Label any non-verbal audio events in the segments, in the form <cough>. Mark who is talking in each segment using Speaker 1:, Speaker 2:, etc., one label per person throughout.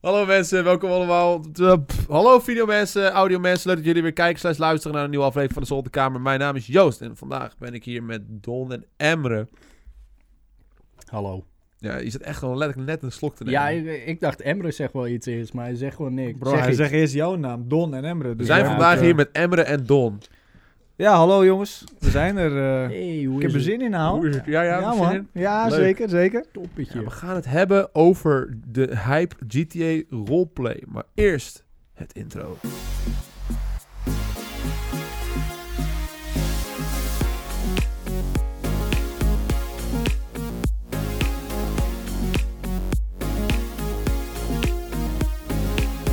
Speaker 1: Hallo mensen, welkom allemaal. De- pff, hallo videomensen, audiomensen. Leuk dat jullie weer kijken slash luisteren naar een nieuwe aflevering van de Zolderkamer. Mijn naam is Joost en vandaag ben ik hier met Don en Emre.
Speaker 2: Hallo.
Speaker 1: Ja, je zit echt gewoon letterlijk net een slok te nemen.
Speaker 2: Ja, ik, ik dacht Emre zegt wel iets eerst, maar hij zegt gewoon niks.
Speaker 3: Bro,
Speaker 2: Zeg
Speaker 3: hij
Speaker 2: iets.
Speaker 3: zegt eerst jouw naam, Don en Emre.
Speaker 1: We
Speaker 3: dus
Speaker 1: zijn
Speaker 3: jij
Speaker 1: vandaag
Speaker 3: moet, eh,
Speaker 1: hier met Emre en Don.
Speaker 3: Ja, hallo jongens. We zijn er. eh,
Speaker 2: Hey, hoe
Speaker 3: ik
Speaker 2: is
Speaker 3: heb er
Speaker 2: het?
Speaker 3: zin in, nou.
Speaker 1: Hoe is het? Ja, ja,
Speaker 3: Ja,
Speaker 1: heb je zin in?
Speaker 3: man. Ja,
Speaker 1: Leuk.
Speaker 3: zeker, zeker.
Speaker 2: Toppetje.
Speaker 1: Ja, we gaan het hebben over de hype GTA roleplay. Maar eerst het intro.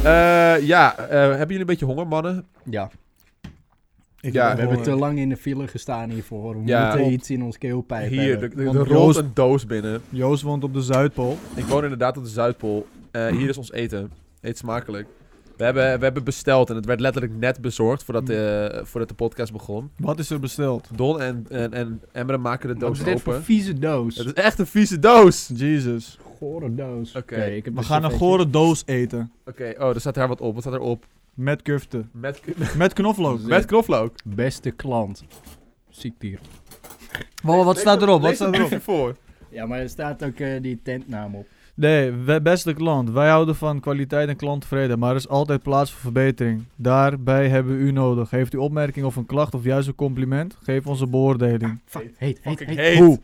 Speaker 1: Eh, ja, eh, hebben jullie een beetje honger, mannen?
Speaker 2: Ja,
Speaker 3: Ik
Speaker 1: Ja,
Speaker 3: heb
Speaker 2: we
Speaker 3: wel,
Speaker 2: hebben te
Speaker 3: eh,
Speaker 2: lang in de file gestaan hiervoor. We
Speaker 1: Ja.
Speaker 2: moeten
Speaker 3: Klopt.
Speaker 2: iets in ons keelpijp
Speaker 1: Hier,
Speaker 2: hebben.
Speaker 1: er- er
Speaker 3: Want
Speaker 1: er rolt
Speaker 3: Joost-
Speaker 1: een doos binnen.
Speaker 3: Joost woont op de Zuidpool.
Speaker 1: Ik woon inderdaad op de Zuidpool. Eh, hier is ons eten. Eet smakelijk. We hebben, we hebben besteld en het werd letterlijk net bezorgd voordat, de voordat de podcast begon.
Speaker 3: Wat is er besteld?
Speaker 1: Don en, en, en Emre maken de
Speaker 2: Wat is
Speaker 1: doos
Speaker 2: dit voor
Speaker 1: open.
Speaker 2: vieze doos?
Speaker 1: Het is echt een vieze doos!
Speaker 3: Jesus.
Speaker 2: Gore doos.
Speaker 1: Oké.
Speaker 2: ik heb dus
Speaker 3: We
Speaker 2: een
Speaker 3: gaan een
Speaker 2: servetje.
Speaker 3: gore doos eten.
Speaker 1: Oké, oh, er staat daar wat op. Wat staat erop?
Speaker 3: Met kufte.
Speaker 1: Met,
Speaker 3: Met knoflook.
Speaker 2: Zit.
Speaker 1: met knoflook.
Speaker 2: Beste klant. Ziektier.
Speaker 3: Wow, wat staat erop? Wat
Speaker 1: Lees
Speaker 3: staat
Speaker 1: het
Speaker 3: erop?
Speaker 1: briefje voor.
Speaker 2: Ja, maar er staat ook eh, die tentnaam op.
Speaker 3: Nee, we- beste klant. Wij houden van kwaliteit en klanttevredenheid, maar er is altijd plaats voor verbetering. Daarbij hebben we u nodig. Heeft u opmerking of een klacht of juist een compliment? Geef ons een beoordeling.
Speaker 2: Fuck, heet, heet,
Speaker 1: Fucking
Speaker 2: heet.
Speaker 1: heet.
Speaker 3: Hoe?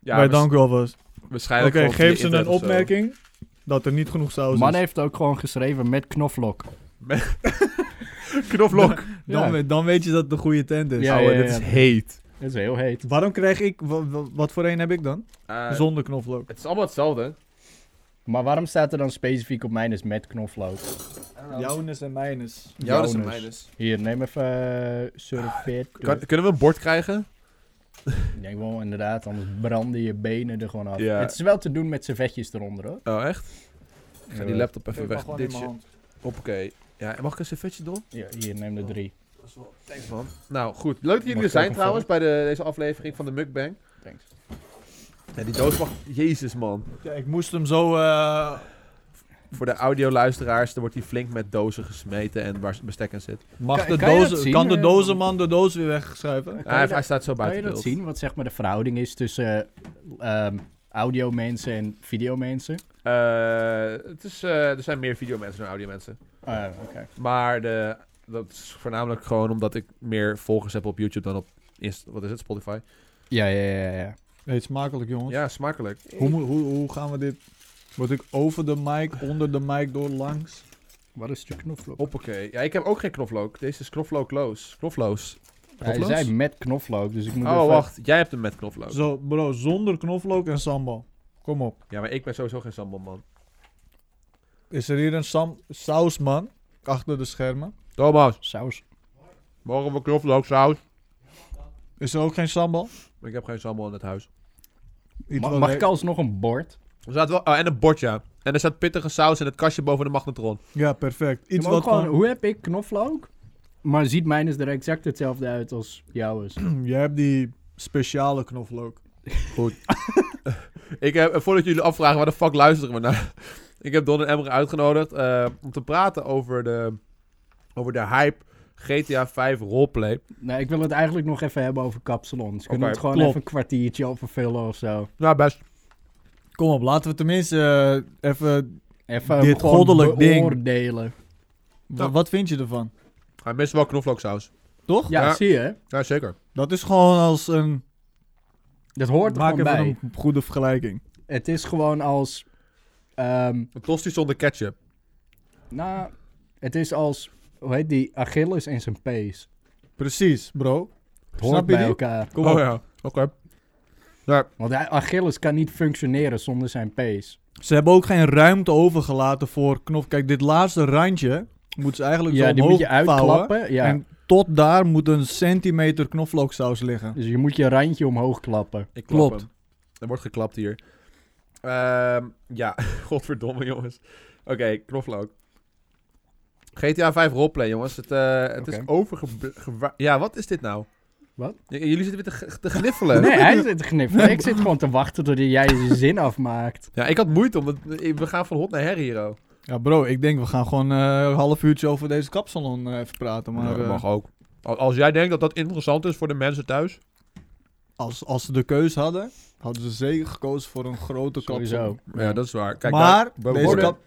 Speaker 1: Ja,
Speaker 3: Wij
Speaker 1: waars-
Speaker 3: danken u alvast. Oké,
Speaker 1: waarschijnlijk gewoon via
Speaker 3: geef ze een
Speaker 1: internet of zo.
Speaker 3: opmerking dat er niet genoeg saus
Speaker 2: Man
Speaker 3: is.
Speaker 2: heeft ook gewoon geschreven met knoflok.
Speaker 1: <laughs>
Speaker 3: <laughs>
Speaker 1: Knoflook.
Speaker 2: Ja.
Speaker 3: Dan, we- dan weet je dat het de goede tent is.
Speaker 2: Ja,
Speaker 1: Ouwe,
Speaker 2: ja,
Speaker 1: dit
Speaker 2: ja.
Speaker 1: is heet.
Speaker 2: Dat is heel heet.
Speaker 3: Waarom krijg ik... wa- wa- wat voor een heb ik dan?
Speaker 1: Eh,
Speaker 3: Zonder knoflook.
Speaker 1: het is allemaal hetzelfde.
Speaker 2: Maar waarom staat er dan specifiek op mijn is met knoflook?
Speaker 3: Jouwnes en mijnes.
Speaker 1: Ja, dat is een
Speaker 2: Jonas.
Speaker 1: minus.
Speaker 2: Hier, neem even eh, surfeert.
Speaker 1: Ah, Kan- Kunnen we een bord krijgen?
Speaker 2: Ik denk wel inderdaad, anders branden je benen er gewoon af.
Speaker 1: Ja.
Speaker 2: Het is wel te doen met servetjes eronder hoor.
Speaker 1: Oh, echt? Ik
Speaker 3: Eh,
Speaker 1: ga die laptop even weg. Dit
Speaker 3: hand.
Speaker 1: Hoppakee. Ja, en mag ik een servetje, Don?
Speaker 2: Ja, hier, neem de drie.
Speaker 1: Thanks, man. Nou, goed. Leuk dat jullie er
Speaker 2: Mag ik ook
Speaker 1: zijn
Speaker 2: een
Speaker 1: trouwens bij de, deze aflevering van de Mukbang.
Speaker 2: Thanks.
Speaker 1: Ja, die doos mag... Jezus, man.
Speaker 3: Ja, ik moest hem zo... eh,
Speaker 1: Voor de audioluisteraars, er wordt die flink met dozen gesmeten en waar bestek aan zit.
Speaker 3: mag
Speaker 2: Kan-
Speaker 3: de
Speaker 2: kan je dat
Speaker 3: dozen-
Speaker 2: zien?
Speaker 3: kan de
Speaker 2: Eh,
Speaker 3: dozenman de doos weer wegschuiven?
Speaker 1: Ah, hij,
Speaker 2: dat-
Speaker 1: hij staat zo
Speaker 2: Kan je
Speaker 1: buiten
Speaker 2: dat
Speaker 1: beeld.
Speaker 2: zien, wat zeg maar de verhouding is tussen eh, ehm, audio-mensen en videomensen?
Speaker 1: Eh, het is, eh, er zijn meer videomensen dan audiomensen.
Speaker 2: Ah, oké.
Speaker 1: Maar de, dat is voornamelijk gewoon omdat ik meer volgers heb op YouTube dan op Inst wat is het, Spotify.
Speaker 2: Ja, ja, ja, ja, ja.
Speaker 3: Eet smakelijk, jongens.
Speaker 1: Ja, smakelijk.
Speaker 3: Hoe, moet- hoe, hoe gaan we dit... Word ik over de mic, onder de mic, door langs?
Speaker 2: Wat is de knoflook?
Speaker 1: Hoppakee. Ja, ik heb ook geen knoflook. Deze is knoflookloos. Knofloos.
Speaker 2: Hij
Speaker 1: knofloos?
Speaker 2: zei met knoflook, dus ik moet
Speaker 1: Oh,
Speaker 2: even-
Speaker 1: wacht. Jij hebt hem met knoflook.
Speaker 3: Zo, bro, zonder knoflook en sambal. Kom op.
Speaker 1: Ja, maar ik ben sowieso geen sambal, man.
Speaker 3: Is er hier een sam sausman achter de schermen?
Speaker 1: Thomas,
Speaker 2: Saus.
Speaker 1: mogen we knoflooksaus?
Speaker 3: Is er ook geen sambal?
Speaker 1: Ik heb geen sambal in het huis.
Speaker 3: Iets
Speaker 2: Ma-
Speaker 3: wat
Speaker 2: mag
Speaker 3: le-
Speaker 2: ik alsnog een bord?
Speaker 1: Er staat wel, oh, en een bordje. En er staat pittige saus in het kastje boven de magnetron.
Speaker 3: Ja, perfect. Iets
Speaker 2: Ja, maar
Speaker 3: wat
Speaker 2: ook gewoon,
Speaker 3: gewoon...
Speaker 2: Hoe heb ik knoflook? Maar ziet mijn is er exact hetzelfde uit als jouw is.
Speaker 3: Jij hebt die speciale knoflook.
Speaker 1: Ik heb, eh, voordat jullie afvragen waar de fuck luisteren we naar. <laughs> Ik heb Don en Emre uitgenodigd eh, om te praten over de, over de hype GTA 5 roleplay.
Speaker 2: Nee, ik wil het eigenlijk nog even hebben over kapsalons. Kunnen we
Speaker 1: Oké,
Speaker 2: het gewoon
Speaker 1: klopt.
Speaker 2: even een kwartiertje over vullen of zo?
Speaker 1: Nou, best.
Speaker 3: Kom op, laten we tenminste eh, even...
Speaker 2: Even
Speaker 3: Dit
Speaker 2: gewoon
Speaker 3: goddelijk ding.
Speaker 2: beoordelen.
Speaker 3: wa- Wat vind je ervan?
Speaker 1: Hij mist wel knoflooksaus.
Speaker 3: Toch?
Speaker 2: Ja,
Speaker 1: Ja.
Speaker 2: zie je?
Speaker 1: Ja, zeker.
Speaker 3: Dat is gewoon als een...
Speaker 2: Dat hoort er
Speaker 3: Maak
Speaker 2: gewoon
Speaker 3: even
Speaker 2: bij.
Speaker 3: een goede vergelijking.
Speaker 2: Het is gewoon als... ehm,
Speaker 1: Een tosti zonder ketchup.
Speaker 2: nou, het is als... Hoe heet die? Achilles en zijn pees.
Speaker 3: Precies, bro.
Speaker 2: Het
Speaker 3: Snap
Speaker 2: hoort
Speaker 3: je
Speaker 2: bij
Speaker 3: die?
Speaker 2: elkaar.
Speaker 3: Kom
Speaker 1: oh
Speaker 3: op.
Speaker 1: ja, oké.
Speaker 2: Want hij- Achilles kan niet functioneren zonder zijn pees.
Speaker 3: Ze hebben ook geen ruimte overgelaten voor knof... Kijk, dit laatste randje moeten ze eigenlijk
Speaker 2: Ja,
Speaker 3: zo
Speaker 2: die
Speaker 3: omhoog
Speaker 2: moet je
Speaker 3: vouwen.
Speaker 2: uitklappen. Ja.
Speaker 3: En tot daar moet een centimeter knoflooksaus liggen.
Speaker 2: Dus je moet je randje omhoog klappen.
Speaker 1: Ik klap
Speaker 3: Klopt.
Speaker 1: hem. Er wordt geklapt hier. Ehm, ja, <laughs> godverdomme jongens. Oké, knoflook. GTA 5 roleplay, jongens. Het, eh, het is
Speaker 2: Oké.
Speaker 1: overgewa... Ja, wat is dit nou?
Speaker 2: Wat?
Speaker 1: J- jullie zitten weer te, g- te gniffelen.
Speaker 2: <laughs> Nee,
Speaker 1: <laughs>
Speaker 2: hij zit te kniffen. Ik zit gewoon te wachten tot jij je zin afmaakt.
Speaker 1: eh, Ja, ik had moeite, omdat we gaan van hot naar her hier. oh.
Speaker 3: Ja, bro, ik denk we gaan gewoon eh, een half uurtje over deze kapsalon eh, even praten. Maar
Speaker 1: Maar,
Speaker 3: eh,
Speaker 1: mag ook. Al- Als jij denkt dat dat interessant is voor de mensen thuis.
Speaker 3: als, als ze de keus hadden, hadden ze zeker gekozen voor een grote
Speaker 2: Sowieso.
Speaker 3: kapsalon.
Speaker 1: Ja, dat is waar. Kijk,
Speaker 3: maar
Speaker 1: daar- we
Speaker 3: deze,
Speaker 1: worden-
Speaker 3: kap,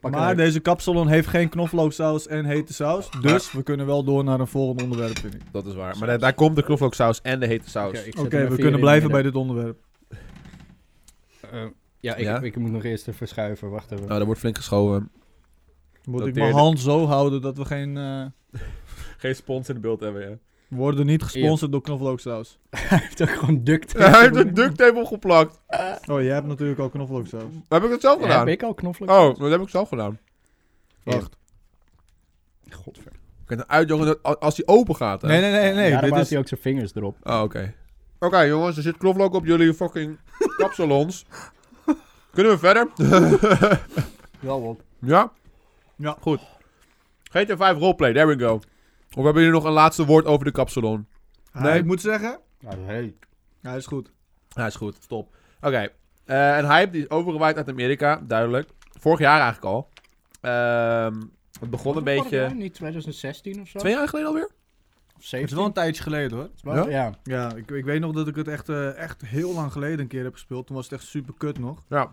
Speaker 2: Pak
Speaker 3: maar
Speaker 2: een-
Speaker 3: deze kapsalon heeft geen knoflooksaus en hete saus. Dus we kunnen wel door naar een volgend onderwerp, vind ik.
Speaker 1: dat is waar. Maar daar, daar komt de knoflooksaus en de hete saus.
Speaker 2: ik
Speaker 3: Oké,
Speaker 2: zet hem
Speaker 3: we
Speaker 2: even
Speaker 3: kunnen
Speaker 2: hier in
Speaker 3: blijven
Speaker 2: het
Speaker 3: bij dit onderwerp.
Speaker 2: midden. Eh, ja, ik,
Speaker 1: Ja?
Speaker 2: ik moet nog eerst even verschuiven. Wacht even.
Speaker 1: Nou, daar wordt flink geschoven.
Speaker 3: Moet ik
Speaker 1: Dateerde.
Speaker 3: mijn hand zo houden dat we geen... eh,
Speaker 1: Geen spons in de beeld hebben, ja.
Speaker 3: worden niet gesponsord door
Speaker 2: <laughs>
Speaker 3: knoflooksaus.
Speaker 2: Hij heeft ook gewoon duct tape.
Speaker 1: Hij heeft
Speaker 2: <laughs>
Speaker 1: een duct tape opgeplakt.
Speaker 3: Oh, jij hebt natuurlijk al knoflooksaus.
Speaker 1: Heb ik dat zelf
Speaker 2: Heb
Speaker 1: gedaan?
Speaker 2: ik al knoflook?
Speaker 1: Oh, dat heb ik zelf gedaan.
Speaker 3: Wacht.
Speaker 2: Godver.
Speaker 1: Ik kan uit, jongen, dat- als- als die open gaat, hè.
Speaker 3: Nee, nee, nee, nee.
Speaker 2: Nee, Daarom
Speaker 3: dit
Speaker 2: houdt
Speaker 3: is...
Speaker 2: hij ook zijn vingers erop.
Speaker 1: Oh, oké. Oké, jongens, er zit knoflook op jullie <laughs> fucking kapsalons. Kunnen we verder?
Speaker 2: Wel op.
Speaker 1: ja?
Speaker 3: Ja.
Speaker 1: Goed. GTA 5 roleplay, there we go. Of hebben jullie nog een laatste woord over de kapsalon?
Speaker 3: Nee, ik moet zeggen,
Speaker 2: hey.
Speaker 3: hij is goed.
Speaker 1: Hij is goed, top. Oké, eh, een hype die is overgewaaid uit Amerika, duidelijk. Vorig jaar eigenlijk al. Ehm, het begon een beetje...
Speaker 2: nou? Niet 2016 of zo?
Speaker 1: Twee jaar geleden alweer?
Speaker 2: Of
Speaker 3: Het is
Speaker 2: 17?
Speaker 3: wel een tijdje geleden, hoor.
Speaker 2: Wel- ja?
Speaker 3: Ja, ik, ik weet nog dat ik het echt, eh, echt heel lang geleden een keer heb gespeeld. Toen was het echt super kut nog.
Speaker 1: Ja.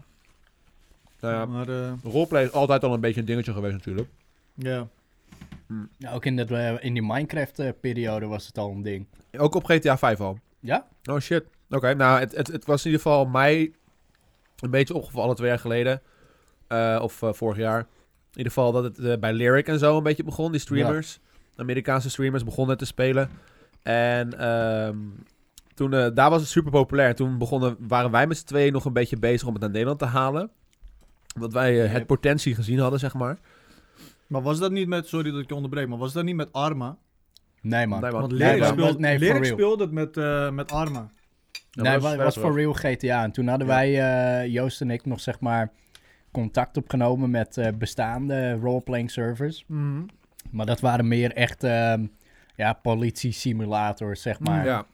Speaker 1: Nou ja,
Speaker 3: Maar eh,
Speaker 1: roleplay is altijd al een beetje een dingetje geweest natuurlijk.
Speaker 3: ja,
Speaker 2: Ja, ook in, dat, eh, in die Minecraft-periode was het al een ding.
Speaker 1: Ook op GTA 5 al.
Speaker 2: Ja?
Speaker 1: Oh shit. Oké, nou, het, het, het was in ieder geval mij een beetje opgevallen twee jaar geleden. Eh, of eh, vorig jaar. In ieder geval dat het eh, bij Lyric en zo een beetje begon. Die streamers, Amerikaanse streamers, begonnen te spelen. En ehm, toen, eh, daar was het super populair. Toen begonnen, waren wij met z'n tweeën nog een beetje bezig om het naar Nederland te halen. Omdat wij eh, het
Speaker 2: Yep.
Speaker 1: potentie gezien hadden, zeg maar.
Speaker 3: Maar was dat niet met, sorry dat ik je onderbreek, maar was dat niet met Arma?
Speaker 2: Nee, man.
Speaker 1: Nee, man.
Speaker 3: Want
Speaker 1: Nee,
Speaker 3: Lerik
Speaker 1: maar-
Speaker 3: speelde,
Speaker 2: nee, for
Speaker 3: Lerik
Speaker 2: real.
Speaker 3: speelde het met, eh, met Arma.
Speaker 1: Ja,
Speaker 2: nee,
Speaker 1: maar
Speaker 2: was,
Speaker 1: dat
Speaker 2: was
Speaker 1: is-
Speaker 2: for real GTA. En toen hadden
Speaker 1: Ja.
Speaker 2: wij, eh, Joost en ik, nog zeg maar contact opgenomen met eh, bestaande roleplaying servers.
Speaker 3: Mhm.
Speaker 2: Maar dat waren meer echt ehm ja, politie-simulators, zeg maar.
Speaker 1: Ja.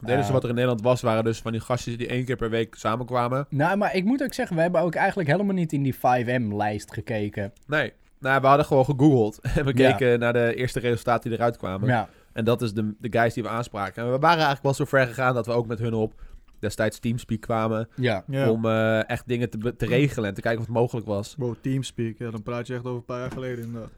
Speaker 1: Het enige
Speaker 2: Eh,
Speaker 1: wat er in Nederland was, waren dus van die gastjes die één keer per week samenkwamen.
Speaker 2: Nou, maar ik moet ook zeggen, we hebben ook eigenlijk helemaal niet in die 5M-lijst gekeken.
Speaker 1: Nee. Nou, we hadden gewoon gegoogeld. <laughs> En we
Speaker 2: Ja.
Speaker 1: keken naar de eerste resultaten die eruit kwamen.
Speaker 2: Ja,
Speaker 1: En dat is de, de guys die we aanspraken. En we waren eigenlijk wel zo ver gegaan dat we ook met hun op destijds Teamspeak kwamen.
Speaker 2: ja.
Speaker 3: Ja.
Speaker 1: Om eh, echt dingen te, be- te regelen en te kijken of het mogelijk was.
Speaker 3: Bro, Teamspeak, ja, dan praat je echt over een paar jaar geleden inderdaad.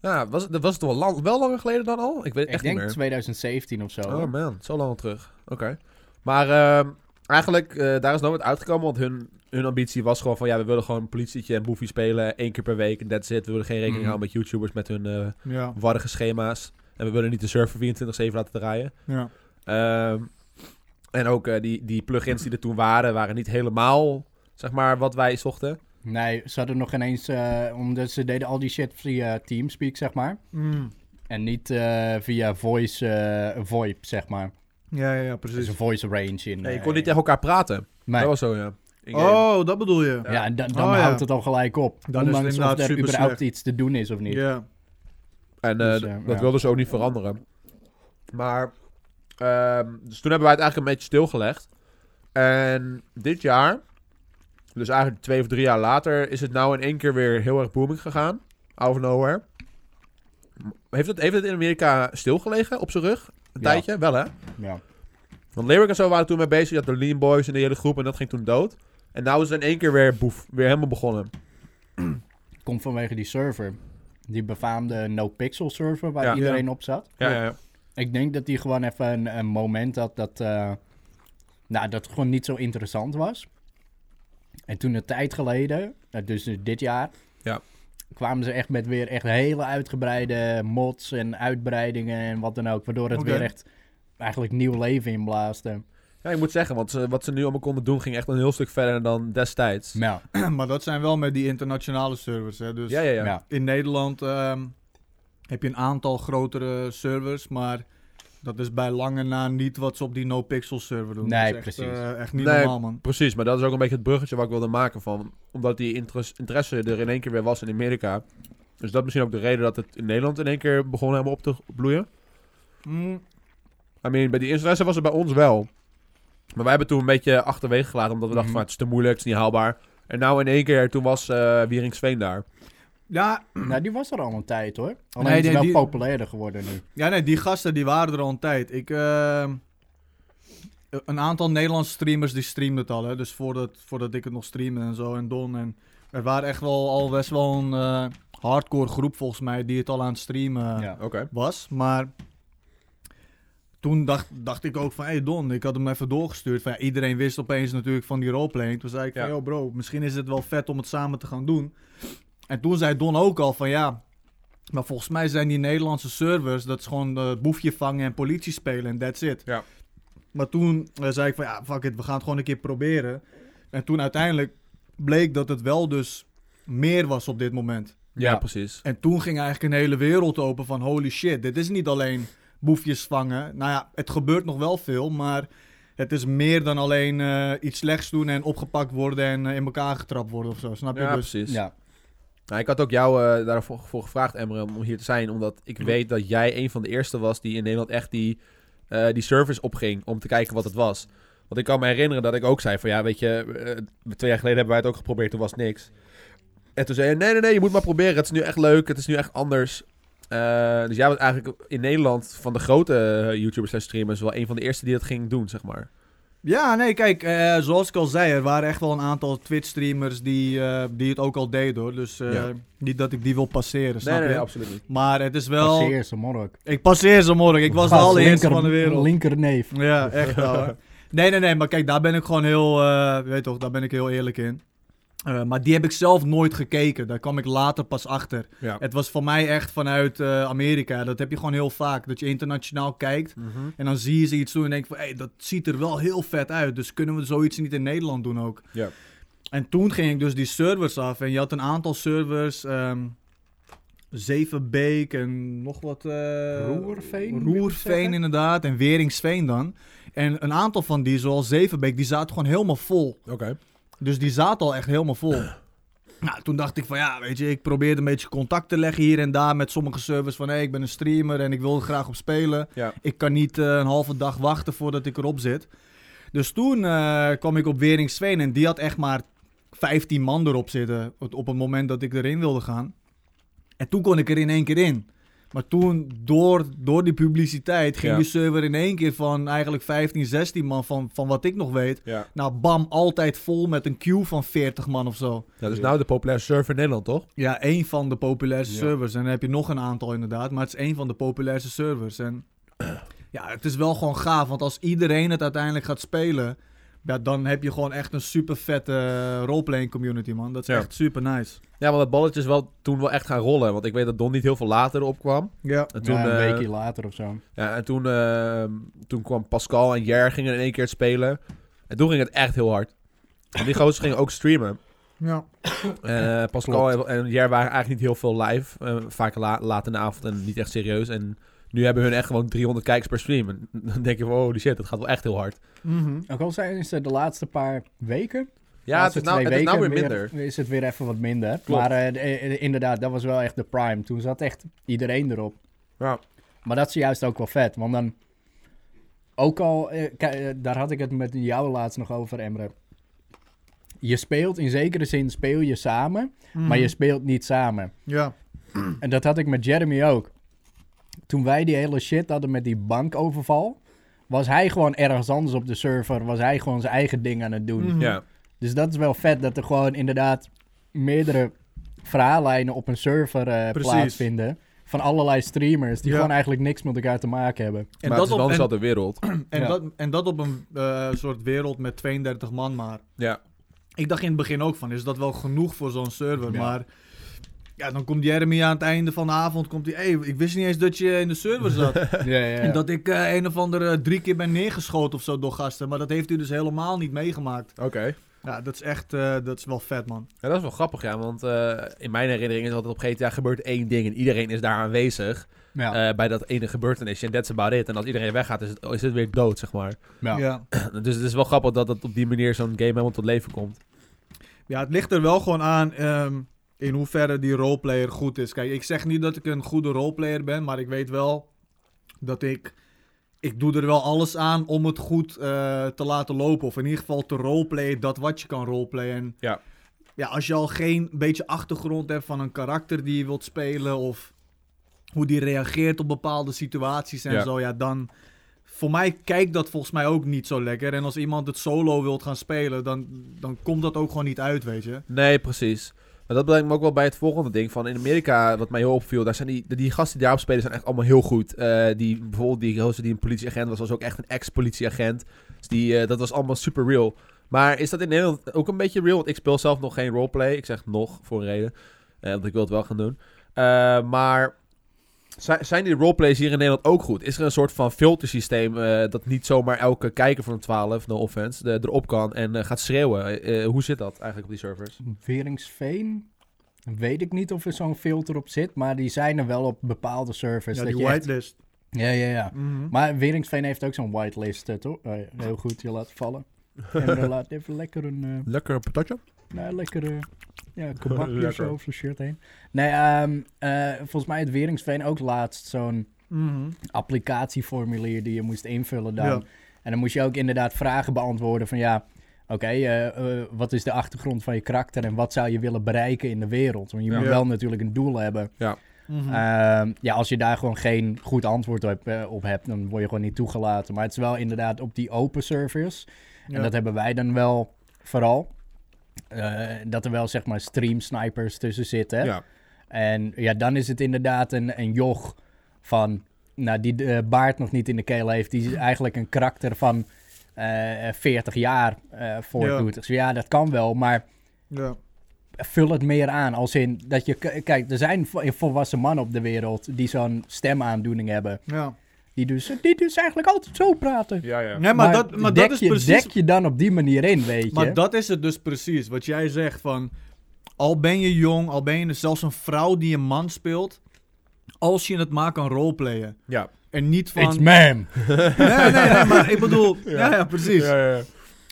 Speaker 1: Ja, was, het- was het wel, lang, wel langer geleden dan al? Ik weet het
Speaker 2: Ik
Speaker 1: echt
Speaker 2: denk
Speaker 1: niet
Speaker 2: 2017 of zo.
Speaker 1: meer. Oh man, zo lang al terug. Oké. Maar ehm, eigenlijk, eh, daar is nooit wat uitgekomen. Want hun, hun ambitie was gewoon van... Ja, we willen gewoon een politietje en boefie spelen. één keer per week en that's it. We willen geen rekening
Speaker 2: Mhm.
Speaker 1: houden met YouTubers, met hun... eh,
Speaker 3: Ja,
Speaker 1: warrige schema's. En we willen niet de server 24-7 laten draaien.
Speaker 3: ja.
Speaker 1: Ehm, en ook eh, die, die plugins die er toen waren, waren niet helemaal zeg maar, wat wij zochten.
Speaker 2: Nee, ze hadden nog ineens, eh, omdat ze deden al die shit via Teamspeak, zeg maar.
Speaker 3: Mm.
Speaker 2: En niet eh, via voice, eh, VoIP, zeg maar.
Speaker 3: ja, ja, ja,
Speaker 2: Dus
Speaker 3: precies.
Speaker 2: een voice range in.
Speaker 1: Nee, je
Speaker 2: eh,
Speaker 1: kon niet tegen elkaar praten.
Speaker 2: Nee.
Speaker 1: Dat was zo, ja. In-game.
Speaker 3: Oh, dat bedoel je.
Speaker 2: Ja, en da- dan
Speaker 3: Oh, ja.
Speaker 2: houdt het al gelijk op.
Speaker 3: Dan is het
Speaker 2: Ondanks of
Speaker 3: inderdaad
Speaker 2: er
Speaker 3: super
Speaker 2: überhaupt
Speaker 3: slecht.
Speaker 2: iets te doen is of niet.
Speaker 3: Ja.
Speaker 1: En eh,
Speaker 2: Dus, eh,
Speaker 1: dat
Speaker 2: ja.
Speaker 1: wilden ze ook niet veranderen. Maar, ehm, dus toen hebben wij het eigenlijk een beetje stilgelegd. En dit jaar, dus eigenlijk twee of drie jaar later, is het nou in één keer weer heel erg booming gegaan. Out of nowhere. Heeft het, heeft het in Amerika stilgelegen op zijn rug? Een
Speaker 2: Ja.
Speaker 1: tijdje? Wel hè?
Speaker 2: Ja.
Speaker 1: Want Lyric en zo waren toen mee bezig. Je had de Lean Boys en de hele groep en dat ging toen dood. En nou is het in één keer weer boef. Weer helemaal begonnen.
Speaker 2: Komt vanwege die server. Die befaamde no-pixel server waar
Speaker 1: Ja.
Speaker 2: iedereen op zat.
Speaker 1: Ja, ja, ja.
Speaker 2: Ik denk dat die gewoon even een, een moment had dat, eh, nou, dat het gewoon niet zo interessant was. En toen een tijd geleden, eh, dus dit jaar,
Speaker 1: Ja.
Speaker 2: kwamen ze echt met weer echt hele uitgebreide mods en uitbreidingen en wat dan ook. Waardoor het
Speaker 3: Oké.
Speaker 2: weer echt eigenlijk nieuw leven inblaasde.
Speaker 1: Ja, ik moet zeggen, want ze- wat ze nu allemaal konden doen ging echt een heel stuk verder dan destijds.
Speaker 2: Nou,
Speaker 3: <clears throat> maar dat zijn wel met die internationale servers, hè. Dus
Speaker 1: Ja, ja, ja.
Speaker 2: ja.
Speaker 3: in Nederland ehm, heb je een aantal grotere servers, maar dat is bij lange na niet wat ze op die no-pixel server doen.
Speaker 2: Nee,
Speaker 3: dat is echt,
Speaker 2: precies.
Speaker 3: eh, echt niet
Speaker 1: Nee.
Speaker 3: normaal, man.
Speaker 1: Precies, maar dat is ook een beetje het bruggetje wat ik wilde maken van. Omdat die interes- interesse er in één keer weer was in Amerika. Dus dat is misschien ook de reden dat het in Nederland in één keer begon helemaal op te bloeien.
Speaker 3: Mm,
Speaker 1: I mean, bij die interesse was het bij ons wel. Maar wij hebben toen een beetje achterwege gelaten, omdat we dachten van
Speaker 2: Mhm.
Speaker 1: het is te moeilijk, het is niet haalbaar. En nou in één keer, toen was eh Wiering Sveen daar.
Speaker 3: Ja,
Speaker 2: Nou, die was er al een tijd hoor. Alleen
Speaker 3: Nee,
Speaker 2: is
Speaker 3: nee,
Speaker 2: wel
Speaker 3: die-
Speaker 2: populairder geworden nu.
Speaker 3: ja, nee, die gasten die waren er al een tijd. Ik, ehm, een aantal Nederlandse streamers die streamden het al. Hè? Dus voordat, voordat ik het nog streamde en zo en Don. En er waren echt wel al best wel een eh, hardcore groep volgens mij die het al aan het streamen eh,
Speaker 2: ja.
Speaker 1: Oké.
Speaker 3: was. Maar toen dacht, dacht ik ook van, hé hey Don, ik had hem even doorgestuurd. Van, ja, iedereen wist opeens natuurlijk van die roleplaying. Toen zei ik
Speaker 1: Ja.
Speaker 3: van, yo bro, misschien is het wel vet om het samen te gaan doen. En toen zei Don ook al van, ja, maar volgens mij zijn die Nederlandse servers, dat is gewoon eh, boefje vangen en politie spelen en that's it.
Speaker 1: Ja.
Speaker 3: Maar toen eh, zei ik van, ja, fuck it, we gaan het gewoon een keer proberen. En toen uiteindelijk bleek dat het wel dus meer was op dit moment.
Speaker 1: Ja,
Speaker 2: Ja.
Speaker 1: precies.
Speaker 3: En toen ging eigenlijk een hele wereld open van holy shit, dit is niet alleen boefjes vangen. Nou ja, het gebeurt nog wel veel, maar het is meer dan alleen eh, iets slechts doen en opgepakt worden en eh, in elkaar getrapt worden of zo. Snap je?
Speaker 1: Ja,
Speaker 3: dus,
Speaker 1: precies.
Speaker 2: ja.
Speaker 1: Nou, ik had ook jou eh, daarvoor voor gevraagd, Emre, om hier te zijn. Omdat ik weet dat jij een van de eerste was die in Nederland echt die, eh, die service opging om te kijken wat het was. Want ik kan me herinneren dat ik ook zei van ja, weet je, eh, twee jaar geleden hebben wij het ook geprobeerd, toen was het niks. En toen zei je, nee, nee, nee, je moet maar proberen. Het is nu echt leuk, het is nu echt anders. Eh, dus jij was eigenlijk in Nederland van de grote eh, YouTubers en streamers wel een van de eerste die dat ging doen, zeg maar.
Speaker 3: Ja, nee, kijk, eh, zoals ik al zei, er waren echt wel een aantal Twitch-streamers die, eh, die het ook al deden hoor. Dus eh,
Speaker 1: Ja.
Speaker 3: niet dat ik die wil passeren, snap
Speaker 1: Nee, nee, nee,
Speaker 3: je?
Speaker 1: absoluut niet.
Speaker 3: maar het is wel...
Speaker 2: Passeer ze morgen.
Speaker 3: Ik passeer ze morgen, ik was de
Speaker 2: Gast,
Speaker 3: allereerste
Speaker 2: linker-
Speaker 3: van de wereld.
Speaker 2: Linkerneef.
Speaker 3: Ja, echt wel. hoor. Nee, nee, nee, maar kijk, daar ben ik gewoon heel, eh, weet toch, daar ben ik heel eerlijk in. Eh, maar die heb ik zelf nooit gekeken. Daar kwam ik later pas achter.
Speaker 1: Ja.
Speaker 3: Het was voor mij echt vanuit eh, Amerika. Dat heb je gewoon heel vaak. Dat je internationaal kijkt.
Speaker 1: Mhm.
Speaker 3: En dan zie je ze iets doen en denk van... Hé, dat ziet er wel heel vet uit. Dus kunnen we zoiets niet in Nederland doen ook?
Speaker 1: Ja.
Speaker 3: En toen ging ik dus die servers af. En je had een aantal servers. ehm Zevenbeek en nog wat... eh,
Speaker 2: Roerveen, wil ik
Speaker 3: Roerveen
Speaker 2: zeggen.
Speaker 3: inderdaad. En Weringsveen dan. En een aantal van die, zoals Zevenbeek, die zaten gewoon helemaal vol.
Speaker 1: Oké.
Speaker 3: Dus die zaten al echt helemaal vol.
Speaker 1: Eh.
Speaker 3: Nou, toen dacht ik van ja, weet je, ik probeerde een beetje contact te leggen hier en daar met sommige servers. Van hé, ik ben een streamer en ik wil er graag op spelen.
Speaker 1: Ja.
Speaker 3: Ik kan niet eh, een halve dag wachten voordat ik erop zit. Dus toen eh, kwam ik op Wering Sveen en die had echt maar 15 man erop zitten. op- Op het moment dat ik erin wilde gaan. En toen kon ik er in één keer in. Maar toen, door, door die publiciteit, ging
Speaker 1: Ja.
Speaker 3: die server in één keer van eigenlijk 15, 16 man, van, van wat ik nog weet,
Speaker 1: Ja.
Speaker 3: nou, bam, altijd vol met een queue van 40 man of zo.
Speaker 1: ja, dus nou de populaire server in Nederland, toch?
Speaker 3: Ja, één van de populairste
Speaker 1: Ja.
Speaker 3: servers. En dan heb je nog een aantal inderdaad, maar het is één van de populairste servers. En <clears throat> ja, het is wel gewoon gaaf, want als iedereen het uiteindelijk gaat spelen, ja, dan heb je gewoon echt een super vette roleplaying community, man. Dat is
Speaker 1: Ja.
Speaker 3: echt super nice.
Speaker 1: Ja, want dat balletje is wel toen wel echt gaan rollen. Want ik weet dat Don niet heel veel later erop kwam.
Speaker 3: Ja.
Speaker 1: En toen,
Speaker 2: Ja, een
Speaker 1: eh,
Speaker 2: weekje later of zo.
Speaker 1: ja, en toen, eh, toen kwam Pascal en Jer gingen in één keer het spelen. En toen ging het echt heel hard. En die gozers gingen ook streamen.
Speaker 3: ja.
Speaker 1: En, eh, Pascal en, en Jer waren eigenlijk niet heel veel live. eh, vaak la- laat in de avond en niet echt serieus. En nu hebben hun echt gewoon 300 kijkers per stream. En <laughs> dan denk je van, oh die shit, dat gaat wel echt heel hard.
Speaker 3: Mhm.
Speaker 2: Ook al zijn ze de laatste paar weken.
Speaker 1: Ja, het
Speaker 2: laatste
Speaker 1: is, nou,
Speaker 2: twee
Speaker 1: het is nou weer
Speaker 2: weken
Speaker 1: minder.
Speaker 2: Is het weer even wat minder.
Speaker 1: Klopt.
Speaker 2: Maar eh, de- eh, inderdaad, dat was wel echt de prime. Toen zat echt iedereen erop.
Speaker 1: Ja.
Speaker 2: Maar dat is juist ook wel vet. Want dan, ook al, eh, ki- eh, daar had ik het met jou laatst nog over, Emre. Je speelt, in zekere zin speel je samen,
Speaker 1: Mhm.
Speaker 2: maar je speelt niet samen.
Speaker 3: Mhm. Ja.
Speaker 2: En dat had ik met Jeremy ook. Toen wij die hele shit hadden met die bankoverval, was hij gewoon ergens anders op de server. Was hij gewoon zijn eigen ding aan het doen.
Speaker 3: Mhm.
Speaker 1: Ja,
Speaker 2: Dus dat is wel vet dat er gewoon inderdaad meerdere verhaallijnen op een server eh,
Speaker 3: Precies.
Speaker 2: plaatsvinden. Van allerlei streamers die
Speaker 3: Ja.
Speaker 2: gewoon eigenlijk niks met elkaar te maken
Speaker 3: <laughs>
Speaker 2: hebben.
Speaker 3: En,
Speaker 1: maar
Speaker 3: dat
Speaker 1: het is
Speaker 3: op,
Speaker 1: wel
Speaker 3: en,
Speaker 1: dezelfde wereld.
Speaker 3: en
Speaker 2: Ja.
Speaker 3: dat, en dat op een eh, soort wereld met 32 man maar.
Speaker 1: Ja,
Speaker 3: Ik dacht in het begin ook van, is dat wel genoeg voor zo'n server?
Speaker 2: Ja.
Speaker 3: Maar ja, dan komt Jeremy aan het einde van de avond, komt hij, hey, ik wist niet eens dat je in de server
Speaker 2: <laughs>
Speaker 3: zat.
Speaker 2: Ja, ja,
Speaker 3: En dat ik eh, een of andere drie keer ben neergeschoten of zo door gasten. Maar dat heeft u dus helemaal niet meegemaakt.
Speaker 1: oké.
Speaker 3: Ja, dat is echt, eh, dat is wel vet man.
Speaker 1: Ja, dat is wel grappig, ja. Want eh, in mijn herinnering is altijd op GTA gebeurt één ding en iedereen is daar aanwezig
Speaker 2: Ja,
Speaker 1: eh, bij dat ene gebeurtenisje. En that's about it. En als iedereen weggaat, is het, is het weer dood, zeg maar. <clears throat>
Speaker 2: ja.
Speaker 3: Ja.
Speaker 1: dus het is wel grappig dat het op die manier zo'n game helemaal tot leven komt.
Speaker 3: Ja, het ligt er wel gewoon aan ehm, in hoeverre die roleplayer goed is. Kijk, ik zeg niet dat ik een goede roleplayer ben, maar ik weet wel dat ik... Ik doe er wel alles aan om het goed eh, te laten lopen. Of in ieder geval te roleplayen dat wat je kan roleplayen. En
Speaker 1: Ja.
Speaker 3: ja, als je al geen beetje achtergrond hebt van een karakter die je wilt spelen of hoe die reageert op bepaalde situaties en
Speaker 1: Ja.
Speaker 3: zo, ja, dan voor mij kijkt dat volgens mij ook niet zo lekker. En als iemand het solo wilt gaan spelen, dan, dan komt dat ook gewoon niet uit, weet je.
Speaker 1: Nee, precies. Maar dat brengt me ook wel bij het volgende ding. Van in Amerika, wat mij heel opviel, daar zijn die, die gasten die daarop spelen, zijn echt allemaal heel goed. Eh, die, bijvoorbeeld die gozer die een politieagent was, was ook echt een ex-politieagent. Dus die, eh, dat was allemaal super real. Maar is dat in Nederland ook een beetje real? Want ik speel zelf nog geen roleplay. Ik zeg nog, voor een reden. Eh, want ik wil het wel gaan doen. Eh, maar zi- zijn die roleplays hier in Nederland ook goed? Is er een soort van filtersysteem eh, dat niet zomaar elke kijker van 12, no offense, eh, erop kan en eh, gaat schreeuwen? Eh, hoe zit dat eigenlijk op die servers?
Speaker 2: Veringsveen? Weet ik niet of er zo'n filter op zit, maar die zijn er wel op bepaalde servers.
Speaker 3: Ja,
Speaker 2: Dus dat
Speaker 3: die
Speaker 2: je echt-
Speaker 3: whitelist.
Speaker 2: Ja, ja, ja.
Speaker 3: Mhm.
Speaker 2: Maar Weringsveen heeft ook zo'n whitelist, eh, toch? Oh ja, heel goed, je laat vallen. En dan laat even lekker een... eh,
Speaker 1: Lekker patatje.
Speaker 2: Nou, lekkere ja, kebabje of
Speaker 1: Lekker.
Speaker 2: zo, of zo'n shirt heen. Nee, ehm, eh, volgens mij had Weringsveen ook laatst zo'n
Speaker 3: Mhm.
Speaker 2: applicatieformulier die je moest invullen dan.
Speaker 3: Ja.
Speaker 2: En dan moest je ook inderdaad vragen beantwoorden van ja, oké, eh, eh, wat is de achtergrond van je karakter en wat zou je willen bereiken in de wereld? Want je
Speaker 1: Ja.
Speaker 2: moet
Speaker 3: Ja.
Speaker 2: wel natuurlijk een doel hebben.
Speaker 3: Mhm.
Speaker 2: Ehm, ja, als je daar gewoon geen goed antwoord op, eh, op hebt, dan word je gewoon niet toegelaten. Maar het is wel inderdaad op die open servers.
Speaker 3: Ja.
Speaker 2: En dat hebben wij dan wel vooral. eh, dat er wel zeg maar stream snipers tussen zitten.
Speaker 1: Ja.
Speaker 2: En ja, dan is het inderdaad een, een joch van. Nou, die de baard nog niet in de keel heeft. Die is eigenlijk een karakter van eh 40 jaar eh voortdoet. Dus ja, dat kan wel. Maar
Speaker 3: ja.
Speaker 2: vul het meer aan. Als in dat je. k- Kijk, er zijn vo- volwassen mannen op de wereld. die zo'n stemaandoening hebben.
Speaker 3: ja.
Speaker 2: Die dus, die dus eigenlijk altijd zo praten.
Speaker 1: Ja, ja.
Speaker 3: Nee, maar, dat, maar
Speaker 2: dek,
Speaker 3: dat is
Speaker 2: je,
Speaker 3: precies...
Speaker 2: dek je dan op die manier in, weet je.
Speaker 3: Maar dat is het dus precies. Wat jij zegt van. Al ben je jong, al ben je dus zelfs een vrouw die een man speelt. Als je het maar kan roleplayen.
Speaker 1: Ja.
Speaker 3: En niet van.
Speaker 2: It's ma'am.
Speaker 3: Nee, nee, nee,
Speaker 2: <laughs>
Speaker 3: maar ik bedoel. ja. Ja, precies.
Speaker 1: ja, ja.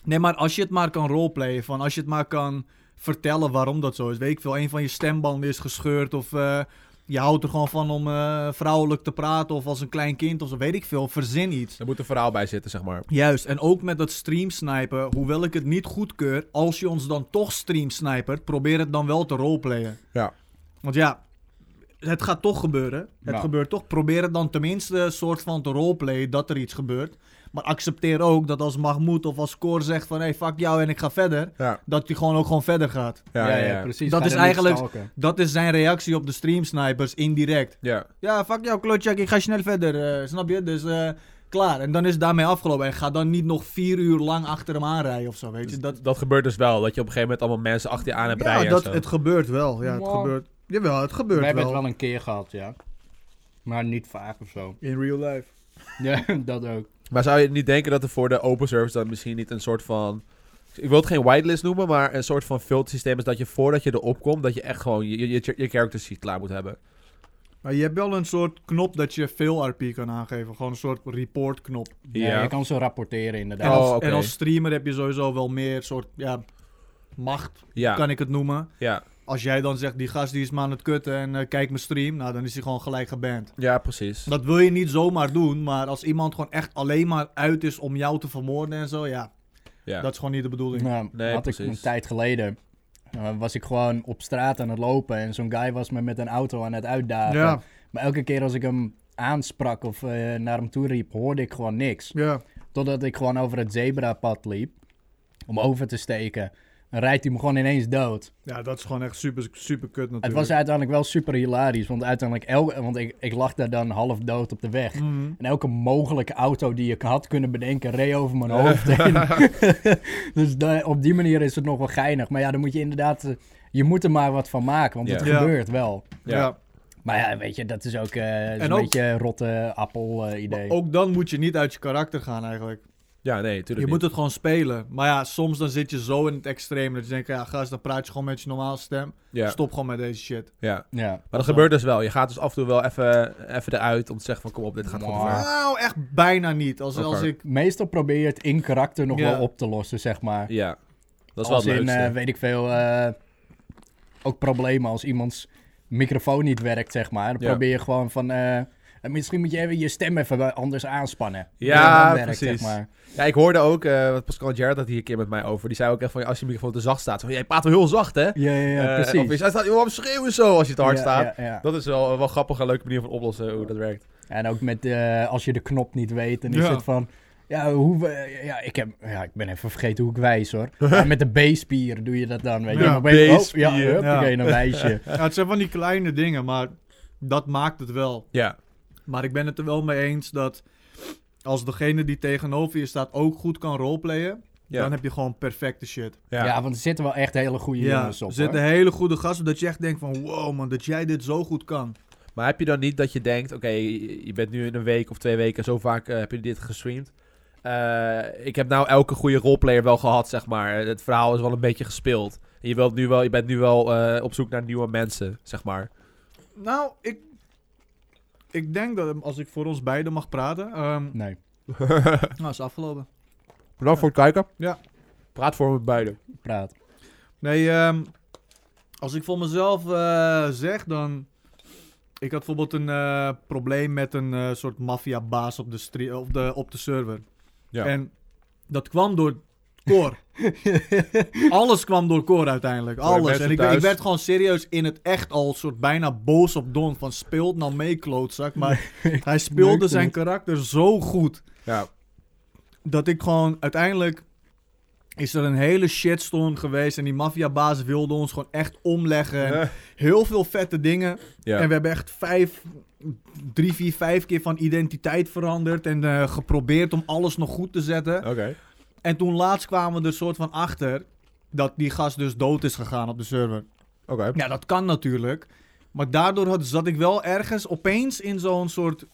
Speaker 3: Nee, maar als je het maar kan roleplayen. Van als je het maar kan vertellen waarom dat zo is. Weet ik veel, een van je stembanden is gescheurd. Of eh, je houdt er gewoon van om eh, vrouwelijk te praten. Of als een klein kind of zo. Weet ik veel. Verzin iets.
Speaker 1: Er moet een verhaal bij zitten, zeg maar.
Speaker 3: Juist, en ook met dat streamsnipen, hoewel ik het niet goedkeur, als je ons dan toch streamsnipert, probeer het dan wel te roleplayen.
Speaker 1: Ja.
Speaker 3: Want ja, het gaat toch gebeuren. Het
Speaker 2: Ja.
Speaker 3: gebeurt toch. Probeer het dan tenminste een soort van te roleplayen dat er iets gebeurt. Maar accepteer ook dat als Mahmoud of als Cor zegt van hé, hey, fuck jou en ik ga verder,
Speaker 1: Ja,
Speaker 3: dat hij gewoon ook gewoon verder gaat.
Speaker 1: ja, ja. ja,
Speaker 2: precies.
Speaker 3: Dat
Speaker 2: Ga
Speaker 3: is
Speaker 2: er niet
Speaker 3: eigenlijk-
Speaker 2: stalken.
Speaker 3: Dat is zijn reactie op de streamsnipers indirect.
Speaker 1: Ja.
Speaker 3: Ja, fuck jou, klotjak, ik ga snel verder, eh, snap je? Dus eh, klaar. En dan is het daarmee afgelopen. En ga dan niet nog vier uur lang achter hem aanrijden of zo, weet je?
Speaker 1: Dus
Speaker 3: Dat,
Speaker 1: dat, dat gebeurt dus wel. Dat je op een gegeven moment allemaal mensen achter je aan hebt
Speaker 3: ja,
Speaker 1: rijden.
Speaker 3: dat,
Speaker 1: en zo.
Speaker 3: het gebeurt wel. Ja, het
Speaker 2: Wow.
Speaker 3: gebeurt. Jawel, het gebeurt
Speaker 2: Wij hebben
Speaker 3: wel.
Speaker 2: het wel een keer gehad, ja. Maar niet vaak of zo. <laughs>
Speaker 3: In real life.
Speaker 2: Ja, dat ook.
Speaker 1: Maar zou je niet denken dat er voor de open service dan misschien niet een soort van... Ik wil het geen whitelist noemen, maar een soort van filtersysteem is dat je voordat je erop komt, dat je echt gewoon je, je, je, je characters sheet klaar moet hebben.
Speaker 3: Maar je hebt wel een soort knop dat je veel RP kan aangeven. Gewoon een soort report knop.
Speaker 2: Ja.
Speaker 1: Ja.
Speaker 2: je kan zo rapporteren
Speaker 3: En,
Speaker 2: inderdaad.
Speaker 1: Oh,
Speaker 3: als,
Speaker 1: oké.
Speaker 3: en als streamer heb je sowieso wel meer soort, ja, macht,
Speaker 1: Ja,
Speaker 3: kan ik het noemen.
Speaker 1: ja,
Speaker 3: Als jij dan zegt, die gast die is me aan het kutten en eh, kijk mijn stream, nou dan is hij gewoon gelijk geband.
Speaker 1: ja, precies.
Speaker 3: Dat wil je niet zomaar doen, maar als iemand gewoon echt alleen maar uit is om jou te vermoorden en zo, ja,
Speaker 1: Ja.
Speaker 3: dat is gewoon niet de bedoeling.
Speaker 2: Nou,
Speaker 1: Nee,
Speaker 2: had ik
Speaker 1: precies.
Speaker 2: een tijd geleden. eh, was ik gewoon op straat aan het lopen en zo'n guy was me met een auto aan het uitdagen.
Speaker 3: Ja,
Speaker 2: Maar elke keer als ik hem aansprak of eh, naar hem toe riep, hoorde ik gewoon niks.
Speaker 3: ja.
Speaker 2: Totdat ik gewoon over het zebrapad liep om over te steken. Dan rijdt hij me gewoon ineens dood.
Speaker 3: ja, dat is gewoon echt super, super kut natuurlijk.
Speaker 2: Het was uiteindelijk wel super hilarisch, want uiteindelijk elke, want ik, ik lag daar dan half dood op de weg.
Speaker 3: Mhm.
Speaker 2: En elke mogelijke auto die ik had kunnen bedenken, reed over mijn hoofd
Speaker 3: <laughs>
Speaker 2: heen. <laughs> dus da- op die manier is het nog wel geinig. Maar ja, dan moet je inderdaad, eh, je moet er maar wat van maken, want het
Speaker 3: Ja. Ja.
Speaker 2: gebeurt wel.
Speaker 1: Ja.
Speaker 3: ja.
Speaker 2: Maar ja, weet je, dat is ook eh,
Speaker 3: En
Speaker 2: zo'n
Speaker 3: ook-
Speaker 2: beetje rotte appel eh,
Speaker 3: Maar
Speaker 2: idee.
Speaker 3: ook dan moet je niet uit je karakter gaan eigenlijk.
Speaker 1: Ja, nee,
Speaker 3: Je
Speaker 1: tuurlijk
Speaker 3: moet
Speaker 1: niet.
Speaker 3: het gewoon spelen. Maar ja, soms dan zit je zo in het extreem dat je denkt, ja gast, dan praat je gewoon met je normale stem.
Speaker 1: Ja,
Speaker 3: Stop gewoon met deze shit.
Speaker 1: ja.
Speaker 2: ja.
Speaker 1: Maar dat gebeurt dus wel. Je gaat dus af en toe wel even, even eruit om te zeggen van kom op, dit gaat goed.
Speaker 2: Mwah.
Speaker 1: ver.
Speaker 3: Nou, echt bijna niet. Als,
Speaker 1: Oké.
Speaker 3: als ik...
Speaker 2: Meestal probeer je het in karakter nog
Speaker 3: Ja.
Speaker 2: wel op te lossen, zeg maar.
Speaker 1: Ja, dat is
Speaker 2: als
Speaker 1: wel het
Speaker 2: in,
Speaker 1: leukste.
Speaker 2: eh, weet ik veel, eh, ook problemen als iemands microfoon niet werkt, zeg maar. Dan
Speaker 1: Ja.
Speaker 2: probeer je gewoon van, eh, En misschien moet je even je stem even wel anders aanspannen.
Speaker 1: Ja,
Speaker 2: Dat werkt,
Speaker 1: precies.
Speaker 2: Zeg maar.
Speaker 1: Ja, ik hoorde ook, eh, wat Pascal Gerrard had hier een keer met mij over. Die zei ook echt van, als je microfoon te zacht staat. Zo, jij praat wel heel zacht, hè?
Speaker 2: Ja, ja, ja,
Speaker 1: Eh,
Speaker 2: precies.
Speaker 1: Of is, hij staat, waarom schreeuwen zo als je te hard
Speaker 2: Ja,
Speaker 1: staat?
Speaker 2: ja, ja.
Speaker 1: Dat is wel, wel grappig en leuke manier van oplossen hoe dat werkt.
Speaker 2: En ook met, eh, als je de knop niet weet, dan is
Speaker 3: Ja.
Speaker 2: het van... Ja, hoe, we- eh, ja, ik heb, ja, ik ben even vergeten hoe ik wijs hoor. Maar met de B-spier doe je dat dan, weet je.
Speaker 3: Ja,
Speaker 2: Dan ben je- oh,
Speaker 1: B-spier,
Speaker 2: ja, huppakee,
Speaker 3: ja.
Speaker 2: een wijsje.
Speaker 3: Ja, het zijn van die kleine dingen, maar dat maakt het wel.
Speaker 1: Ja,
Speaker 3: Maar ik ben het er wel mee eens dat als degene die tegenover je staat ook goed kan roleplayen,
Speaker 1: ja,
Speaker 3: dan heb je gewoon perfecte shit.
Speaker 1: ja.
Speaker 2: Ja. want er zitten wel echt hele goede
Speaker 3: ja,
Speaker 2: jongens op
Speaker 3: er zitten
Speaker 2: hoor.
Speaker 3: hele goede gasten dat je echt denkt van wow man, dat jij dit zo goed kan.
Speaker 1: Maar heb je dan niet dat je denkt, oké, je je bent nu in een week of twee weken, zo vaak eh, heb je dit gestreamd. Eh, ik heb nou elke goede roleplayer wel gehad, zeg maar. Het verhaal is wel een beetje gespeeld. En je, wilt nu wel, je bent nu wel eh, op zoek naar nieuwe mensen, zeg maar. <laughs>
Speaker 3: Nou, ik, ik denk dat als ik voor ons beiden mag praten, ehm,
Speaker 2: Nee.
Speaker 3: nou is afgelopen.
Speaker 1: Bedankt voor het kijken.
Speaker 3: Ja.
Speaker 1: Praat voor me beiden.
Speaker 2: praat.
Speaker 3: Nee, ehm, als ik voor mezelf eh, zeg, dan... Ik had bijvoorbeeld een eh, probleem met een eh, soort maffiabaas op, de stre- op, de, op de server.
Speaker 1: Ja.
Speaker 3: En dat kwam door
Speaker 1: <laughs>
Speaker 3: Cor. Alles kwam door Cor uiteindelijk.
Speaker 1: Voor de
Speaker 3: Alles.
Speaker 1: mensen
Speaker 3: En ik,
Speaker 1: thuis.
Speaker 3: ik werd gewoon serieus in het echt al soort bijna boos op Don. Van speelt nou mee, klootzak. Maar hij speelde
Speaker 2: Leuk,
Speaker 3: zijn
Speaker 2: niet.
Speaker 3: karakter zo goed
Speaker 1: Ja.
Speaker 3: dat ik gewoon uiteindelijk is er een hele shitstorm geweest en die maffiabazen wilden ons gewoon echt omleggen. En
Speaker 1: Eh.
Speaker 3: Heel veel vette dingen.
Speaker 1: Ja.
Speaker 3: En we hebben echt vijf, drie, vier, vijf keer van identiteit veranderd en eh, geprobeerd om alles nog goed te zetten.
Speaker 1: Oké.
Speaker 3: En toen laatst kwamen we er soort van achter dat die gast dus dood is gegaan op de server.
Speaker 1: Oké.
Speaker 3: Ja, dat kan natuurlijk. Maar daardoor had, zat ik wel ergens opeens in zo'n soort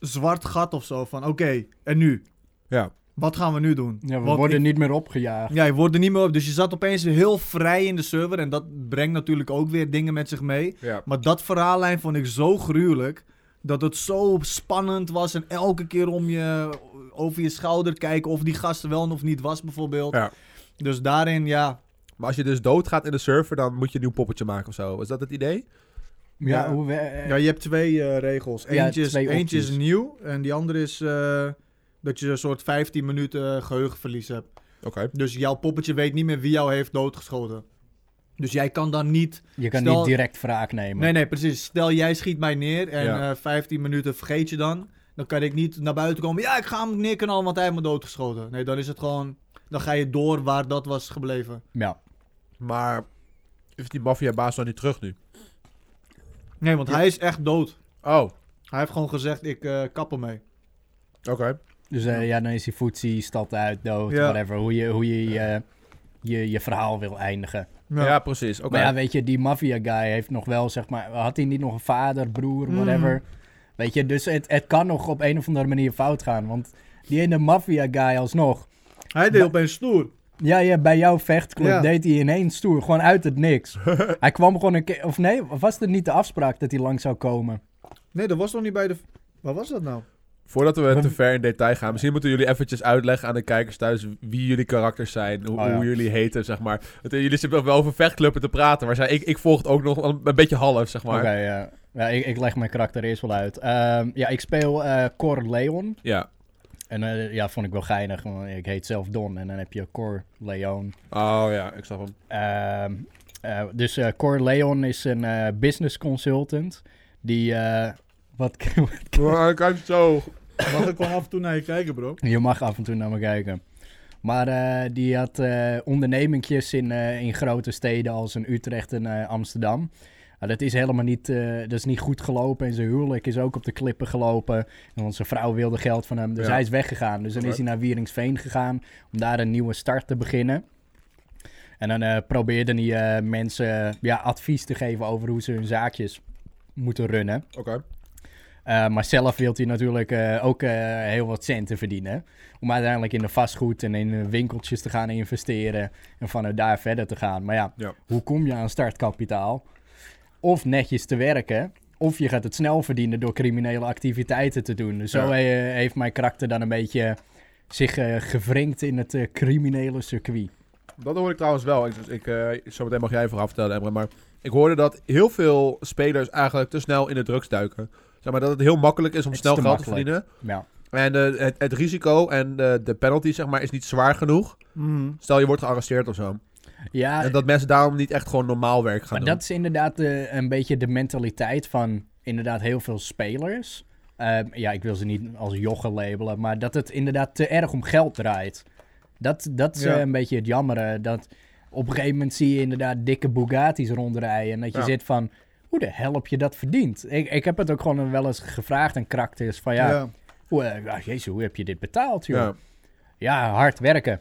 Speaker 3: zwart gat of zo van oké, en nu?
Speaker 1: Ja.
Speaker 3: Wat gaan we nu doen?
Speaker 2: Ja, we
Speaker 3: Want
Speaker 2: worden
Speaker 3: ik-
Speaker 2: niet meer opgejaagd.
Speaker 3: ja, je wordt er niet meer op. Dus je zat opeens heel vrij in de server. En dat brengt natuurlijk ook weer dingen met zich mee.
Speaker 1: Ja.
Speaker 3: Maar dat verhaallijn vond ik zo gruwelijk. Dat het zo spannend was. En elke keer om je over je schouder kijken. Of die gast er wel of niet was, bijvoorbeeld.
Speaker 1: Ja.
Speaker 3: Dus daarin, ja.
Speaker 1: Maar als je dus doodgaat in de server, dan moet je een nieuw poppetje maken of zo. Is dat het idee?
Speaker 2: Ja,
Speaker 3: Ja.
Speaker 2: hoe we, eh,
Speaker 3: ja je hebt twee eh, regels.
Speaker 2: Ja,
Speaker 3: Eentje, is,
Speaker 2: twee
Speaker 3: eentje is
Speaker 2: opties.
Speaker 3: nieuw. En die andere is eh, dat je een soort 15 minuten eh, geheugenverlies hebt.
Speaker 1: Oké.
Speaker 3: Dus jouw poppetje weet niet meer wie jou heeft doodgeschoten. Dus jij kan dan niet
Speaker 2: je kan
Speaker 3: stel-
Speaker 2: niet direct wraak nemen.
Speaker 3: Nee, nee, precies. Stel, jij schiet mij neer en
Speaker 1: Ja.
Speaker 3: eh, 15 minuten vergeet je dan. Dan kan ik niet naar buiten komen. Ja, ik ga hem neerknallen, want hij heeft me doodgeschoten. Nee, dan is het gewoon... Dan ga je door waar dat was gebleven.
Speaker 2: Ja.
Speaker 1: Maar is die maffiabaas dan niet terug nu?
Speaker 3: Nee, want hij is echt dood.
Speaker 1: Oh, oké.
Speaker 3: Hij heeft gewoon gezegd, ik eh kap ermee.
Speaker 2: Dus eh, ja, dan is die footsie, stad uit, dood,
Speaker 3: Ja.
Speaker 2: whatever. Hoe je hoe je, je, je, je verhaal wil eindigen.
Speaker 1: Ja, precies. Oké.
Speaker 2: Maar ja, weet je, die maffia guy heeft nog wel, zeg maar... Had hij niet nog een vader, broer, whatever?
Speaker 3: Mm.
Speaker 2: Weet je, dus het, het kan nog op een of andere manier fout gaan. Want die ene maffia guy alsnog...
Speaker 3: Hij deed opeens stoer.
Speaker 2: Ja, ja, bij jouw vechtclub
Speaker 3: Ja.
Speaker 2: deed hij ineens stoer. Gewoon uit het
Speaker 3: <laughs>
Speaker 2: niks. hij kwam gewoon een keer... Of nee, was het niet de afspraak dat hij lang zou komen?
Speaker 3: Nee, dat was nog niet bij de... Wat was dat nou?
Speaker 1: Voordat we te ver in detail gaan, misschien moeten jullie eventjes uitleggen aan de kijkers thuis wie jullie karakters zijn, hoe,
Speaker 2: Oh ja.
Speaker 1: hoe jullie heten, zeg maar. Want, eh, jullie zitten wel over vechtclubben te praten, maar zij, ik, ik volg het ook nog wel een, een beetje half, zeg
Speaker 2: Oké,
Speaker 1: maar.
Speaker 2: ja. Ja, ik, ik leg mijn karakter eerst wel uit. Ehm, ja, ik speel eh Cor Leon.
Speaker 1: Ja.
Speaker 2: En eh, ja, vond ik wel geinig. Want ik heet zelf Don en dan heb je Cor Leon.
Speaker 1: Oh ja, ik snap hem.
Speaker 2: Ehm, eh, dus eh, Cor Leon is een eh, business consultant. Die, eh, wat, <laughs>
Speaker 1: ik kan zo.
Speaker 3: Mag ik gewoon af en toe naar je kijken, bro?
Speaker 2: Je mag af en toe naar me kijken. Maar eh, die had eh ondernemingjes in, eh, in grote steden als in Utrecht en eh, Amsterdam. Nou, dat is helemaal niet, eh, dat is niet goed gelopen. En zijn huwelijk is ook op de klippen gelopen. En onze vrouw wilde geld van hem. Dus
Speaker 1: Ja.
Speaker 2: hij is weggegaan. Dus dan is
Speaker 1: Oké.
Speaker 2: hij naar Wieringsveen gegaan om daar een nieuwe start te beginnen. En dan eh, probeerde hij eh, mensen ja, advies te geven over hoe ze hun zaakjes moeten runnen.
Speaker 1: Oké.
Speaker 2: Eh, maar zelf wil hij natuurlijk eh, ook eh, heel wat centen verdienen. Om uiteindelijk in de vastgoed en in eh, winkeltjes te gaan investeren. En vanuit daar verder te gaan. Maar ja,
Speaker 1: Ja.
Speaker 2: hoe kom je aan startkapitaal? Of netjes te werken. Of je gaat het snel verdienen door criminele activiteiten te doen. Dus zo
Speaker 1: Ja.
Speaker 2: eh, heeft mijn karakter dan een beetje zich eh gewringd in het eh, criminele circuit.
Speaker 1: Dat hoor ik trouwens wel. Ik, dus ik, eh, zometeen mag jij vooraf vertellen, Emre. Maar ik hoorde dat heel veel spelers eigenlijk te snel in de drugs duiken. Zeg maar dat het heel makkelijk is om
Speaker 2: Het is
Speaker 1: snel
Speaker 2: te
Speaker 1: geld te
Speaker 2: makkelijk.
Speaker 1: verdienen.
Speaker 2: Ja.
Speaker 1: En eh, het, het risico en eh, de penalty zeg maar, is niet zwaar genoeg. Stel je wordt gearresteerd of zo.
Speaker 2: ja eh,
Speaker 1: en dat mensen daarom niet echt gewoon normaal werk gaan
Speaker 2: maar
Speaker 1: doen.
Speaker 2: dat is inderdaad eh, een beetje de mentaliteit van inderdaad heel veel spelers. Ehm, ja, ik wil ze niet als joggen labelen, maar dat het inderdaad te erg om geld draait. Dat, dat is
Speaker 3: Ja.
Speaker 2: eh, een beetje het jammere. Dat op een gegeven moment zie je inderdaad dikke Bugatti's rondrijden. En dat je
Speaker 1: Ja.
Speaker 2: zit van, hoe de hel heb je dat verdiend? Ik, ik heb het ook gewoon wel eens gevraagd aan karakters van, ja, Hoe, eh, ja, jezus, hoe heb je dit betaald, joh?
Speaker 1: ja.
Speaker 2: Ja, hard werken.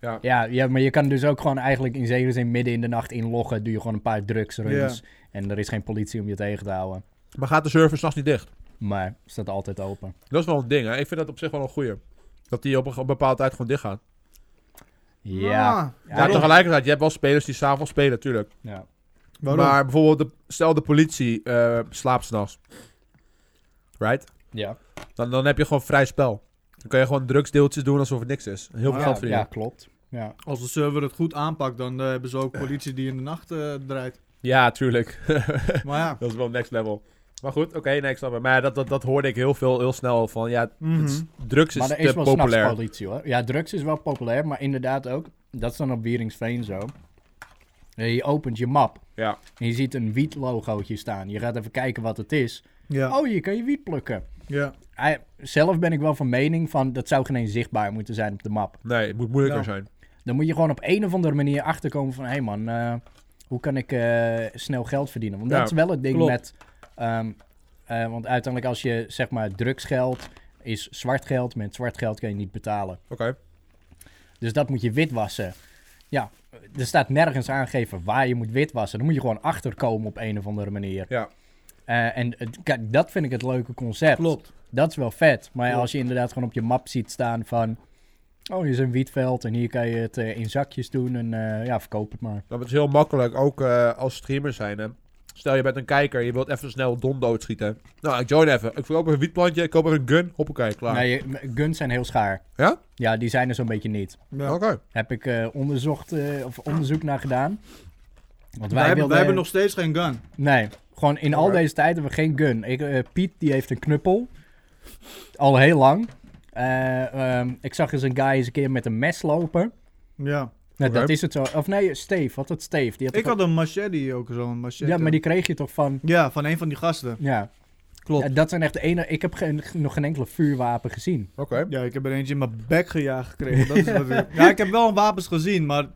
Speaker 1: Ja.
Speaker 2: Ja, ja, maar je kan dus ook gewoon eigenlijk in zekere zin midden in de nacht inloggen. Doe je gewoon een paar drugsruns. En er is geen politie om je tegen te houden.
Speaker 1: Maar gaat de server s'nachts niet dicht?
Speaker 2: Maar staat altijd open.
Speaker 1: Dat is wel een ding, hè? Ik vind dat op zich wel een goeie. Dat die op een, op een bepaalde tijd gewoon dicht gaat.
Speaker 2: Ja.
Speaker 1: Ja,
Speaker 2: Ja, dat-
Speaker 1: tegelijkertijd, je hebt wel spelers die s'avonds spelen, natuurlijk.
Speaker 2: ja.
Speaker 3: Waarom?
Speaker 1: Maar bijvoorbeeld, de, stel de politie eh, slaapt s'nachts. Right?
Speaker 2: Ja.
Speaker 1: Dan, dan heb je gewoon vrij spel. Dan kan je gewoon drugsdeeltjes doen alsof het niks is. Heel veel
Speaker 3: Ja,
Speaker 1: geld
Speaker 2: ja,
Speaker 1: verdienen.
Speaker 2: klopt. Ja.
Speaker 3: Als de server het goed aanpakt, dan eh, hebben ze ook politie die in de nacht eh, draait.
Speaker 1: Ja, tuurlijk. <laughs>
Speaker 3: Maar ja.
Speaker 1: dat is wel next level. Maar goed, oké, nee, ik snap het. Maar ja, dat, dat, dat hoorde ik heel veel, heel snel van. Ja,
Speaker 3: Mhm.
Speaker 1: het is- drugs is
Speaker 2: Maar er
Speaker 1: te
Speaker 2: is wel s'nachts
Speaker 1: populair.
Speaker 2: politie hoor. Ja, drugs is wel populair, maar inderdaad ook. Dat is dan op Wieringsveen zo. Eh, Je opent je map.
Speaker 1: Ja.
Speaker 2: En je ziet een wietlogootje staan. Je gaat even kijken wat het is.
Speaker 3: Ja.
Speaker 2: Oh, je kan je wiet plukken.
Speaker 3: ja.
Speaker 2: Eh, zelf ben ik wel van mening van dat zou geen eens zichtbaar moeten zijn op de map.
Speaker 1: Nee, het moet moeilijker
Speaker 3: Ja.
Speaker 1: zijn.
Speaker 2: Dan moet je gewoon op een of andere manier achterkomen van... hé hey man, eh, hoe kan ik eh, snel geld verdienen? Want
Speaker 1: Ja,
Speaker 2: dat is wel het ding
Speaker 1: klopt.
Speaker 2: met... ehm, eh, want uiteindelijk als je zeg maar drugsgeld is zwart geld. Met zwart geld kan je niet betalen.
Speaker 1: Oké.
Speaker 2: Dus dat moet je witwassen. Ja, er staat nergens aangegeven waar je moet witwassen. Dan moet je gewoon achterkomen op een of andere manier.
Speaker 1: Ja.
Speaker 2: Eh, en het- kijk, dat vind ik het leuke concept.
Speaker 3: Klopt.
Speaker 2: Dat is wel vet. Maar ja,
Speaker 3: Klopt.
Speaker 2: als je inderdaad gewoon op je map ziet staan van... Oh, hier is een wietveld en hier kan je het eh, in zakjes doen en eh, ja, verkoop het maar.
Speaker 1: Nou, het is heel makkelijk, ook eh, als streamer zijn. Hè. Stel, je bent een kijker, je wilt even snel Don doodschieten. Nou, ik join even. Ik verkoop even een wietplantje, ik koop even een gun. Hoppakee, klaar.
Speaker 2: Nee, je- guns zijn heel schaar.
Speaker 1: Ja?
Speaker 2: Ja, die zijn er zo'n beetje niet.
Speaker 1: Oké.
Speaker 3: Ja.
Speaker 2: Heb ik eh, onderzocht, eh, of onderzoek naar gedaan. Want
Speaker 3: Wij, hebben,
Speaker 2: wilden-
Speaker 3: wij hebben nog steeds geen gun.
Speaker 2: Nee, gewoon in al
Speaker 1: Alright.
Speaker 2: deze tijd hebben we geen gun. Ik, eh, Piet, die heeft een knuppel. Al heel lang. Eh, ehm, ik zag eens een guy eens een keer met een mes lopen.
Speaker 3: Ja.
Speaker 2: Nou,
Speaker 1: Oké.
Speaker 2: Dat is het zo. Of nee, Steve. Wat het Steve? Die had
Speaker 3: Ik
Speaker 2: toch-
Speaker 3: had een machete ook, zo'n machete.
Speaker 2: ja, maar die kreeg je toch van...
Speaker 3: Ja, van een van die gasten.
Speaker 2: Ja,
Speaker 3: Klopt.
Speaker 2: Ja, dat zijn echt de enige... Ik heb geen, nog geen enkele vuurwapen gezien.
Speaker 1: Oké.
Speaker 3: Ja, ik heb er eentje in mijn bek gejaagd gekregen. Dat is wat ik... Ja, ik heb wel wapens gezien, maar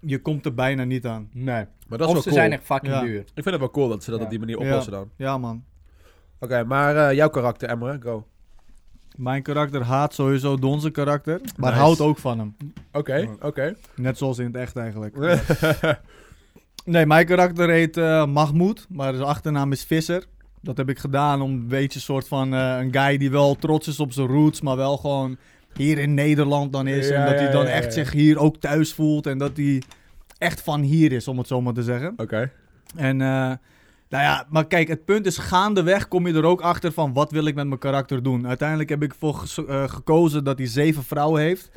Speaker 3: je komt er bijna niet aan.
Speaker 2: Nee.
Speaker 1: Maar dat is
Speaker 2: of
Speaker 1: wel
Speaker 2: ze
Speaker 1: cool.
Speaker 2: zijn echt fucking
Speaker 3: Ja.
Speaker 2: duur.
Speaker 1: Ik vind het wel cool dat ze dat
Speaker 2: Ja.
Speaker 1: op die manier oplossen dan.
Speaker 3: Ja, man.
Speaker 1: Oké, maar eh, jouw karakter, Emre, go.
Speaker 3: Mijn karakter haat sowieso Don zijn karakter, maar
Speaker 1: Nice.
Speaker 3: houdt ook van hem.
Speaker 1: Oké, oké.
Speaker 3: Net zoals in het
Speaker 1: <laughs>
Speaker 3: echt eigenlijk. Nee, mijn karakter heet eh Mahmoud, maar zijn achternaam is Visser. Dat heb ik gedaan om een beetje een soort van eh, een guy die wel trots is op zijn roots, maar wel gewoon hier in Nederland dan is.
Speaker 1: Ja,
Speaker 3: en dat
Speaker 1: ja,
Speaker 3: hij dan
Speaker 1: ja,
Speaker 3: echt
Speaker 1: ja.
Speaker 3: zich hier ook thuis voelt en dat hij echt van hier is, om het zo maar te zeggen.
Speaker 1: Oké.
Speaker 3: En eh, nou ja, maar kijk, het punt is gaandeweg kom je er ook achter van wat wil ik met mijn karakter doen. Uiteindelijk heb ik voor ges- eh, gekozen dat hij zeven vrouwen heeft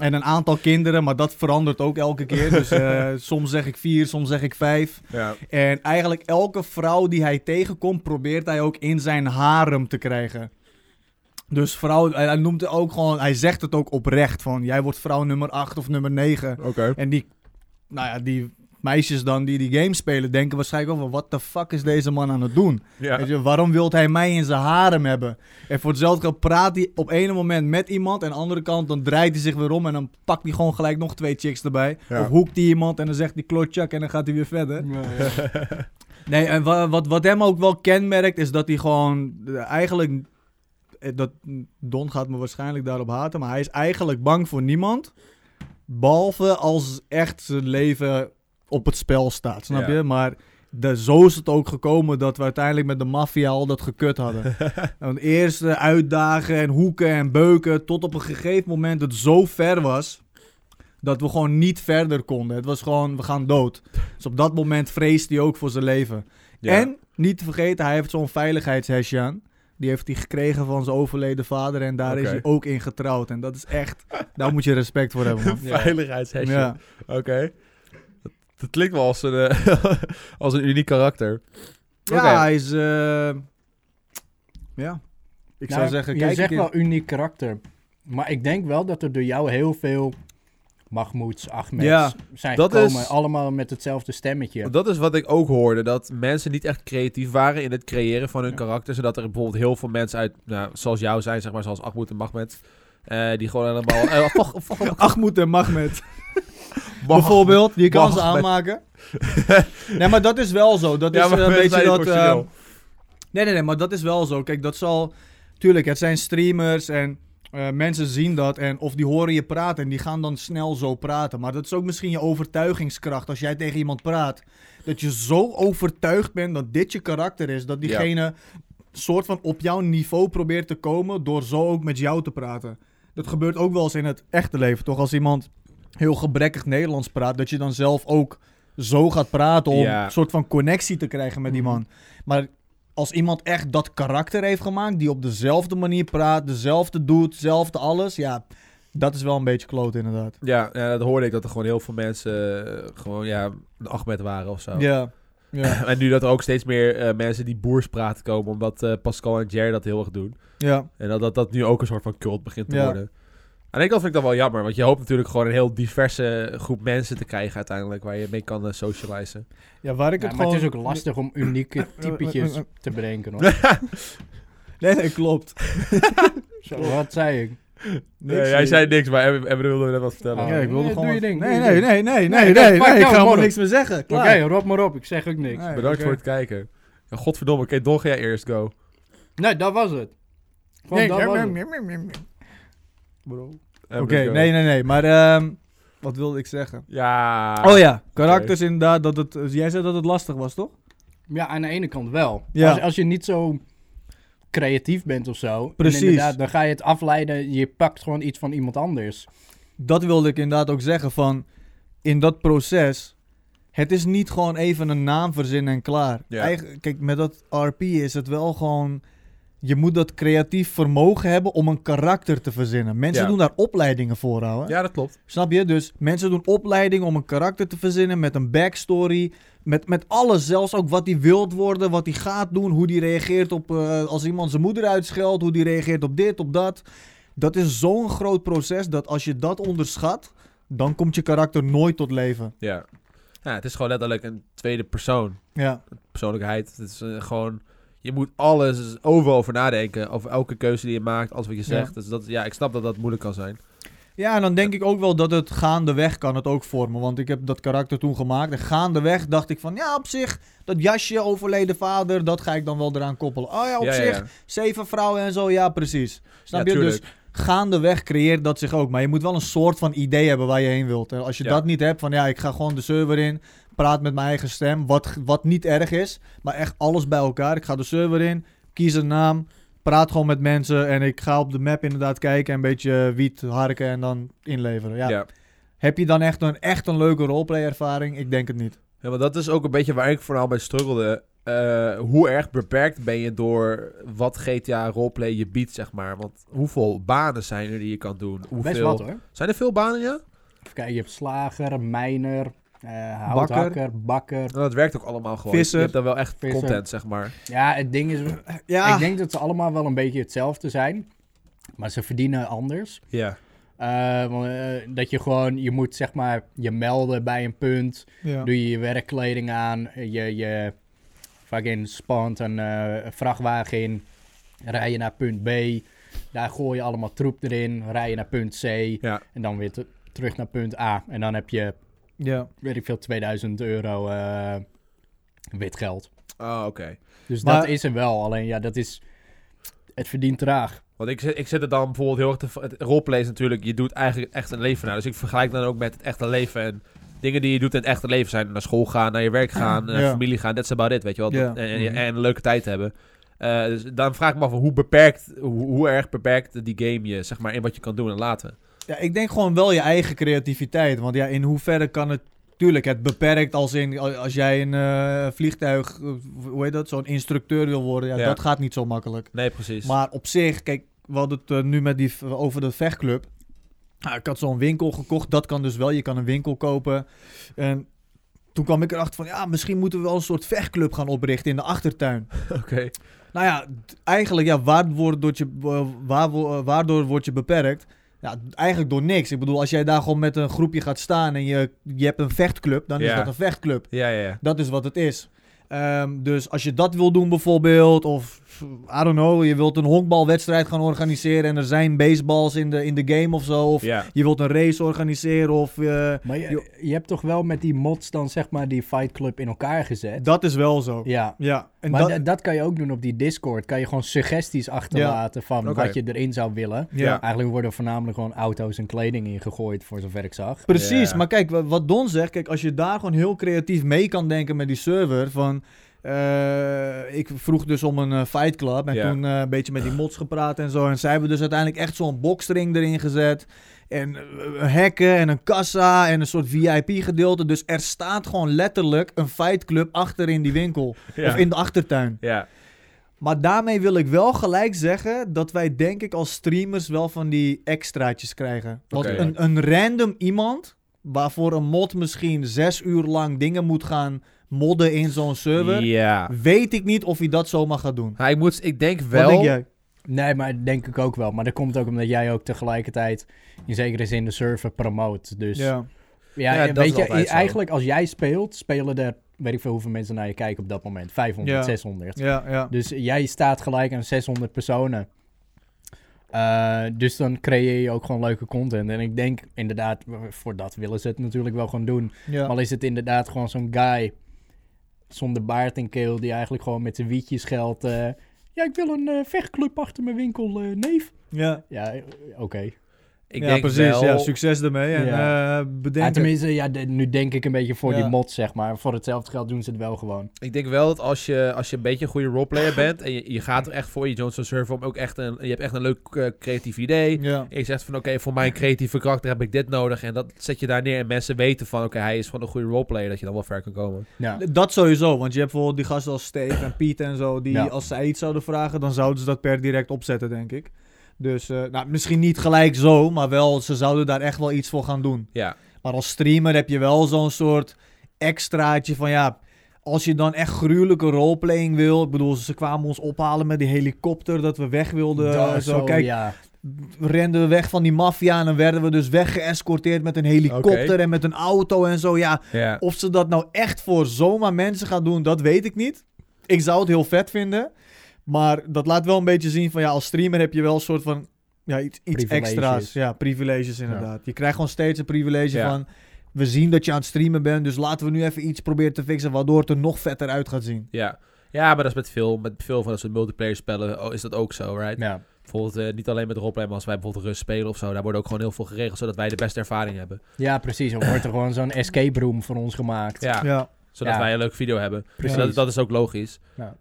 Speaker 3: en een aantal kinderen, maar dat verandert ook elke keer. Dus eh, soms zeg ik vier, soms zeg ik vijf.
Speaker 1: Ja.
Speaker 3: En eigenlijk elke vrouw die hij tegenkomt, probeert hij ook in zijn harem te krijgen. Dus vrouw, hij hij noemt het ook gewoon, hij zegt het ook oprecht van, jij wordt vrouw nummer 8 of nummer 9.
Speaker 1: Oké.
Speaker 3: En die, nou ja, die meisjes dan die die game spelen, denken waarschijnlijk ook wel, wat de fuck is deze man aan het doen? Weet
Speaker 1: Ja.
Speaker 3: je, waarom wilt hij mij in zijn harem hebben? En voor hetzelfde geld praat hij op ene moment met iemand en aan de andere kant dan draait hij zich weer om en dan pakt hij gewoon gelijk nog twee chicks erbij.
Speaker 1: Ja.
Speaker 3: Of hoekt hij iemand en dan zegt hij klotjak en dan gaat hij weer verder. Nee, en wa- wat, wat hem ook wel kenmerkt is dat hij gewoon eh, eigenlijk... eh, Dat, Don gaat me waarschijnlijk daarop haten, maar hij is eigenlijk bang voor niemand. Behalve als echt zijn leven op het spel staat, snap
Speaker 1: Ja.
Speaker 3: je? Maar de, zo is het ook gekomen dat we uiteindelijk met de maffia al dat gekut hadden. Want eerst eh, uitdagen en hoeken en beuken, tot op een gegeven moment het zo ver was... Dat we gewoon niet verder konden. Het was gewoon, we gaan dood. Dus op dat moment vreest hij ook voor zijn leven.
Speaker 1: Ja.
Speaker 3: En niet te vergeten, hij heeft zo'n veiligheidshesje aan. Die heeft hij gekregen van zijn overleden vader. En daar
Speaker 1: Oké.
Speaker 3: is hij ook in getrouwd. En dat is echt, daar moet je respect voor hebben. Man.
Speaker 1: <laughs> Veiligheidshesje.
Speaker 3: Ja.
Speaker 1: Oké. Dat, dat klinkt <laughs> wel als een, eh, als een uniek karakter.
Speaker 3: Ja,
Speaker 1: Oké.
Speaker 3: hij is. eh, Ja. Ik
Speaker 2: Nou,
Speaker 3: zou zeggen,
Speaker 2: Je
Speaker 3: kijk
Speaker 2: zegt
Speaker 3: een
Speaker 2: wel uniek karakter. Maar ik denk wel dat er door jou heel veel Mahmouds, Ahmeds
Speaker 3: Ja,
Speaker 2: zijn
Speaker 1: dat
Speaker 2: gekomen.
Speaker 1: is-
Speaker 2: Allemaal met hetzelfde stemmetje.
Speaker 1: Dat is wat ik ook hoorde. Dat mensen niet echt creatief waren in het creëren van hun
Speaker 2: Ja.
Speaker 1: karakter. Zodat er bijvoorbeeld heel veel mensen uit, nou, zoals jou zijn, zeg maar, zoals Ahmoed en Mahmed. eh, die gewoon helemaal... eh, <laughs> fuck, fuck, fuck,
Speaker 3: <laughs> Achmoed en
Speaker 1: <laughs>
Speaker 3: Mahmed.
Speaker 1: Mah-
Speaker 3: Bijvoorbeeld, je kan ze
Speaker 1: Mahmed. <laughs>
Speaker 3: aanmaken. nee, maar dat is wel zo. Dat
Speaker 1: Ja,
Speaker 3: is
Speaker 1: maar
Speaker 3: eh, een
Speaker 1: mensen
Speaker 3: beetje
Speaker 1: zijn
Speaker 3: dat...
Speaker 1: emotioneel.
Speaker 3: eh, nee, nee, nee, maar dat is wel zo. Kijk, dat zal... Tuurlijk, het zijn streamers en eh, mensen zien dat. En of die horen je praten en die gaan dan snel zo praten. Maar dat is ook misschien je overtuigingskracht. Als jij tegen iemand praat, dat je zo overtuigd bent dat dit je karakter is. Dat
Speaker 1: Ja.
Speaker 3: diegene soort van op jouw niveau probeert te komen door zo ook met jou te praten. Dat gebeurt ook wel eens in het echte leven, toch? Als iemand heel gebrekkig Nederlands praat, dat je dan zelf ook zo gaat praten om
Speaker 1: Ja.
Speaker 3: een soort van connectie te krijgen met die
Speaker 2: Mhm.
Speaker 3: man. Maar als iemand echt dat karakter heeft gemaakt, die op dezelfde manier praat, dezelfde doet, dezelfde alles, ja, dat is wel een beetje kloot inderdaad.
Speaker 1: Ja, eh, dat hoorde ik. Dat er gewoon heel veel mensen eh, gewoon, ja, een Ahmed waren of zo.
Speaker 3: Ja, ja,
Speaker 1: <laughs> En nu dat er ook steeds meer eh, mensen die boers praten komen. Omdat eh, Pascal en Jer dat heel erg doen.
Speaker 3: ja.
Speaker 1: En dat, dat dat nu ook een soort van cult begint te
Speaker 3: Ja.
Speaker 1: worden. En ik dat vind ik dan wel jammer, want je hoopt natuurlijk gewoon een heel diverse groep mensen te krijgen uiteindelijk waar je mee kan eh, socializen.
Speaker 3: ja waar ik
Speaker 2: Ja,
Speaker 3: het
Speaker 2: maar
Speaker 3: gewoon...
Speaker 2: het is ook lastig om unieke
Speaker 3: <laughs>
Speaker 2: typetjes te bedenken. Hoor.
Speaker 3: Nee, nee, klopt.
Speaker 2: Zo, wat zei ik?
Speaker 1: Nee,
Speaker 3: Niks,
Speaker 1: jij
Speaker 3: nee.
Speaker 1: zei niks, maar Emre Emre wilde net wat vertellen.
Speaker 2: Oh.
Speaker 3: Ja, ik wilde
Speaker 2: Nee,
Speaker 3: gewoon...
Speaker 2: doe je
Speaker 3: wat-
Speaker 2: ding,
Speaker 3: nee,
Speaker 2: doe je
Speaker 3: nee,
Speaker 2: ding.
Speaker 3: nee, nee,
Speaker 2: Nee,
Speaker 3: nee,
Speaker 2: dat maakt
Speaker 3: nee, nee, ik
Speaker 2: jou
Speaker 3: ga helemaal
Speaker 2: morgen.
Speaker 3: niks meer zeggen.
Speaker 2: Oké,
Speaker 3: Klaar.
Speaker 2: rot maar op. Ik zeg ook niks.
Speaker 3: Nee,
Speaker 1: Bedankt
Speaker 3: oké.
Speaker 1: voor het kijken. Ja, godverdomme, oké, Don, ga jij eerst go.
Speaker 2: Nee, dat was het. Gewoon
Speaker 3: Nee,
Speaker 2: dat was het.
Speaker 3: Bro. Oké,
Speaker 1: Emre, go.
Speaker 3: nee, nee, nee. Maar ehm, wat wilde ik zeggen?
Speaker 1: Ja.
Speaker 3: oh ja, karakters inderdaad. Dat het, eh, jij zei dat het lastig was, toch?
Speaker 2: Ja, aan de ene kant wel.
Speaker 3: Ja.
Speaker 2: Als, als je niet zo creatief bent of zo. en
Speaker 3: Precies.
Speaker 2: Inderdaad, dan ga je het afleiden. Je pakt gewoon iets van iemand anders.
Speaker 3: Dat wilde ik inderdaad ook zeggen van... In dat proces... Het is niet gewoon even een naam verzinnen en klaar.
Speaker 1: Ja.
Speaker 3: Eigen- kijk, met dat RP is het wel gewoon... Je moet dat creatief vermogen hebben om een karakter te verzinnen. Mensen
Speaker 1: Ja.
Speaker 3: doen daar opleidingen voor, houden.
Speaker 1: Ja, dat klopt.
Speaker 3: Snap je? Dus mensen doen opleiding om een karakter te verzinnen met een backstory. Met, met alles, zelfs ook wat hij wilt worden, wat hij gaat doen, hoe die reageert op eh, als iemand zijn moeder uitscheldt, hoe die reageert op dit, op dat. Dat is zo'n groot proces dat als je dat onderschat, dan komt je karakter nooit tot leven.
Speaker 1: Ja. ja. Het is gewoon letterlijk een tweede persoon.
Speaker 3: Ja,
Speaker 1: Persoonlijkheid. Het is eh, gewoon. Je moet alles overal over nadenken. Over elke keuze die je maakt, alles wat je
Speaker 3: Ja.
Speaker 1: zegt. Dus dat, ja, ik snap dat dat moeilijk kan zijn.
Speaker 3: ja en dan denk ik ook wel dat het gaandeweg kan het ook vormen. Want ik heb dat karakter toen gemaakt en gaandeweg dacht ik van ja, op zich, dat jasje, overleden vader, dat ga ik dan wel eraan koppelen. Oh ja, op
Speaker 1: ja, ja,
Speaker 3: zich,
Speaker 1: ja.
Speaker 3: Zeven vrouwen en zo, ja, precies. Snap
Speaker 1: Ja,
Speaker 3: je? Dus
Speaker 1: tuurlijk.
Speaker 3: gaandeweg creëert dat zich ook. Maar je moet wel een soort van idee hebben waar je heen wilt. En als je
Speaker 1: Ja.
Speaker 3: dat niet hebt, van ja, ik ga gewoon de server in, praat met mijn eigen stem, wat, wat niet erg is, maar echt alles bij elkaar. Ik ga de server in, kies een naam, praat gewoon met mensen en ik ga op de map inderdaad kijken en een beetje eh, wiet harken en dan inleveren. Ja.
Speaker 1: ja.
Speaker 3: Heb je dan echt een, echt een leuke roleplay ervaring? Ik denk het niet.
Speaker 1: Ja, want dat is ook een beetje waar ik vooral bij struggelde. Eh, hoe erg beperkt ben je door wat GTA roleplay je biedt, zeg maar? Want hoeveel banen zijn er die je kan doen? Hoeveel...
Speaker 2: Best wat hoor.
Speaker 1: Zijn er veel banen, ja?
Speaker 2: Even kijken, je hebt slager, mijner, eh
Speaker 3: Bakker.
Speaker 2: houthakker, bakker.
Speaker 1: Nou, dat werkt ook allemaal gewoon.
Speaker 3: Visser.
Speaker 1: Je hebt dan wel echt
Speaker 2: Visser.
Speaker 1: content, zeg maar.
Speaker 2: Ja, het ding is,
Speaker 3: Ja,
Speaker 2: ik denk dat ze allemaal wel een beetje hetzelfde zijn. Maar ze verdienen anders.
Speaker 1: Ja.
Speaker 2: Eh, want, eh, dat je gewoon, je moet zeg maar je melden bij een punt.
Speaker 3: ja.
Speaker 2: Doe je je werkkleding aan, je, je fucking spant een eh, een vrachtwagen in, rij je naar punt B, daar gooi je allemaal troep erin, rij je naar punt C
Speaker 1: Ja.
Speaker 2: en dan weer te- terug naar punt A. En dan heb je,
Speaker 3: ja.
Speaker 2: weet ik veel, 2000 euro eh, wit geld.
Speaker 1: Oh, oké.
Speaker 2: Dus
Speaker 3: Maar-
Speaker 2: dat is er wel, alleen ja, dat is, het verdient traag.
Speaker 1: Want ik, zet- ik zet het dan bijvoorbeeld heel erg... Te, v- het roleplay is natuurlijk... Je doet eigenlijk het echte leven naar. Dus ik vergelijk dan ook met het echte leven. En dingen die je doet in het echte leven zijn... Naar school gaan, naar je werk
Speaker 3: <clears throat>
Speaker 1: gaan, naar
Speaker 3: Ja.
Speaker 1: familie gaan. That's about it, weet je wel.
Speaker 3: Ja.
Speaker 1: Dat- En, en-
Speaker 3: Mhm.
Speaker 1: en een leuke tijd hebben. Eh, dus dan vraag ik me af hoe beperkt... Hoe, hoe erg beperkt die game je, zeg maar... In wat je kan doen en laten.
Speaker 3: Ja, ik denk gewoon wel je eigen creativiteit. Want ja, in hoeverre kan het... Tuurlijk, het beperkt als in... Als jij een eh, vliegtuig... eh, Hoe heet dat? Zo'n instructeur wil worden. Ja,
Speaker 1: Ja.
Speaker 3: dat gaat niet zo makkelijk.
Speaker 1: Nee, precies.
Speaker 3: Maar op zich... Kijk, we hadden het eh, nu met die, v- over de vechtclub. Ah, ik had zo'n winkel gekocht. Dat kan dus wel. Je kan een winkel kopen. En toen kwam ik erachter van... Ja, misschien moeten we wel een soort vechtclub gaan oprichten in de achtertuin.
Speaker 1: <laughs> Oké.
Speaker 3: Nou ja, t- eigenlijk ja, waar wordt door je, eh, waar, wo- eh, waardoor word je beperkt? Ja, eigenlijk door niks. Ik bedoel, als jij daar gewoon met een groepje gaat staan en je, je hebt een vechtclub, dan is
Speaker 1: Ja.
Speaker 3: dat een vechtclub.
Speaker 1: Ja, ja, ja.
Speaker 3: Dat is wat het is. Ehm, dus als je dat wil doen bijvoorbeeld, of I don't know, je wilt een honkbalwedstrijd gaan organiseren en er zijn baseballs in de, in de game of zo. Of
Speaker 1: Ja,
Speaker 3: je wilt een race organiseren of... eh,
Speaker 2: Maar
Speaker 3: Jo-
Speaker 2: je, je hebt toch wel met die mods dan zeg maar die Fight Club in elkaar gezet?
Speaker 3: dat is wel zo.
Speaker 2: Ja.
Speaker 3: Ja, en
Speaker 2: maar
Speaker 3: dat,
Speaker 2: da- dat kan je ook doen op die Discord. Kan je gewoon suggesties achterlaten van
Speaker 1: Oké.
Speaker 2: wat je erin zou willen.
Speaker 3: ja.
Speaker 2: Eigenlijk worden er voornamelijk gewoon auto's en kleding ingegooid, voor zover ik zag.
Speaker 3: Precies,
Speaker 1: Ja.
Speaker 3: maar kijk, wa- wat Don zegt, kijk, als je daar gewoon heel creatief mee kan denken met die server, van, eh, ik vroeg dus om een eh, fight club en
Speaker 1: Ja.
Speaker 3: toen eh, een beetje met die mods gepraat en zo, en zij hebben dus uiteindelijk echt zo'n boxring erin gezet, en eh, hekken en een kassa en een soort VIP-gedeelte, dus er staat gewoon letterlijk een fight club achter in die winkel,
Speaker 1: ja.
Speaker 3: of in de achtertuin.
Speaker 1: ja.
Speaker 3: Maar daarmee wil ik wel gelijk zeggen dat wij denk ik als streamers wel van die extraatjes krijgen. Want
Speaker 1: Oké.
Speaker 3: een, een random iemand, waarvoor een mod misschien zes uur lang dingen moet gaan modden in zo'n server,
Speaker 1: ja.
Speaker 3: weet ik niet of hij dat zomaar gaat doen.
Speaker 1: Nou, ik, moet, ik denk
Speaker 3: Wat
Speaker 1: wel...
Speaker 3: denk jij?
Speaker 2: Nee, maar denk ik ook wel. Maar dat komt ook omdat jij ook tegelijkertijd in zekere zin de server promoot. Dus ja,
Speaker 3: Ja.
Speaker 1: Ja, dat is
Speaker 2: weet je,
Speaker 1: altijd zo.
Speaker 2: eigenlijk als jij speelt, spelen er weet ik veel hoeveel mensen naar je kijken op dat moment. 500,
Speaker 3: Ja.
Speaker 2: 600.
Speaker 3: Ja, ja.
Speaker 2: Dus jij staat gelijk aan 600 personen. Eh, dus dan creëer je ook gewoon leuke content. En ik denk inderdaad, voor dat willen ze het natuurlijk wel gewoon doen.
Speaker 3: ja.
Speaker 2: Al is het inderdaad gewoon zo'n guy zonder baard en keel die eigenlijk gewoon met zijn wietjes geldt. eh, ja, ik wil een eh, vechtclub achter mijn winkel, eh, neef.
Speaker 3: ja.
Speaker 2: Ja, eh, oké.
Speaker 1: Ik
Speaker 3: Ja,
Speaker 1: denk
Speaker 3: precies.
Speaker 1: wel...
Speaker 3: Ja, succes ermee. En,
Speaker 2: Ja.
Speaker 3: eh, bedenk
Speaker 2: Ja,
Speaker 3: het.
Speaker 2: tenminste, ja, de- nu denk ik een beetje voor
Speaker 3: Ja.
Speaker 2: die mod, zeg maar. Voor hetzelfde geld doen ze het wel gewoon.
Speaker 1: Ik denk wel dat als je, als je een beetje een goede roleplayer bent en je, je gaat er echt voor, je Johnson Server om ook echt een, je hebt echt een leuk eh, creatief idee.
Speaker 3: Ja.
Speaker 1: En je zegt van oké, voor mijn creatieve karakter heb ik dit nodig en dat zet je daar neer en mensen weten van oké, hij is gewoon een goede roleplayer, dat je dan wel ver kan komen.
Speaker 2: Ja.
Speaker 3: Dat sowieso, want je hebt bijvoorbeeld die gasten als Steve en Piet en zo, die
Speaker 2: Ja.
Speaker 3: als zij iets zouden vragen, dan zouden ze dat per direct opzetten, denk ik. Dus eh, nou, misschien niet gelijk zo, maar wel, ze zouden daar echt wel iets voor gaan doen.
Speaker 1: Ja,
Speaker 3: Maar als streamer heb je wel zo'n soort extraatje van ja, als je dan echt gruwelijke roleplaying wil. Ik bedoel, ze kwamen ons ophalen met die helikopter dat we weg wilden.
Speaker 2: Daar
Speaker 3: en eh, zo. Kijk,
Speaker 2: ja.
Speaker 3: renden we weg van die maffia en dan werden we dus weggeëscorteerd met een helikopter
Speaker 1: Oké.
Speaker 3: en met een auto en zo. Ja,
Speaker 1: ja.
Speaker 3: of ze dat nou echt voor zomaar mensen gaan doen, dat weet ik niet. Ik zou het heel vet vinden. Maar dat laat wel een beetje zien van ja, als streamer heb je wel een soort van ja, iets, iets
Speaker 2: Privileges.
Speaker 3: extra's. Ja, privileges inderdaad. Je krijgt gewoon steeds een privilege
Speaker 1: Ja.
Speaker 3: van we zien dat je aan het streamen bent, dus laten we nu even iets proberen te fixen waardoor het er nog vetter uit gaat zien.
Speaker 1: ja. Ja, maar dat is met veel, met veel van dat soort multiplayer spellen oh, is dat ook zo, right?
Speaker 2: ja.
Speaker 1: Bijvoorbeeld eh, niet alleen met roleplay, maar als wij bijvoorbeeld rust spelen of zo, daar wordt ook gewoon heel veel geregeld zodat wij de beste ervaring hebben.
Speaker 2: Ja, precies. Er wordt er gewoon zo'n escape room voor ons gemaakt.
Speaker 1: Ja,
Speaker 3: Ja.
Speaker 1: zodat
Speaker 2: Ja.
Speaker 1: wij een leuke video hebben.
Speaker 2: Precies.
Speaker 1: Dat, dat is ook logisch.
Speaker 2: Ja.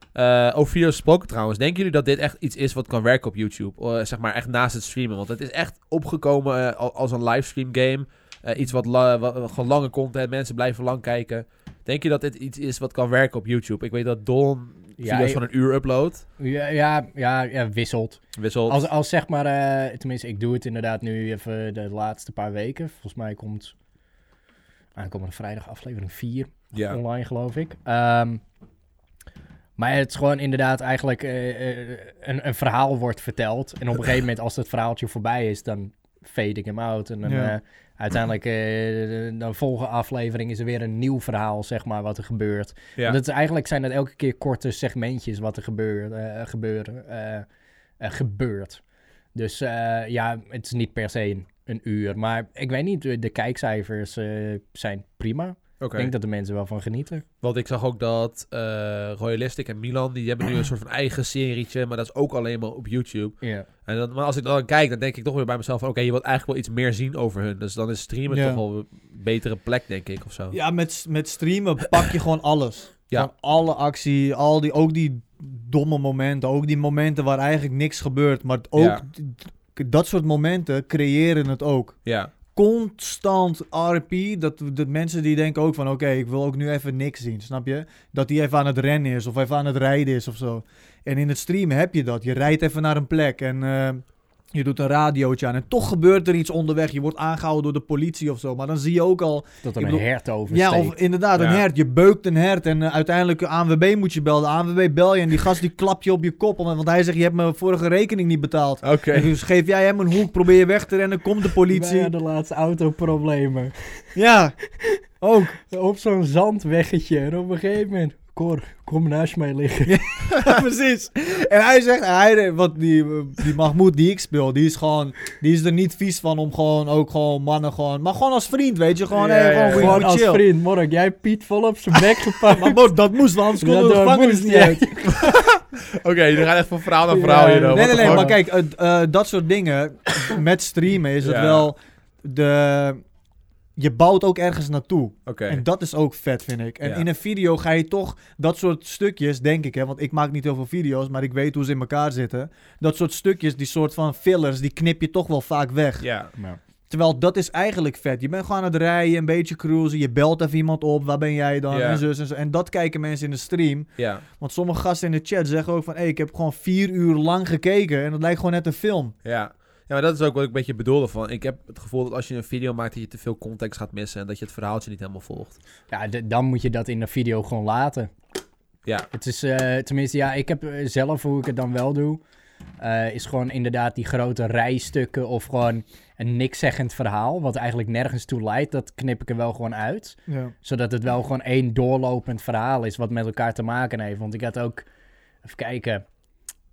Speaker 1: Eh, over video's gesproken trouwens. Denken jullie dat dit echt iets is wat kan werken op YouTube? Eh, zeg maar echt naast het streamen. Want het is echt opgekomen eh, al- als een livestream game. Eh, iets wat, la- wat- wat- gewoon lange content. Mensen blijven lang kijken. Denk je dat dit iets is wat kan werken op YouTube? Ik weet dat Don
Speaker 2: Ja,
Speaker 1: video's
Speaker 2: ik-
Speaker 1: van een uur upload.
Speaker 2: Ja, ja, ja, ja, wisselt.
Speaker 1: Wisselt.
Speaker 2: Als, als zeg maar, eh, tenminste, ik doe het inderdaad nu even de laatste paar weken. Volgens mij komt aankomende vrijdag aflevering 4
Speaker 1: ja.
Speaker 2: online, geloof ik. Ehm, maar het is gewoon inderdaad eigenlijk eh, eh, een, een verhaal wordt verteld. En op een gegeven moment, als dat verhaaltje voorbij is, dan fade ik hem out. En dan,
Speaker 3: Ja.
Speaker 2: eh, uiteindelijk, eh de volgende aflevering is er weer een nieuw verhaal, zeg maar, wat er gebeurt.
Speaker 1: Ja.
Speaker 2: Want het is, eigenlijk zijn dat elke keer korte segmentjes wat er gebeurt. eh, gebeuren, eh, eh, gebeurt. Dus eh, ja, het is niet per se een, een uur. Maar ik weet niet, de de kijkcijfers eh, zijn prima.
Speaker 1: Oké.
Speaker 2: Ik denk dat de mensen wel van genieten.
Speaker 1: Want ik zag ook dat eh Royalistic en Milan, die hebben nu een soort van eigen serietje. Maar dat is ook alleen maar op YouTube.
Speaker 2: Ja.
Speaker 1: En dan, maar als ik dan kijk, dan denk ik toch weer bij mezelf van... Oké, je wilt eigenlijk wel iets meer zien over hun. Dus dan is streamen
Speaker 3: Ja.
Speaker 1: toch wel een betere plek, denk ik, of zo.
Speaker 3: Ja, met, met streamen pak je gewoon alles.
Speaker 1: Ja.
Speaker 3: Van alle actie, al die, ook die domme momenten, ook die momenten waar eigenlijk niks gebeurt. Maar ook
Speaker 1: Ja.
Speaker 3: d- dat soort momenten creëren het ook.
Speaker 1: Ja,
Speaker 3: Constant RP, dat, dat mensen die denken ook van oké, ik wil ook nu even niks zien, snap je? Dat die even aan het rennen is of even aan het rijden is of zo. En in het streamen heb je dat. Je rijdt even naar een plek en eh, Je doet een radiootje aan en toch gebeurt er iets onderweg. Je wordt aangehouden door de politie of zo. Maar dan zie je ook al...
Speaker 2: Dat er
Speaker 3: Ik
Speaker 2: een
Speaker 3: bedoel-
Speaker 2: hert oversteekt.
Speaker 3: Ja, of inderdaad, een
Speaker 1: Ja.
Speaker 3: hert. Je beukt een hert en eh, uiteindelijk ANWB moet je bellen. De ANWB bel je en die gast die klapt je op je kop. Want hij zegt, je hebt mijn vorige rekening niet betaald.
Speaker 1: Oké.
Speaker 3: Dus geef jij hem een hoek, probeer je weg te rennen, komt de
Speaker 2: politie.
Speaker 3: politie.
Speaker 2: de laatste autoproblemen.
Speaker 3: Ja, ook.
Speaker 2: Op zo'n zandweggetje. En op een gegeven moment... Cor, kom naast mij liggen.
Speaker 3: Ja, precies. En hij zegt, hij, wat die, eh, die Mahmoud die ik speel, die is gewoon, die is er niet vies van om gewoon, ook gewoon mannen gewoon, maar gewoon als vriend, weet je, gewoon,
Speaker 1: Ja, ja,
Speaker 3: hey, gewoon,
Speaker 1: ja.
Speaker 3: goeie-
Speaker 2: Gewoon
Speaker 3: goeie
Speaker 2: als
Speaker 3: chill.
Speaker 2: vriend. Morgen, jij hebt Piet vol op zijn bek
Speaker 3: Maar
Speaker 2: gepakt.
Speaker 3: mo- dat moest, want anders konden we
Speaker 2: Dat
Speaker 3: de gevangenis
Speaker 2: moest,
Speaker 3: niet
Speaker 2: ja.
Speaker 3: uit.
Speaker 1: <laughs> Oké, jullie gaan echt van verhaal naar verhaal
Speaker 2: Ja,
Speaker 1: hier.
Speaker 2: nee,
Speaker 1: hoor.
Speaker 3: Nee,
Speaker 1: What
Speaker 3: nee,
Speaker 1: the
Speaker 3: nee,
Speaker 1: fuck?
Speaker 3: maar kijk, eh, eh, dat soort dingen, met streamen is het
Speaker 1: Ja.
Speaker 3: wel, de, je bouwt ook ergens naartoe.
Speaker 1: Oké.
Speaker 3: En dat is ook vet, vind ik. En
Speaker 1: Ja.
Speaker 3: in een video ga je toch dat soort stukjes, denk ik, hè, want ik maak niet heel veel video's, maar ik weet hoe ze in elkaar zitten. Dat soort stukjes, die soort van fillers, die knip je toch wel vaak weg.
Speaker 1: Ja.
Speaker 3: Terwijl dat is eigenlijk vet. Je bent gewoon aan het rijden, een beetje cruisen, je belt even iemand op, waar ben jij dan?
Speaker 1: Ja.
Speaker 3: En zus en zo. En dat kijken mensen in de stream.
Speaker 1: Ja.
Speaker 3: Want sommige gasten in de chat zeggen ook van, hé, ik heb gewoon vier uur lang gekeken en dat lijkt gewoon net een film.
Speaker 1: Ja. Ja, maar dat is ook wat ik een beetje bedoelde van. Ik heb het gevoel dat als je een video maakt dat je te veel context gaat missen en dat je het verhaaltje niet helemaal volgt.
Speaker 2: Ja, d- dan moet je dat in de video gewoon laten.
Speaker 1: Ja.
Speaker 2: Het is, eh, tenminste, ja, ik heb eh, zelf hoe ik het dan wel doe. eh, is gewoon inderdaad die grote rijstukken of gewoon een nikszeggend verhaal. Wat eigenlijk nergens toe leidt. Dat knip ik er wel gewoon uit.
Speaker 3: Ja.
Speaker 2: Zodat het wel gewoon één doorlopend verhaal is wat met elkaar te maken heeft. Want ik had ook, even kijken,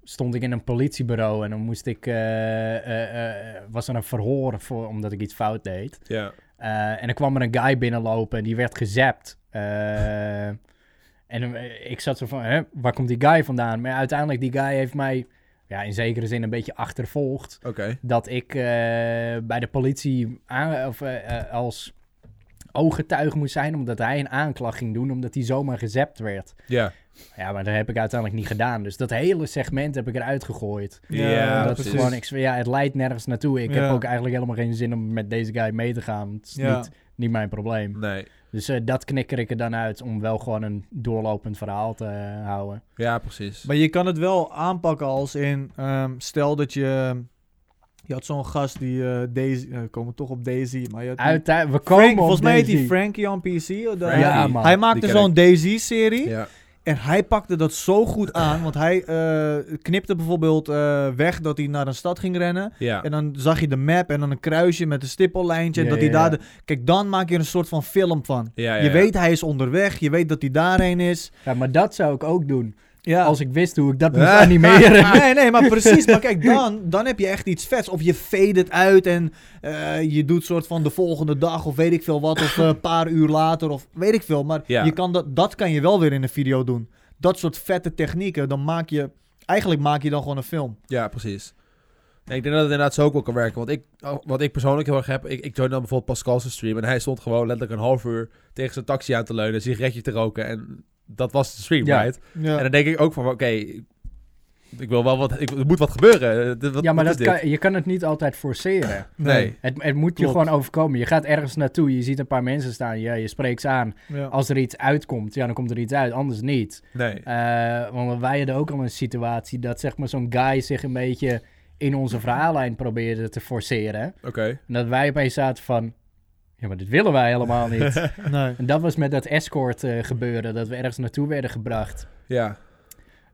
Speaker 2: stond ik in een politiebureau en dan moest ik, eh, eh, eh, was er een verhoor voor, omdat ik iets fout deed.
Speaker 1: Ja.
Speaker 2: Eh, en er kwam er een guy binnenlopen en die werd gezapt. Eh, en eh, ik zat zo van, hè, waar komt die guy vandaan? Maar uiteindelijk, die guy heeft mij ja, in zekere zin een beetje achtervolgd.
Speaker 1: Oké.
Speaker 2: Dat ik eh, bij de politie aan, of, eh, eh, als ooggetuige moest zijn, omdat hij een aanklacht ging doen, omdat hij zomaar gezapt werd.
Speaker 1: Ja.
Speaker 2: Ja, maar dat heb ik uiteindelijk niet gedaan. Dus dat hele segment heb ik eruit gegooid.
Speaker 3: Ja,
Speaker 1: Ja,
Speaker 2: dat
Speaker 1: precies.
Speaker 2: is gewoon, ik, zweer, ja, het leidt nergens naartoe. Ik
Speaker 3: Ja.
Speaker 2: heb ook eigenlijk helemaal geen zin om met deze guy mee te gaan. Het is
Speaker 3: Ja.
Speaker 2: niet, niet mijn probleem.
Speaker 1: Nee.
Speaker 2: Dus eh, dat knikker ik er dan uit om wel gewoon een doorlopend verhaal te eh, houden.
Speaker 1: Ja, precies.
Speaker 3: Maar je kan het wel aanpakken als in, ehm, stel dat je, je had zo'n gast die eh, Daisy, eh, we komen toch op Daisy, maar je had die-
Speaker 2: Uit, we komen
Speaker 3: Frank,
Speaker 2: op
Speaker 3: volgens mij heet die
Speaker 2: Daisy.
Speaker 3: Frankie on PC. of dat-
Speaker 1: Frankie.
Speaker 2: Ja, man.
Speaker 3: Hij maakte
Speaker 1: Die ken
Speaker 3: zo'n Daisy-serie
Speaker 1: Ja.
Speaker 3: en hij pakte dat zo goed aan, want hij eh, knipte bijvoorbeeld eh, weg dat hij naar een stad ging rennen.
Speaker 1: Ja.
Speaker 3: En dan zag je de map en dan een kruisje met een stippellijntje. en
Speaker 2: Ja,
Speaker 3: dat hij
Speaker 2: ja, ja.
Speaker 3: daar de- Kijk, dan maak je er een soort van film van.
Speaker 1: Ja, ja,
Speaker 3: Je
Speaker 1: ja.
Speaker 3: weet hij is onderweg, je weet dat hij daarheen is.
Speaker 2: Ja, maar dat zou ik ook doen.
Speaker 3: Ja.
Speaker 2: Als ik wist hoe ik
Speaker 3: <laughs>
Speaker 2: dat moest
Speaker 1: Ja.
Speaker 2: <laughs> animeren.
Speaker 3: Nee, nee, maar precies. Maar kijk, dan, dan heb je echt iets vets. Of je fade het uit en eh, je doet soort van de volgende dag of weet ik veel wat. Of eh, een paar uur later of weet ik veel. Maar
Speaker 1: Ja.
Speaker 3: je kan dat, dat kan je wel weer in een video doen. Dat soort vette technieken. Dan maak je, eigenlijk maak je dan gewoon een film.
Speaker 1: Ja, precies. Nee, ik denk dat het inderdaad zo ook wel kan werken. Want ik, oh, wat ik persoonlijk heel erg heb... Ik, ik joinde dan bijvoorbeeld Pascal's stream... en hij stond gewoon letterlijk een half uur tegen zijn taxi aan te leunen... een sigaretje te roken en dat was de stream,
Speaker 2: Ja.
Speaker 1: right?
Speaker 3: Ja.
Speaker 1: En dan denk ik ook van, oké... ik wil wel wat... Ik, er moet wat gebeuren. Eh, dit- wat-
Speaker 2: <laughs> Ja, maar
Speaker 1: wat
Speaker 2: dat
Speaker 1: is dit?
Speaker 2: kan, je kan het niet altijd forceren.
Speaker 1: Nee.
Speaker 2: Het, het moet
Speaker 3: Klopt.
Speaker 2: je gewoon overkomen. Je gaat ergens naartoe, je ziet een paar mensen staan, je, je spreekt ze aan.
Speaker 3: Ja.
Speaker 2: Als er iets uitkomt, ja, dan komt er iets uit, anders niet.
Speaker 1: Nee.
Speaker 2: Eh, want wij hadden ook al een situatie dat zeg maar, zo'n guy zich een beetje in onze verhaallijn probeerde te forceren.
Speaker 1: Oké.
Speaker 2: En dat wij opeens zaten van, ja, maar dit willen wij helemaal niet.
Speaker 3: Nee.
Speaker 2: en dat was met dat escort eh, gebeuren, dat we ergens naartoe werden gebracht.
Speaker 1: Ja.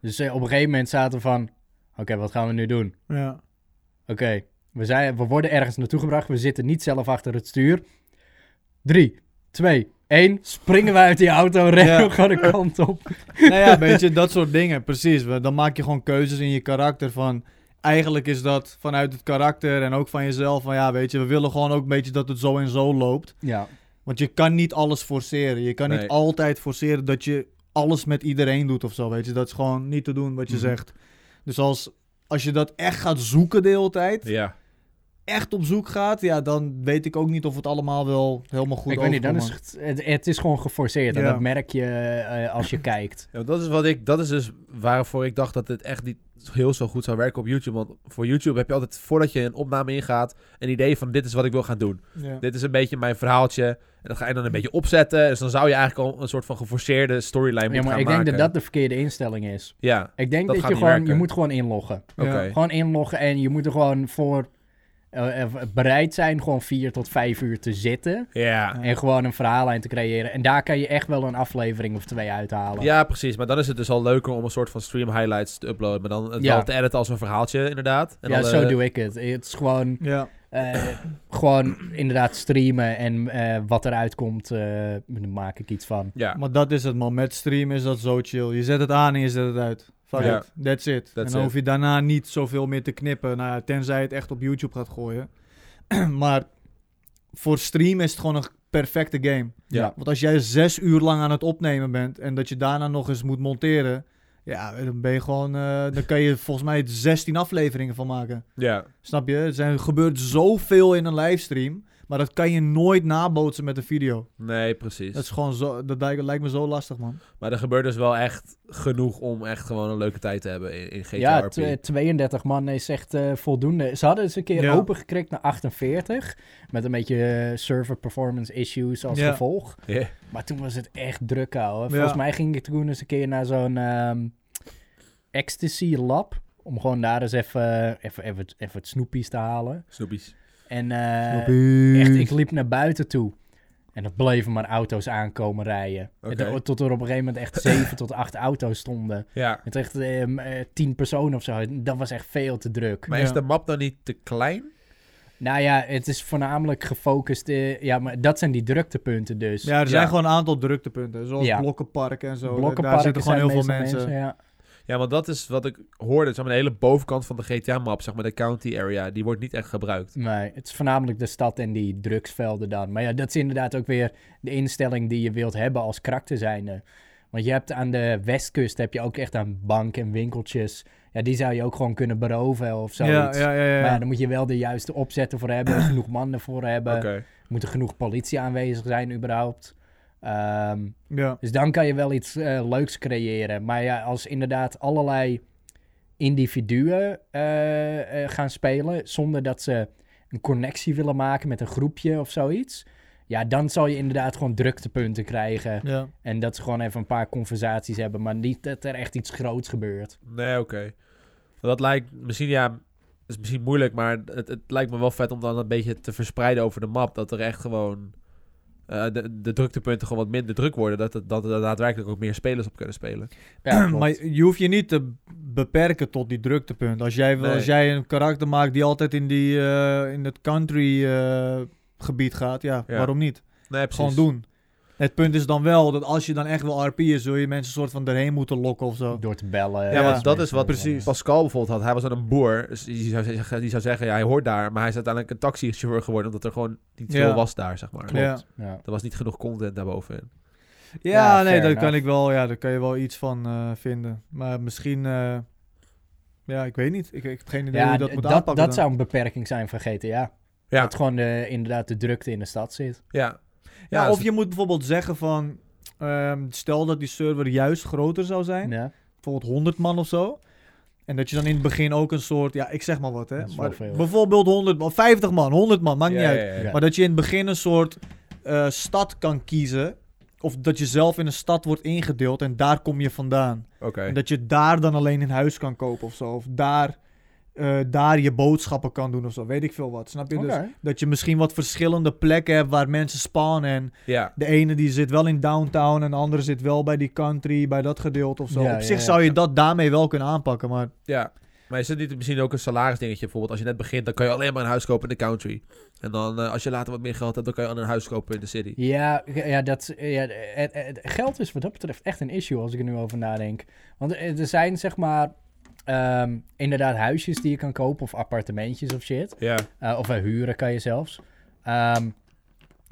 Speaker 2: Dus eh, op een gegeven moment zaten we van, oké, wat gaan we nu doen?
Speaker 3: Ja.
Speaker 2: Oké, we, zijn- we worden ergens naartoe gebracht. We zitten niet zelf achter het stuur. Drie, twee, één. Springen we uit die auto, rennen
Speaker 3: Ja.
Speaker 2: we gewoon de kant op.
Speaker 3: nou ja, weet je, dat soort dingen, precies. We- Dan maak je gewoon keuzes in je karakter van... Eigenlijk is dat vanuit het karakter en ook van jezelf van... Ja, weet je, we willen gewoon ook een beetje dat het zo en zo loopt.
Speaker 2: Ja,
Speaker 3: Want je kan niet alles forceren. Je kan
Speaker 1: Nee.
Speaker 3: niet altijd forceren dat je alles met iedereen doet of zo, weet je. Dat is gewoon niet te doen wat je
Speaker 1: Mhm.
Speaker 3: zegt. Dus als, als je dat echt gaat zoeken de hele tijd...
Speaker 1: Ja.
Speaker 3: echt op zoek gaat, ja, dan weet ik ook niet of het allemaal wel helemaal goed
Speaker 2: ik weet niet, dan is
Speaker 3: overkomt.
Speaker 2: het, het- het is gewoon geforceerd. En
Speaker 3: Ja.
Speaker 2: dat merk je eh, als je
Speaker 1: <laughs>
Speaker 2: kijkt.
Speaker 1: Ja, want dat is wat ik, dat is dus waarvoor ik dacht dat dit echt niet heel zo goed zou werken op YouTube. Want voor YouTube heb je altijd, voordat je een opname ingaat, een idee van dit is wat ik wil gaan doen.
Speaker 3: Ja.
Speaker 1: Dit is een beetje mijn verhaaltje. En dat ga je dan een beetje opzetten. Dus dan zou je eigenlijk al een soort van geforceerde storyline
Speaker 2: Ja,
Speaker 1: moeten
Speaker 2: maar
Speaker 1: gaan
Speaker 2: ik denk dat
Speaker 1: maken.
Speaker 2: dat de verkeerde instelling is.
Speaker 1: Ja,
Speaker 2: Ik denk
Speaker 1: Dat
Speaker 2: dat,
Speaker 1: gaat
Speaker 2: je
Speaker 1: niet
Speaker 2: gewoon, je
Speaker 1: werken.
Speaker 2: moet gewoon inloggen.
Speaker 1: oké.
Speaker 3: Ja.
Speaker 2: Gewoon inloggen en je moet er gewoon voor eh, eh, bereid zijn gewoon vier tot vijf uur te zitten.
Speaker 1: Ja.
Speaker 2: En gewoon een verhaallijn te creëren. En daar kan je echt wel een aflevering of twee uithalen.
Speaker 1: ja, precies. Maar dan is het dus al leuker om een soort van stream highlights te uploaden. Maar dan het
Speaker 2: Ja.
Speaker 1: wel te editen als een verhaaltje, inderdaad. En eh,
Speaker 2: ja,
Speaker 1: alle-
Speaker 2: zo doe ik het. Het is gewoon,
Speaker 3: Ja.
Speaker 2: eh, gewoon inderdaad streamen en eh, wat eruit komt, eh, daar maak ik iets van.
Speaker 1: Ja,
Speaker 3: maar dat is het man. Met stream is dat zo chill. Je zet het aan en je zet het uit. Fuck
Speaker 1: Ja.
Speaker 3: it. That's it. en dan
Speaker 1: it.
Speaker 3: hoef je daarna niet zoveel meer te knippen. Nou, ja, tenzij je het echt op YouTube gaat gooien. <clears throat> maar voor stream is het gewoon een perfecte game.
Speaker 1: Ja.
Speaker 3: Want als jij zes uur lang aan het opnemen bent en dat je daarna nog eens moet monteren. Ja, dan ben je gewoon. eh, dan kan je volgens mij 16 afleveringen van maken.
Speaker 1: ja.
Speaker 3: Snap je? Er zijn, gebeurt zoveel in een livestream. Maar dat kan je nooit nabootsen met een video.
Speaker 1: Nee, precies.
Speaker 3: Dat is gewoon zo. Dat lijkt, lijkt me zo lastig, man.
Speaker 1: Maar er gebeurt dus wel echt genoeg om echt gewoon een leuke tijd te hebben in, in GTA
Speaker 2: Ja,
Speaker 1: RP.
Speaker 2: tw- 32 man is echt eh, voldoende. Ze hadden eens een keer
Speaker 3: Ja.
Speaker 2: opengekrikt naar 48. Met een beetje eh, server performance issues als
Speaker 3: Ja.
Speaker 2: gevolg.
Speaker 1: Ja.
Speaker 2: Maar toen was het echt druk, ouwe.
Speaker 3: Ja.
Speaker 2: Volgens mij ging ik toen eens een keer naar zo'n ehm, ecstasy lab. Om gewoon daar eens even, even, even, het- even het snoepies te halen.
Speaker 1: Snoepies.
Speaker 2: En eh, echt, ik liep naar buiten toe. En dat bleven maar auto's aankomen rijden.
Speaker 1: Oké.
Speaker 2: En Tot er op een gegeven moment echt 7 tot 8 auto's stonden.
Speaker 1: Ja.
Speaker 2: Met echt ehm, eh, tien personen of zo. Dat was echt veel te druk.
Speaker 1: Maar
Speaker 3: Ja.
Speaker 1: is de map dan niet te klein?
Speaker 2: Nou ja, het is voornamelijk gefocust. eh, ja, maar dat zijn die druktepunten dus.
Speaker 3: Ja, er zijn
Speaker 1: Ja.
Speaker 3: gewoon een aantal druktepunten. Zoals
Speaker 2: Ja.
Speaker 3: blokkenparken en zo. Daar
Speaker 2: Blokkenparken
Speaker 3: zitten gewoon
Speaker 2: zijn
Speaker 3: heel veel
Speaker 2: meestal
Speaker 3: mensen.
Speaker 2: ja.
Speaker 1: Ja, want dat is wat ik hoorde. Zeg maar, de hele bovenkant van de GTA-map, zeg maar de county area, die wordt niet echt gebruikt.
Speaker 2: Nee, het is voornamelijk de stad en die drugsvelden dan. Maar ja, dat is inderdaad ook weer de instelling die je wilt hebben als karakter zijnde. Want je hebt aan de westkust heb je ook echt aan bank en winkeltjes. Ja, die zou je ook gewoon kunnen beroven of zoiets.
Speaker 3: Ja, ja, ja. ja.
Speaker 2: Maar ja, dan moet je wel de juiste opzetten voor hebben, genoeg mannen voor hebben.
Speaker 1: Oké.
Speaker 2: Moet er genoeg politie aanwezig zijn überhaupt. Ehm,
Speaker 3: Ja.
Speaker 2: dus dan kan je wel iets eh, leuks creëren. Maar ja, als inderdaad allerlei individuen eh, eh, gaan spelen... zonder dat ze een connectie willen maken met een groepje of zoiets... ja, dan zal je inderdaad gewoon druktepunten krijgen.
Speaker 3: Ja.
Speaker 2: En dat ze gewoon even een paar conversaties hebben... maar niet dat er echt iets groots gebeurt.
Speaker 1: Nee, oké. Dat lijkt misschien, ja, is misschien moeilijk, maar het, het lijkt me wel vet om dan een beetje te verspreiden over de map. Dat er echt gewoon eh, de, de druktepunten gewoon wat minder druk worden. Dat, het- dat er daadwerkelijk ook meer spelers op kunnen spelen.
Speaker 2: Ja, klopt.
Speaker 3: <clears throat> Maar je hoeft je niet te beperken tot die druktepunten. Als jij, wil-
Speaker 1: Nee.
Speaker 3: als jij een karakter maakt die altijd in, die, eh, in het country eh, gebied gaat, ja,
Speaker 1: Ja.
Speaker 3: waarom niet?
Speaker 1: Nee, precies.
Speaker 3: Gewoon doen. Het punt is dan wel dat als je dan echt wil RP'en, zul je mensen soort van erheen moeten lokken of zo.
Speaker 2: Door te bellen.
Speaker 1: Ja,
Speaker 2: eh,
Speaker 1: want dat
Speaker 2: mensen
Speaker 1: is wat
Speaker 2: bellen.
Speaker 1: precies. Pascal bijvoorbeeld had. Hij was dan een boer. Dus die zou, zeggen, die zou zeggen, ja, hij hoort daar. Maar hij is uiteindelijk een taxichauffeur geworden. Omdat er gewoon niet
Speaker 3: Ja.
Speaker 1: veel was daar, zeg maar.
Speaker 3: Ja,
Speaker 2: Ja.
Speaker 1: Er was niet genoeg content daarboven.
Speaker 3: ja,
Speaker 2: Ja,
Speaker 3: nee,
Speaker 2: fair
Speaker 3: daar kan,
Speaker 2: enough.
Speaker 3: ik wel, ja, daar kan je wel iets van eh, vinden. Maar misschien, eh, ja, ik weet niet. Ik, ik heb geen idee
Speaker 2: Ja,
Speaker 3: hoe je
Speaker 2: dat,
Speaker 3: dat moet
Speaker 2: dat,
Speaker 3: aanpakken. dan.
Speaker 2: zou een beperking zijn van GTA.
Speaker 1: Ja.
Speaker 2: Dat gewoon de, inderdaad de drukte in de stad zit.
Speaker 1: Ja.
Speaker 3: Ja,
Speaker 1: dus-
Speaker 3: of je moet bijvoorbeeld zeggen van... ehm, stel dat die server juist groter zou zijn.
Speaker 2: Ja,
Speaker 3: Bijvoorbeeld 100 man of zo. En dat je dan in het begin ook een soort... Ja, ik zeg maar wat, hè.
Speaker 2: Dat is wel
Speaker 3: Maar
Speaker 2: veel.
Speaker 3: bijvoorbeeld 100 man, 50 man, 100 man, maakt niet
Speaker 1: Ja,
Speaker 3: uit.
Speaker 1: ja, ja.
Speaker 2: Ja.
Speaker 3: Maar dat je in het begin een soort eh, stad kan kiezen. Of dat je zelf in een stad wordt ingedeeld en daar kom je vandaan.
Speaker 1: Oké.
Speaker 3: En dat je daar dan alleen een huis kan kopen of zo. Of daar, eh, daar je boodschappen kan doen of zo. Weet ik veel wat, snap je? Dus
Speaker 2: Oké.
Speaker 3: dat je misschien wat verschillende plekken hebt waar mensen spawnen. En
Speaker 1: Ja.
Speaker 3: de ene die zit wel in downtown en de andere zit wel bij die country, bij dat gedeelte of zo.
Speaker 2: Ja,
Speaker 3: Op
Speaker 2: ja,
Speaker 3: zich
Speaker 2: ja.
Speaker 3: zou je dat daarmee wel kunnen aanpakken, maar
Speaker 1: Ja. Maar is het niet misschien ook een salarisdingetje? Bijvoorbeeld als je net begint, dan kan je alleen maar een huis kopen in de country. En dan eh, als je later wat meer geld hebt, dan kan je al een huis kopen in de city.
Speaker 2: Ja, ja, dat, ja eh, het, het- geld is wat dat betreft echt een issue als ik er nu over nadenk. Want eh, er er zijn zeg maar ehm, inderdaad huisjes die je kan kopen of appartementjes of shit.
Speaker 1: Ja.
Speaker 2: Eh, of eh, huren kan je zelfs. Ehm,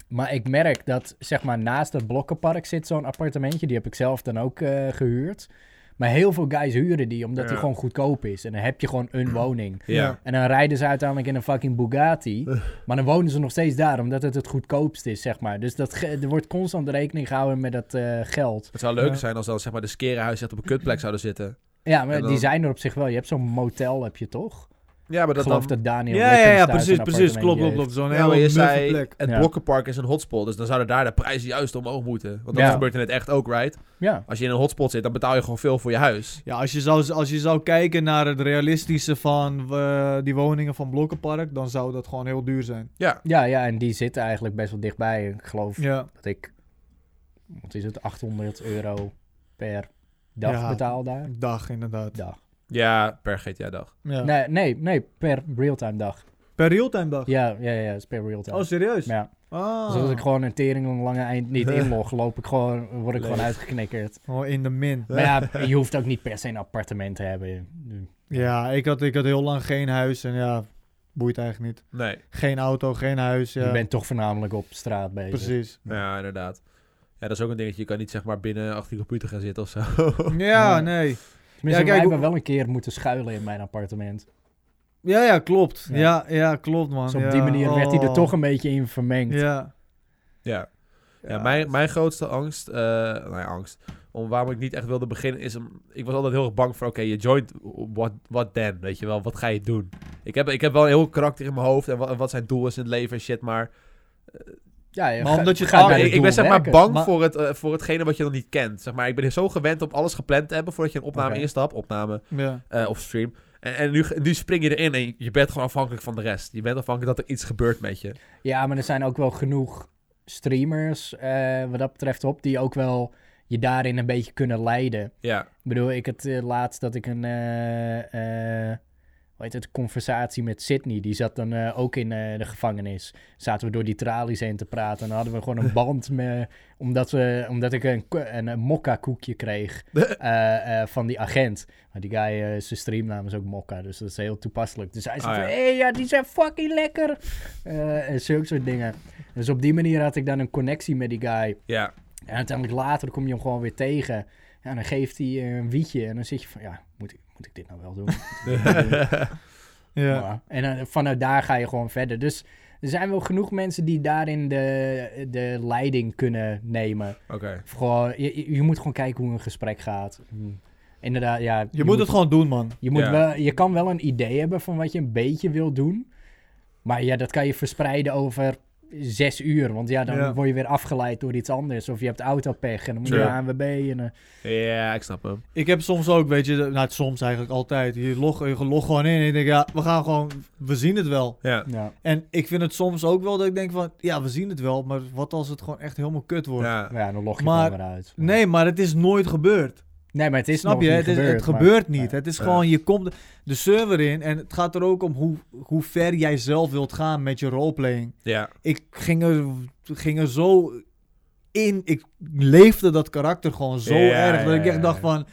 Speaker 2: maar ik merk dat, zeg maar, naast het blokkenpark zit zo'n appartementje. Die heb ik zelf dan ook eh, gehuurd. Maar heel veel guys huren die omdat die
Speaker 1: Ja.
Speaker 2: gewoon goedkoop is. En dan heb je gewoon een woning.
Speaker 1: Ja.
Speaker 2: En dan rijden ze uiteindelijk in een fucking
Speaker 3: <laughs>
Speaker 2: Bugatti. Maar dan wonen ze nog steeds daar, omdat het het goedkoopst is, zeg maar. Dus dat ge- er wordt constant rekening gehouden met dat eh, geld.
Speaker 1: Het zou leuker
Speaker 3: Ja.
Speaker 1: zijn als dan zeg maar de skerenhuis echt op een kutplek zouden zitten.
Speaker 2: Ja, maar
Speaker 1: En dan-
Speaker 2: die zijn er op zich wel. Je hebt zo'n motel, heb je toch?
Speaker 1: Ja, maar
Speaker 2: Ik
Speaker 1: dat
Speaker 2: geloof
Speaker 1: dan...
Speaker 2: dat Daniel
Speaker 3: Ja, ja,
Speaker 2: Wickens
Speaker 3: ja,
Speaker 2: thuis
Speaker 3: precies,
Speaker 2: een appartementje
Speaker 3: precies. Klopt, klopt,
Speaker 2: heeft.
Speaker 3: klopt. Zo'n
Speaker 1: Ja, maar
Speaker 3: hele
Speaker 1: je
Speaker 3: muffe
Speaker 1: zei,
Speaker 3: plek.
Speaker 1: het
Speaker 2: Ja.
Speaker 1: Blokkenpark is een hotspot, dus dan zouden daar de prijzen juist omhoog moeten. Want dat
Speaker 2: Ja.
Speaker 1: gebeurt er net echt ook, right?
Speaker 2: Ja,
Speaker 1: Als je in een hotspot zit, dan betaal je gewoon veel voor je huis.
Speaker 3: Ja, als je, zou, als je zou kijken naar het realistische van eh, die woningen van Blokkenpark, dan zou dat gewoon heel duur zijn.
Speaker 2: ja, ja, en die zitten eigenlijk best wel dichtbij. Ik geloof
Speaker 3: Ja.
Speaker 2: dat ik, wat is het, 800 euro per dag
Speaker 3: Ja.
Speaker 2: betaal daar.
Speaker 3: Dag, inderdaad.
Speaker 2: Dag.
Speaker 1: Ja, per GTA-dag.
Speaker 3: Ja.
Speaker 2: Nee, nee, nee, per realtime dag.
Speaker 3: Per realtime dag.
Speaker 2: Ja, ja, ja, is per realtime.
Speaker 3: Oh, serieus?
Speaker 2: ja.
Speaker 3: Ah.
Speaker 2: Dus als ik gewoon een tering een lange eind niet inlog, loop ik gewoon, word ik gewoon
Speaker 1: Leeg.
Speaker 2: uitgeknikkerd.
Speaker 3: Oh, in de min.
Speaker 2: Maar
Speaker 3: <laughs>
Speaker 2: ja, je hoeft ook niet per se een appartement te hebben.
Speaker 3: Ja, ik had, ik had heel lang geen huis en ja, boeit eigenlijk niet.
Speaker 1: Nee,
Speaker 3: Geen auto, geen huis. Ja.
Speaker 2: Je bent toch voornamelijk op straat bezig.
Speaker 3: Precies.
Speaker 1: ja, inderdaad. Ja, dat is ook een dingetje. Je kan niet zeg maar binnen achter die computer gaan zitten of <laughs> zo.
Speaker 3: Ja,
Speaker 2: Ja.
Speaker 3: nee.
Speaker 2: Tenminste,
Speaker 3: Ja, kijk,
Speaker 2: wij
Speaker 3: hoe-
Speaker 2: hebben wel een keer moeten schuilen in mijn appartement.
Speaker 3: Ja, ja, klopt.
Speaker 2: Ja.
Speaker 3: Ja, ja, klopt, man.
Speaker 2: Dus op
Speaker 3: Ja.
Speaker 2: die manier werd hij er
Speaker 3: Oh.
Speaker 2: toch een beetje in vermengd.
Speaker 3: Ja.
Speaker 1: ja. Ja, mijn, mijn grootste angst, eh nou ja, angst, om waarom ik niet echt wilde beginnen, is om, ik was altijd heel erg bang voor, oké, je joint, what, what then, weet je wel, wat ga je doen? Ik heb, ik heb wel een heel karakter in mijn hoofd en wat, wat zijn doel is in het leven en shit, maar
Speaker 2: Ja, ja,
Speaker 3: Maar
Speaker 2: ga-
Speaker 3: omdat je
Speaker 2: ga
Speaker 3: het
Speaker 1: Ah,
Speaker 2: naar
Speaker 1: ik,
Speaker 2: het
Speaker 1: ik ben
Speaker 2: doel
Speaker 1: zeg maar
Speaker 2: werken.
Speaker 1: bang
Speaker 3: Maar-
Speaker 1: voor, het, eh, voor hetgene wat je nog niet kent. Zeg maar, ik ben zo gewend om alles gepland te hebben voordat je een opname
Speaker 2: Oké.
Speaker 1: instapt, opname
Speaker 3: Ja.
Speaker 1: eh, of stream. En, en nu, nu spring je erin en je bent gewoon afhankelijk van de rest. Je bent afhankelijk dat er iets gebeurt met je.
Speaker 2: Ja, maar er zijn ook wel genoeg streamers, eh, wat dat betreft, op die ook wel je daarin een beetje kunnen leiden.
Speaker 1: Ja,
Speaker 2: Ik bedoel, ik het eh, laatst dat ik een. eh, eh, hoe heet het? Conversatie met Sydney. Die zat dan eh, ook in eh, de gevangenis. Zaten we door die tralies heen te praten. En dan hadden we gewoon
Speaker 1: <laughs>
Speaker 2: een band. Met, omdat, we, omdat ik een, ko- een, een mokka-koekje
Speaker 1: <laughs>
Speaker 2: kreeg. eh, eh, van die agent. Maar die guy, eh, zijn streamnaam is ook mokka. Dus dat is heel toepasselijk. Dus hij zei:
Speaker 1: Ah,
Speaker 2: van,
Speaker 1: ja.
Speaker 2: hey, ja, die zijn fucking lekker. Eh, en zulke soort dingen. Dus op die manier had ik dan een connectie met die guy.
Speaker 1: ja. <laughs>
Speaker 2: En uiteindelijk later kom je hem gewoon weer tegen. Ja, dan geeft hij eh, een wietje. En dan zit je van, ja, moet ik, moet ik dit nou wel doen?
Speaker 3: Ja.
Speaker 2: Maar- En dan vanuit daar ga je gewoon verder. Dus er zijn wel genoeg mensen die daarin de, de leiding kunnen nemen.
Speaker 1: Oké.
Speaker 2: Of gewoon, je, je- je moet gewoon kijken hoe een gesprek gaat. Hm. Inderdaad, ja.
Speaker 3: Je moet het gewoon doen, man.
Speaker 2: je, moet
Speaker 1: Ja.
Speaker 2: wel, je kan wel een idee hebben van wat je een beetje wil doen. Maar ja, dat kan je verspreiden over zes uur. Want ja, dan
Speaker 3: Ja.
Speaker 2: word je weer afgeleid door iets anders. Of je hebt autopech en dan moet je
Speaker 1: Sure.
Speaker 2: naar ANWB. En, eh,
Speaker 1: Ja, ik snap hem.
Speaker 3: Ik heb soms ook, weet je, de- nou, soms eigenlijk altijd. Je log, je log gewoon in en je denkt, ja, we gaan gewoon, we zien het wel.
Speaker 1: Ja.
Speaker 2: ja.
Speaker 3: En ik vind het soms ook wel dat ik denk van, ja, we zien het wel, maar wat als het gewoon echt helemaal kut wordt?
Speaker 1: ja.
Speaker 2: Ja, dan log je
Speaker 3: Maar-
Speaker 2: gewoon weer uit.
Speaker 3: Nee, maar het is nooit gebeurd.
Speaker 2: nee, maar het is
Speaker 3: Snap
Speaker 2: nog
Speaker 3: je?
Speaker 2: niet
Speaker 3: Het, is,
Speaker 2: gebeurd,
Speaker 3: het
Speaker 2: maar-
Speaker 3: gebeurt niet.
Speaker 2: Nee.
Speaker 3: Het is
Speaker 1: Ja.
Speaker 3: gewoon, je komt de server in en het gaat er ook om hoe, hoe ver jij zelf wilt gaan met je roleplaying.
Speaker 1: Ja.
Speaker 3: Ik ging er, ging er zo in, ik leefde dat karakter gewoon zo
Speaker 1: Ja,
Speaker 3: erg dat
Speaker 1: ja,
Speaker 3: ik echt
Speaker 1: ja,
Speaker 3: dacht
Speaker 1: ja.
Speaker 3: van,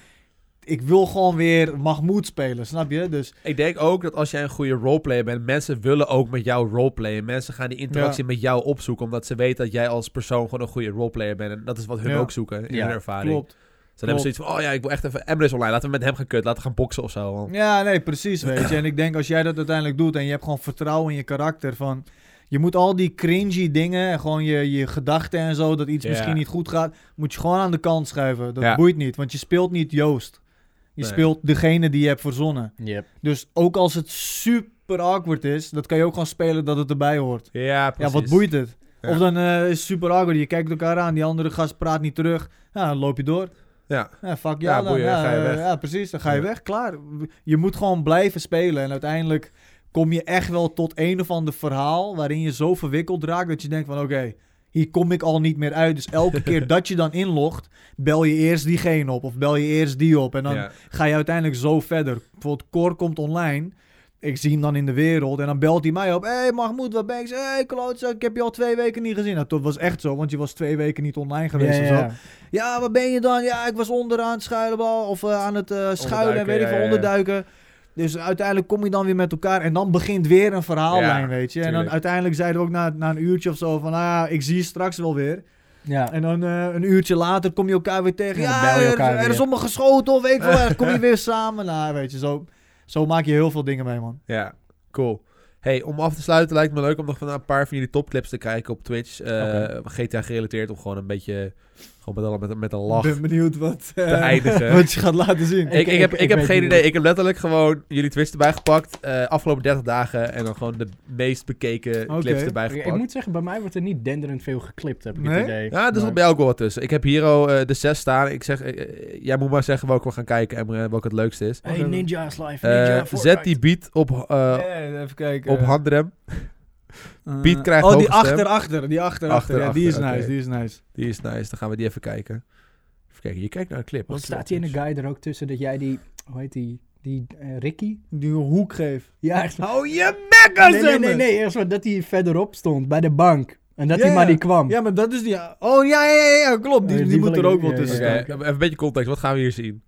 Speaker 3: ik wil gewoon weer Mahmoud spelen, snap je? Dus
Speaker 1: Ik denk ook dat als jij een goede roleplayer bent, mensen willen ook met jou roleplayen. Mensen gaan die interactie met jou opzoeken, omdat ze weten dat jij als persoon gewoon een goede roleplayer bent. En dat is wat hun
Speaker 3: Ja.
Speaker 1: ook zoeken in
Speaker 2: Ja,
Speaker 1: hun ervaring.
Speaker 3: klopt.
Speaker 1: Dus dan hebben ze zoiets van, oh ja, ik wil echt even... Emre is online, laten we met hem gaan kut, laten we gaan boksen of zo. want-
Speaker 3: Ja, nee, precies, weet je. En ik denk als jij dat uiteindelijk doet en je hebt gewoon vertrouwen in je karakter van... Je moet al die cringy dingen, en gewoon je, je gedachten en zo, dat iets
Speaker 1: Ja.
Speaker 3: misschien niet goed gaat, moet je gewoon aan de kant schuiven. Dat
Speaker 1: Ja.
Speaker 3: boeit niet, want je speelt niet Joost. Je
Speaker 1: Nee.
Speaker 3: speelt degene die je hebt verzonnen.
Speaker 2: Yep.
Speaker 3: Dus ook als het super awkward is, dat kan je ook gewoon spelen dat het erbij hoort.
Speaker 1: Ja, precies.
Speaker 3: Ja, wat boeit het?
Speaker 1: Ja.
Speaker 3: Of dan eh, is het super awkward, je kijkt elkaar aan, die andere gast praat niet terug. Ja, dan loop je door.
Speaker 1: Ja.
Speaker 3: Ja, fuck
Speaker 1: Ja,
Speaker 3: ja, dan,
Speaker 1: boeien,
Speaker 3: ja,
Speaker 1: ga je
Speaker 3: eh,
Speaker 1: weg.
Speaker 3: ja, precies. Dan ga je
Speaker 1: Ja.
Speaker 3: weg, klaar. Je moet gewoon blijven spelen. En uiteindelijk kom je echt wel tot een of ander verhaal waarin je zo verwikkeld raakt dat je denkt van oké, hier kom ik al niet meer uit. Dus elke
Speaker 1: <laughs>
Speaker 3: keer dat je dan inlogt, bel je eerst diegene op of bel je eerst die op. En dan
Speaker 1: Ja.
Speaker 3: ga je uiteindelijk zo verder. Bijvoorbeeld Cor komt online. Ik zie hem dan in de wereld en dan belt hij mij op. Hé hey Mahmoud, wat ben je? Ik zeg, hey klootzak, ik heb je al twee weken niet gezien. Nou, dat was echt zo, want je was twee weken niet online geweest
Speaker 2: Ja,
Speaker 3: of zo.
Speaker 2: ja.
Speaker 3: Ja, waar ben je dan? Ja, ik was onderaan het schuilen of eh, aan het eh, schuilen en weet
Speaker 1: Onderduiken,
Speaker 3: ik veel,
Speaker 1: ja, ja, ja.
Speaker 3: onderduiken. Dus uiteindelijk kom je dan weer met elkaar en dan begint weer een verhaallijn,
Speaker 1: Ja,
Speaker 3: weet je. En dan
Speaker 1: tuurlijk.
Speaker 3: uiteindelijk zeiden we ook na, na een uurtje of zo van, nou ja, ik zie je straks wel weer.
Speaker 2: Ja.
Speaker 3: En dan eh, een uurtje later kom je elkaar weer tegen.
Speaker 2: Ja, dan
Speaker 3: Ja,
Speaker 2: bel je
Speaker 3: er-
Speaker 2: elkaar
Speaker 3: er,
Speaker 2: weer.
Speaker 3: is allemaal geschoten of weet ik veel.
Speaker 1: <laughs>
Speaker 3: wat. kom je weer samen. Nou, weet je, zo, zo maak je heel veel dingen mee, man.
Speaker 1: Ja, cool. Hey, om af te sluiten lijkt het me leuk om nog van een paar van jullie topclips te kijken op Twitch. Eh, GTA gerelateerd om gewoon een beetje gewoon met, een- met, met een lach
Speaker 3: Ik ben benieuwd wat, eh,
Speaker 1: te eindigen.
Speaker 3: <laughs> wat je gaat laten zien.
Speaker 1: Ik, ik, heb, ik,
Speaker 2: ik- ik
Speaker 1: heb
Speaker 2: weet
Speaker 1: geen
Speaker 2: niet
Speaker 1: idee. Ik heb letterlijk gewoon jullie twist erbij gepakt. eh, afgelopen 30 dagen. En dan gewoon de meest bekeken
Speaker 3: Oké.
Speaker 1: clips erbij
Speaker 2: Ik, ik
Speaker 1: gepakt.
Speaker 2: moet zeggen, bij mij wordt er niet denderend veel geklipt, heb ik
Speaker 3: Nee?
Speaker 2: het idee.
Speaker 1: Ja, er
Speaker 2: Maar-
Speaker 1: zat bij jou ook wel wat tussen. Ik heb hier al eh, de zes staan. Ik zeg, eh, eh, jij moet maar zeggen welke we gaan kijken en eh, welke het leukste is.
Speaker 2: Hey, Ninja's Life,
Speaker 1: Eh,
Speaker 2: Ninja
Speaker 1: zet die beat op, eh,
Speaker 3: Eh, even kijken.
Speaker 1: op handrem.
Speaker 3: Eh,
Speaker 1: Piet krijgt
Speaker 3: Oh, die
Speaker 1: hoge stem.
Speaker 3: achter, achter. Die achter, achter.
Speaker 1: Achter,
Speaker 3: ja, die is
Speaker 1: achter,
Speaker 3: nice,
Speaker 1: oké.
Speaker 3: die is nice.
Speaker 1: Die is nice. Dan gaan we die even kijken. Even kijken. Je kijkt naar een clip.
Speaker 2: Wat staat hier in de guide er ook tussen dat jij die... Hoe heet die? Die eh, Ricky?
Speaker 3: Die een hoek geeft.
Speaker 2: Ja, echt.
Speaker 3: Hou je bek aan
Speaker 2: Nee, nee, nee, nee. Eerst wat dat hij verderop stond, bij de bank. En dat
Speaker 3: Ja,
Speaker 2: hij maar
Speaker 3: ja.
Speaker 2: niet kwam.
Speaker 3: Ja, maar dat is die... Oh, ja, ja, ja, ja, klopt. Die,
Speaker 2: Oh,
Speaker 3: die,
Speaker 2: ja, die
Speaker 3: moet
Speaker 2: wil
Speaker 3: er
Speaker 2: ik-
Speaker 3: ook wel
Speaker 2: ja, ja,
Speaker 3: tussen
Speaker 1: Oké,
Speaker 2: ja.
Speaker 3: staan.
Speaker 1: Dus, eh, even een beetje context. Wat gaan we hier zien?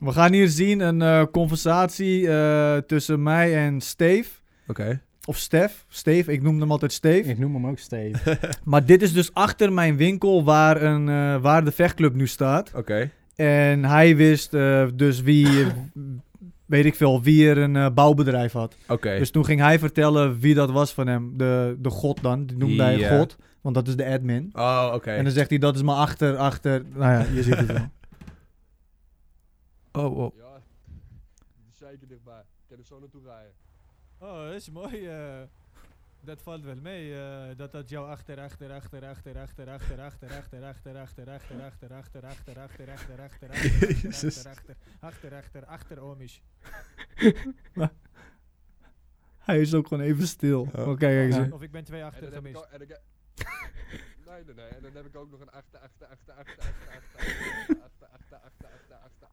Speaker 3: We gaan hier zien een eh, conversatie eh, tussen mij en Steve.
Speaker 1: Oké.
Speaker 3: Of Stef. Steve, ik noemde hem altijd Steve.
Speaker 2: Ik noem hem ook
Speaker 3: <laughs>
Speaker 2: Steve.
Speaker 3: Maar dit is dus achter mijn winkel waar, een, eh, waar de vechtclub nu staat.
Speaker 1: Oké.
Speaker 3: En hij wist eh, dus wie... <laughs> weet ik veel, wie er een eh, bouwbedrijf had.
Speaker 1: Oké.
Speaker 3: Dus toen ging hij vertellen wie dat was van hem. De, de god dan. Die noemde hij
Speaker 1: Ja.
Speaker 3: god. Want dat is de admin.
Speaker 1: oh, oké.
Speaker 3: En dan zegt hij, dat is maar achter, achter. Nou ja, je ziet het wel.
Speaker 1: Oh, oh.
Speaker 4: Ja, die is zeker dichtbij. Ik kan er zo naartoe rijden.
Speaker 5: Oh, dat is mooi. eh. dat valt wel mee. eh, dat dat jou achter, achter, achter, achter, achter, achter, achter, achter, achter, achter, achter, achter, achter, achter, achter, achter, achter,
Speaker 3: <laughs>
Speaker 5: achter,
Speaker 1: Jezus.
Speaker 5: achter, achter, achter, achter, achter, omisch.
Speaker 3: Hij is ook gewoon even stil. Oké, kijk eens.
Speaker 5: Of ik ben twee
Speaker 4: En
Speaker 5: achter
Speaker 4: dan heb ik
Speaker 5: gemist.
Speaker 4: ook- en dan heb- Nee, nee, nee. En dan heb ik ook nog een achter, achter, achter, achter, achter, achter, achter, achter, achter, achter, achter,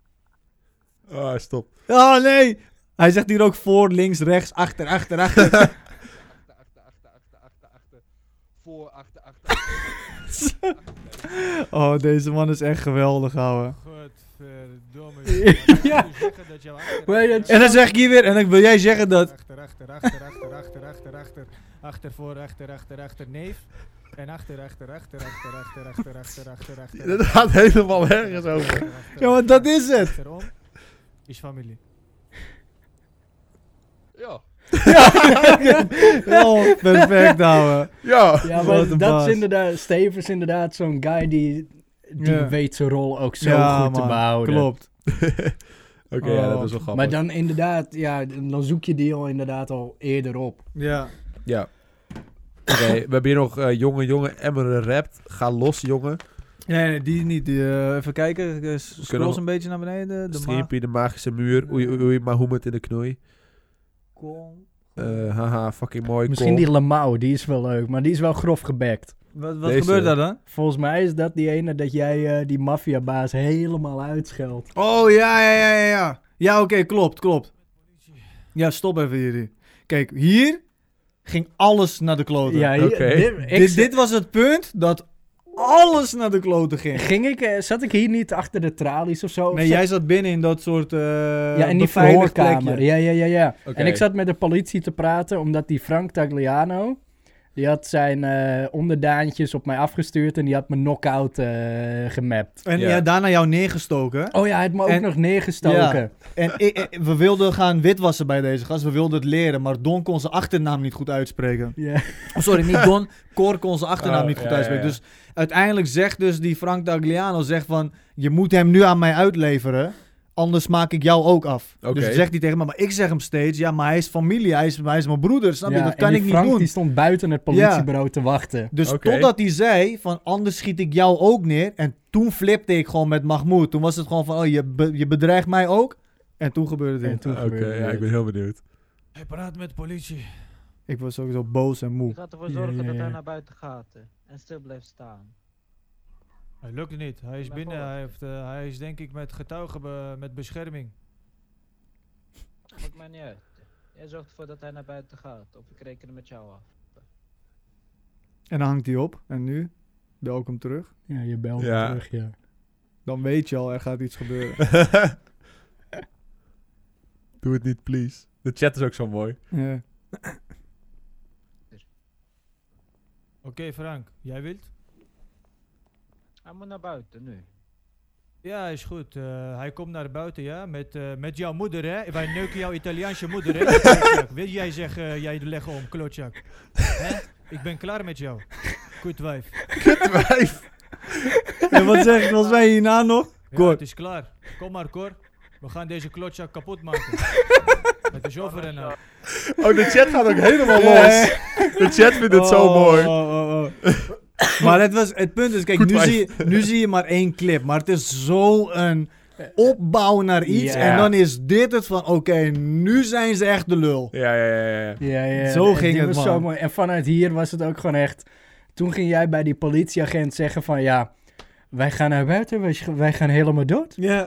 Speaker 4: achter.
Speaker 1: Ah, stop.
Speaker 3: Oh nee! Hij zegt hier ook voor, links, rechts, achter, achter,
Speaker 4: achter,
Speaker 3: achter.
Speaker 4: achter, achter, achter, achter, achter, voor, achter, achter, achter, achter, achter.
Speaker 3: Oh, deze man is echt geweldig, ouwe.
Speaker 5: Godverdomme. jongen.
Speaker 2: Ja.
Speaker 5: Ik wil zeggen dat jou achter,
Speaker 2: Hoe heet
Speaker 5: achter,
Speaker 2: dat?
Speaker 3: En dan zeg ik hier weer, en dan wil jij zeggen dat...
Speaker 5: Achter, achter, achter, achter, achter, achter, achter, achter, voor, achter, achter, achter, neef. En achter, achter, achter, achter, achter, achter, achter, achter, achter.
Speaker 1: <laughs> Dat gaat helemaal ergens over.
Speaker 3: Ja, want dat is het.
Speaker 5: Achterom is familie.
Speaker 4: Ja,
Speaker 3: Oh, <laughs> perfect, ouwe.
Speaker 1: Ja.
Speaker 2: Ja,
Speaker 3: Wat een
Speaker 2: maar dat
Speaker 3: baas.
Speaker 2: is inderdaad... Steve is inderdaad zo'n guy die... Die
Speaker 3: Ja.
Speaker 2: weet zijn rol ook zo
Speaker 3: Ja,
Speaker 2: goed te
Speaker 3: man,
Speaker 2: behouden.
Speaker 3: Klopt.
Speaker 1: <laughs> Oké, ja, dat
Speaker 3: Oh.
Speaker 1: was wel grappig.
Speaker 2: Maar dan inderdaad, ja, dan zoek je die al inderdaad al eerder op.
Speaker 3: Ja.
Speaker 1: Ja. Oké, we hebben hier nog eh, jonge, jonge Emmer rapt. Ga los, jongen.
Speaker 3: Nee, nee, die niet. Die, eh, even kijken. eh, s- Scroll eens
Speaker 1: we-
Speaker 3: een beetje naar beneden. De ma-
Speaker 1: Streampie, de magische muur. Oei, oei, oei, Mahomet in de knoei.
Speaker 3: Kom.
Speaker 1: Eh, haha, fucking mooi.
Speaker 2: Misschien
Speaker 1: Kom.
Speaker 2: die Lamau, die is wel leuk, maar die is wel grof gebekt.
Speaker 3: Wat, wat
Speaker 1: Deze.
Speaker 3: gebeurt daar dan?
Speaker 2: Volgens mij is dat die ene dat jij eh, die maffiabaas helemaal uitscheldt.
Speaker 3: Oh, ja, ja, ja, ja, ja. Ja, oké, klopt, klopt. Ja, stop even hier. Kijk, hier ging alles naar de kloten.
Speaker 2: Ja, hier-
Speaker 1: Oké.
Speaker 2: dit, ik-
Speaker 3: dit, dit was het punt dat alles naar de kloten ging.
Speaker 2: ging ik, eh, zat ik hier niet achter de tralies of zo? Of
Speaker 3: Nee,
Speaker 2: zat-
Speaker 3: jij zat binnen in dat soort eh
Speaker 2: ja, in die
Speaker 3: beveiligd
Speaker 2: verhoorkamer.
Speaker 3: plekje.
Speaker 2: Ja, ja, ja, ja.
Speaker 1: Oké.
Speaker 2: En ik zat met de politie te praten, omdat die Frank Tagliano, die had zijn eh, onderdaantjes op mij afgestuurd en die had me knock-out eh, gemapt.
Speaker 3: En
Speaker 1: Ja.
Speaker 3: ja. daarna jou neergestoken.
Speaker 2: Oh ja, hij had me ook
Speaker 3: En-
Speaker 2: nog neergestoken.
Speaker 3: En ik- ik- we wilden gaan witwassen bij deze gast. We wilden het leren, maar Don kon zijn achternaam niet goed uitspreken.
Speaker 2: Ja.
Speaker 3: Oh, sorry,
Speaker 2: <laughs>
Speaker 3: niet Don. Cor kon zijn achternaam
Speaker 1: Oh,
Speaker 3: niet goed
Speaker 1: ja,
Speaker 3: uitspreken.
Speaker 1: ja, ja.
Speaker 3: Dus uiteindelijk zegt dus die Frank D'Agliano zegt van... Je moet hem nu aan mij uitleveren. Anders maak ik jou ook af.
Speaker 1: Oké.
Speaker 3: Dus zegt hij tegen me. Maar ik zeg hem steeds. Ja, maar hij is familie. Hij is, hij is mijn broeder. Snap je?
Speaker 2: Ja,
Speaker 3: Dat
Speaker 2: en
Speaker 3: kan
Speaker 2: die
Speaker 3: ik
Speaker 2: Frank,
Speaker 3: niet doen.
Speaker 2: die stond buiten het politiebureau te wachten.
Speaker 3: Dus
Speaker 1: Oké.
Speaker 3: totdat hij zei van anders schiet ik jou ook neer. En toen flipte ik gewoon met Mahmoud. Toen was het gewoon van oh je, be- je bedreigt mij ook. En toen gebeurde
Speaker 2: En
Speaker 3: dit.
Speaker 2: toen
Speaker 1: Oké,
Speaker 2: gebeurde
Speaker 1: ja,
Speaker 2: dit.
Speaker 1: ik ben heel benieuwd.
Speaker 5: Hij praat met politie.
Speaker 3: Ik was sowieso boos en moe.
Speaker 6: Je gaat ervoor
Speaker 2: Ja,
Speaker 6: zorgen
Speaker 2: ja,
Speaker 6: dat hij
Speaker 2: ja.
Speaker 6: naar buiten gaat eh, en stil blijft staan.
Speaker 5: Hij lukt niet. Hij is
Speaker 6: Maar
Speaker 5: binnen.
Speaker 6: voor-
Speaker 5: Hij, heeft, eh, hij is denk ik met getuigen be- met bescherming.
Speaker 6: Maakt mij niet uit. Jij zorgt ervoor <laughs> dat hij naar buiten gaat. Of ik reken met jou af.
Speaker 3: En dan hangt hij op. En nu bel ik hem terug.
Speaker 2: Ja, je belt
Speaker 1: Ja.
Speaker 2: terug, ja.
Speaker 3: Dan weet je al, er gaat iets gebeuren.
Speaker 1: Doe het niet, please. De chat is ook zo mooi.
Speaker 3: <laughs> ja.
Speaker 5: Oké Frank, jij wilt?
Speaker 6: Hij moet naar buiten nu.
Speaker 5: Ja, is goed. Eh, hij komt naar buiten, ja. Met, eh, met jouw moeder, hè. Wij neuken jouw Italiaanse moeder, hè. klootzak. Wil jij zeggen, eh, jij legt om, klootzak. Hè? Ik ben klaar met jou. Goed wijf.
Speaker 3: En wat zeg ik volgens mij hierna <laughs> nog?
Speaker 5: Ja,
Speaker 3: Cor.
Speaker 5: het is klaar. Kom maar, Cor. We gaan deze klootzak kapot maken. het is over en uit.
Speaker 1: Oh, de chat gaat ook helemaal los. De chat vindt het zo
Speaker 3: Oh,
Speaker 1: mooi.
Speaker 3: oh, oh, oh. <laughs> maar het, was, het punt is, kijk,
Speaker 1: Goed
Speaker 3: nu
Speaker 1: wijf.
Speaker 3: zie, je- nu zie je maar één clip. Maar het is zo'n opbouw naar iets.
Speaker 2: Ja.
Speaker 3: En dan is dit het van, oké, nu zijn ze echt de lul.
Speaker 1: Ja, ja, ja, ja, ja.
Speaker 2: Ja, ja,
Speaker 3: Zo
Speaker 2: die-
Speaker 3: ging
Speaker 2: die
Speaker 3: het,
Speaker 2: was
Speaker 3: man.
Speaker 2: Zo mooi. En vanuit hier was het ook gewoon echt... Toen ging jij bij die politieagent zeggen van... Ja, wij gaan naar buiten, wij, sch- wij gaan helemaal dood.
Speaker 3: <laughs> Ja,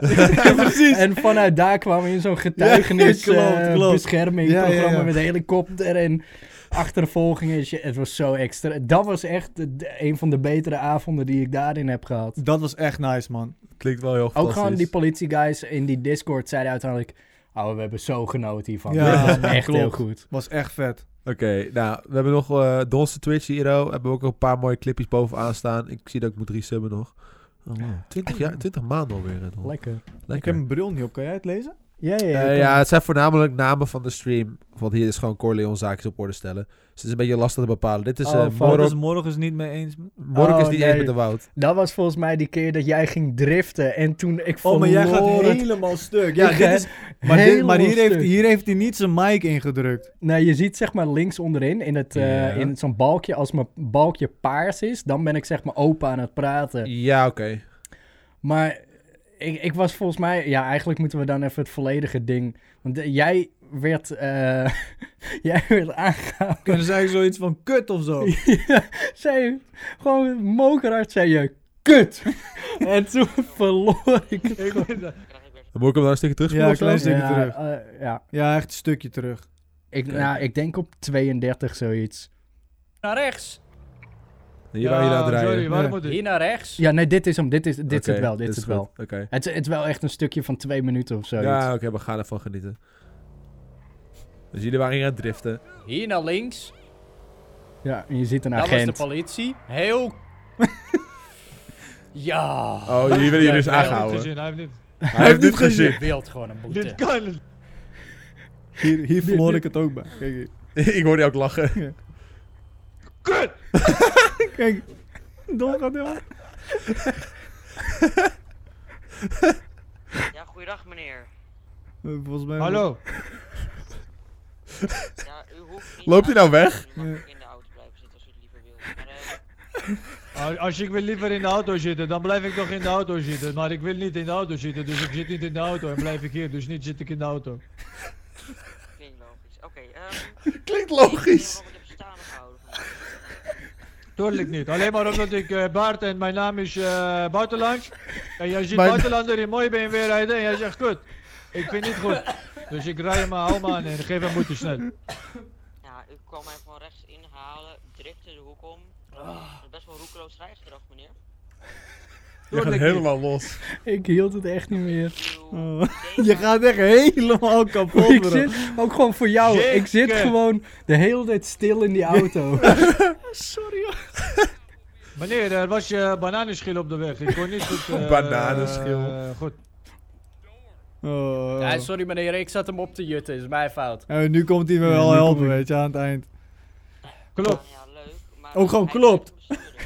Speaker 3: precies.
Speaker 2: En vanuit daar kwamen we in <laughs> zo'n getuigenis
Speaker 3: Ja, klopt,
Speaker 2: eh,
Speaker 3: klopt.
Speaker 2: bescherming
Speaker 3: Ja, ja,
Speaker 2: programma
Speaker 3: ja.
Speaker 2: met helikopter en achtervolging en shit. Het was zo extra. Dat was echt de- de- een van de betere avonden die ik daarin heb gehad.
Speaker 3: Dat was echt nice, man.
Speaker 1: Klinkt wel heel
Speaker 2: Ook
Speaker 1: fantastisch.
Speaker 2: gewoon die politieguys in die Discord zeiden uiteindelijk... Oh, we hebben zo genoten hiervan.
Speaker 3: Ja,
Speaker 2: Ja, <laughs> dat was echt
Speaker 3: klopt.
Speaker 2: heel goed.
Speaker 3: Was echt vet.
Speaker 1: Oké, nou, we hebben nog eh Don's Twitch hero. Hebben we ook een paar mooie clipjes bovenaan staan. Ik zie dat ik moet resubben nog. Oh, wow. 20, jaar, 20 maanden alweer. hè, Don.
Speaker 2: Lekker.
Speaker 3: Ik heb
Speaker 1: Lekker.
Speaker 3: mijn bril niet op, kan jij het lezen?
Speaker 2: Ja, ja,
Speaker 1: Eh,
Speaker 2: kan-
Speaker 1: ja, het zijn voornamelijk namen van de stream. Want hier is gewoon Corleone zaakjes op orde stellen. Dus het is een beetje lastig te bepalen. Dit is
Speaker 2: Oh,
Speaker 1: eh
Speaker 2: fuck.
Speaker 1: Morok.
Speaker 3: morgens niet mee eens.
Speaker 1: Morok is
Speaker 2: Oh,
Speaker 1: niet
Speaker 2: nee.
Speaker 1: eens met de woud.
Speaker 2: Dat was volgens mij die keer dat jij ging driften en toen ik
Speaker 3: Oh, maar jij gaat
Speaker 2: verloor het.
Speaker 3: helemaal stuk. Ja,
Speaker 2: Ik
Speaker 3: dit
Speaker 2: ga
Speaker 3: is, maar dit, maar
Speaker 2: helemaal
Speaker 3: hier, heeft,
Speaker 2: stuk.
Speaker 3: hier heeft hij niet zijn mic ingedrukt.
Speaker 2: Nou, je ziet zeg maar links onderin in, het, eh,
Speaker 1: Ja.
Speaker 2: in het- zo'n balkje, als mijn balkje paars is, dan ben ik zeg maar open aan het praten.
Speaker 1: Ja, oké.
Speaker 2: Maar ik, ik was volgens mij, ja eigenlijk moeten we dan even het volledige ding, want eh, jij werd, eh, <laughs> jij werd aangehouden.
Speaker 3: En dan zei ik zoiets van kut of zo.
Speaker 2: Ja, zei je, gewoon mokerhard zei je, kut! <laughs> en toen <laughs> verloor ik het gewoon.
Speaker 1: Dan moet ik hem dan een stukje terugspelen
Speaker 3: Ja,
Speaker 1: of zo?
Speaker 3: klein stukje
Speaker 2: <laughs> ja,
Speaker 3: terug.
Speaker 2: eh, ja,
Speaker 3: Ja, echt een stukje terug.
Speaker 2: ik,
Speaker 1: Oké.
Speaker 2: nou, ik denk op 32 zoiets.
Speaker 7: Naar rechts.
Speaker 1: Hier waar je aan het rijden.
Speaker 5: Sorry, waarom
Speaker 3: Ja.
Speaker 5: moet
Speaker 7: Hier
Speaker 5: ik?
Speaker 7: naar rechts.
Speaker 2: Ja, nee, dit is hem. Dit is, dit is
Speaker 1: Oké,
Speaker 2: het wel. Dit is
Speaker 1: is
Speaker 2: het
Speaker 1: goed.
Speaker 2: wel.
Speaker 1: Oké.
Speaker 2: Het, is- het is wel echt een stukje van twee minuten of zo.
Speaker 1: Ja, oké, we gaan ervan genieten. Dus jullie waren hier aan het driften.
Speaker 7: Hier naar links.
Speaker 2: ja, en je ziet een
Speaker 7: Dat was de
Speaker 2: agent.
Speaker 7: politie. Heel...
Speaker 2: <laughs>
Speaker 7: ja.
Speaker 1: Oh, jullie willen jullie dus
Speaker 7: Ja,
Speaker 1: aangehouden.
Speaker 4: Hij heeft niet.
Speaker 1: Hij heeft dit gezien.
Speaker 7: Je wilt gewoon een boete.
Speaker 4: Dit kan niet.
Speaker 3: Hier, hier verloor ik het ook bij. Kijk hier.
Speaker 1: <laughs> ik hoorde jou ook lachen.
Speaker 3: Kijk. Don gaat helemaal.
Speaker 8: Ja, goeiedag meneer.
Speaker 3: Eh, Volgens mij.
Speaker 5: Hallo.
Speaker 8: Ja, u hoeft niet
Speaker 1: Loopt hij nou weg?
Speaker 8: U mag ook in de auto blijven zitten als u het liever wilt. Maar eh,
Speaker 5: Al- Als ik wil liever in de auto zitten, dan blijf ik toch in de auto zitten. Maar ik wil niet in de auto zitten, dus ik zit niet in de auto en blijf ik hier. Dus niet zit ik in de auto.
Speaker 8: klinkt logisch. Oké, ehm...
Speaker 1: Klinkt
Speaker 8: Ik heb het staande gehouden vandaag.
Speaker 5: Tuurlijk niet. Alleen maar omdat ik eh Bart en mijn naam is eh Buitenlands. En jij ziet
Speaker 1: Mijn-
Speaker 5: Buitenlander in mooi BMW rijden en jij zegt kut. Ik vind het niet goed. Dus ik rij hem allemaal aan en geef hem boete snel.
Speaker 8: Ja, u kwam mij van rechts inhalen, drifte de hoek om. Dat is best wel roekeloos rijgedrag meneer.
Speaker 1: Je gaat helemaal los.
Speaker 2: Ik hield het echt niet meer. Mm.
Speaker 8: Uw
Speaker 3: Oh.
Speaker 8: deed
Speaker 3: Je gaat echt helemaal kapot,
Speaker 2: Ik
Speaker 3: bro.
Speaker 2: zit ook gewoon voor jou. Ik zit
Speaker 5: Jekke.
Speaker 2: gewoon de hele tijd stil in die auto.
Speaker 5: Meneer, er was je bananenschil op de weg. Ik kon niet
Speaker 1: <laughs>
Speaker 5: goed... eh,
Speaker 1: Bananenschil.
Speaker 5: eh, goed.
Speaker 3: Oh.
Speaker 7: Ja, sorry meneer, ik zat hem op te jutten. is mijn fout.
Speaker 3: En nu komt hij me wel
Speaker 2: nu
Speaker 3: helpen,
Speaker 2: kom ik.
Speaker 3: weet je, aan het eind.
Speaker 5: Klopt.
Speaker 8: Ja, leuk. Maar
Speaker 3: Oh, gewoon
Speaker 8: hij
Speaker 3: klopt.
Speaker 8: kon niet besturen.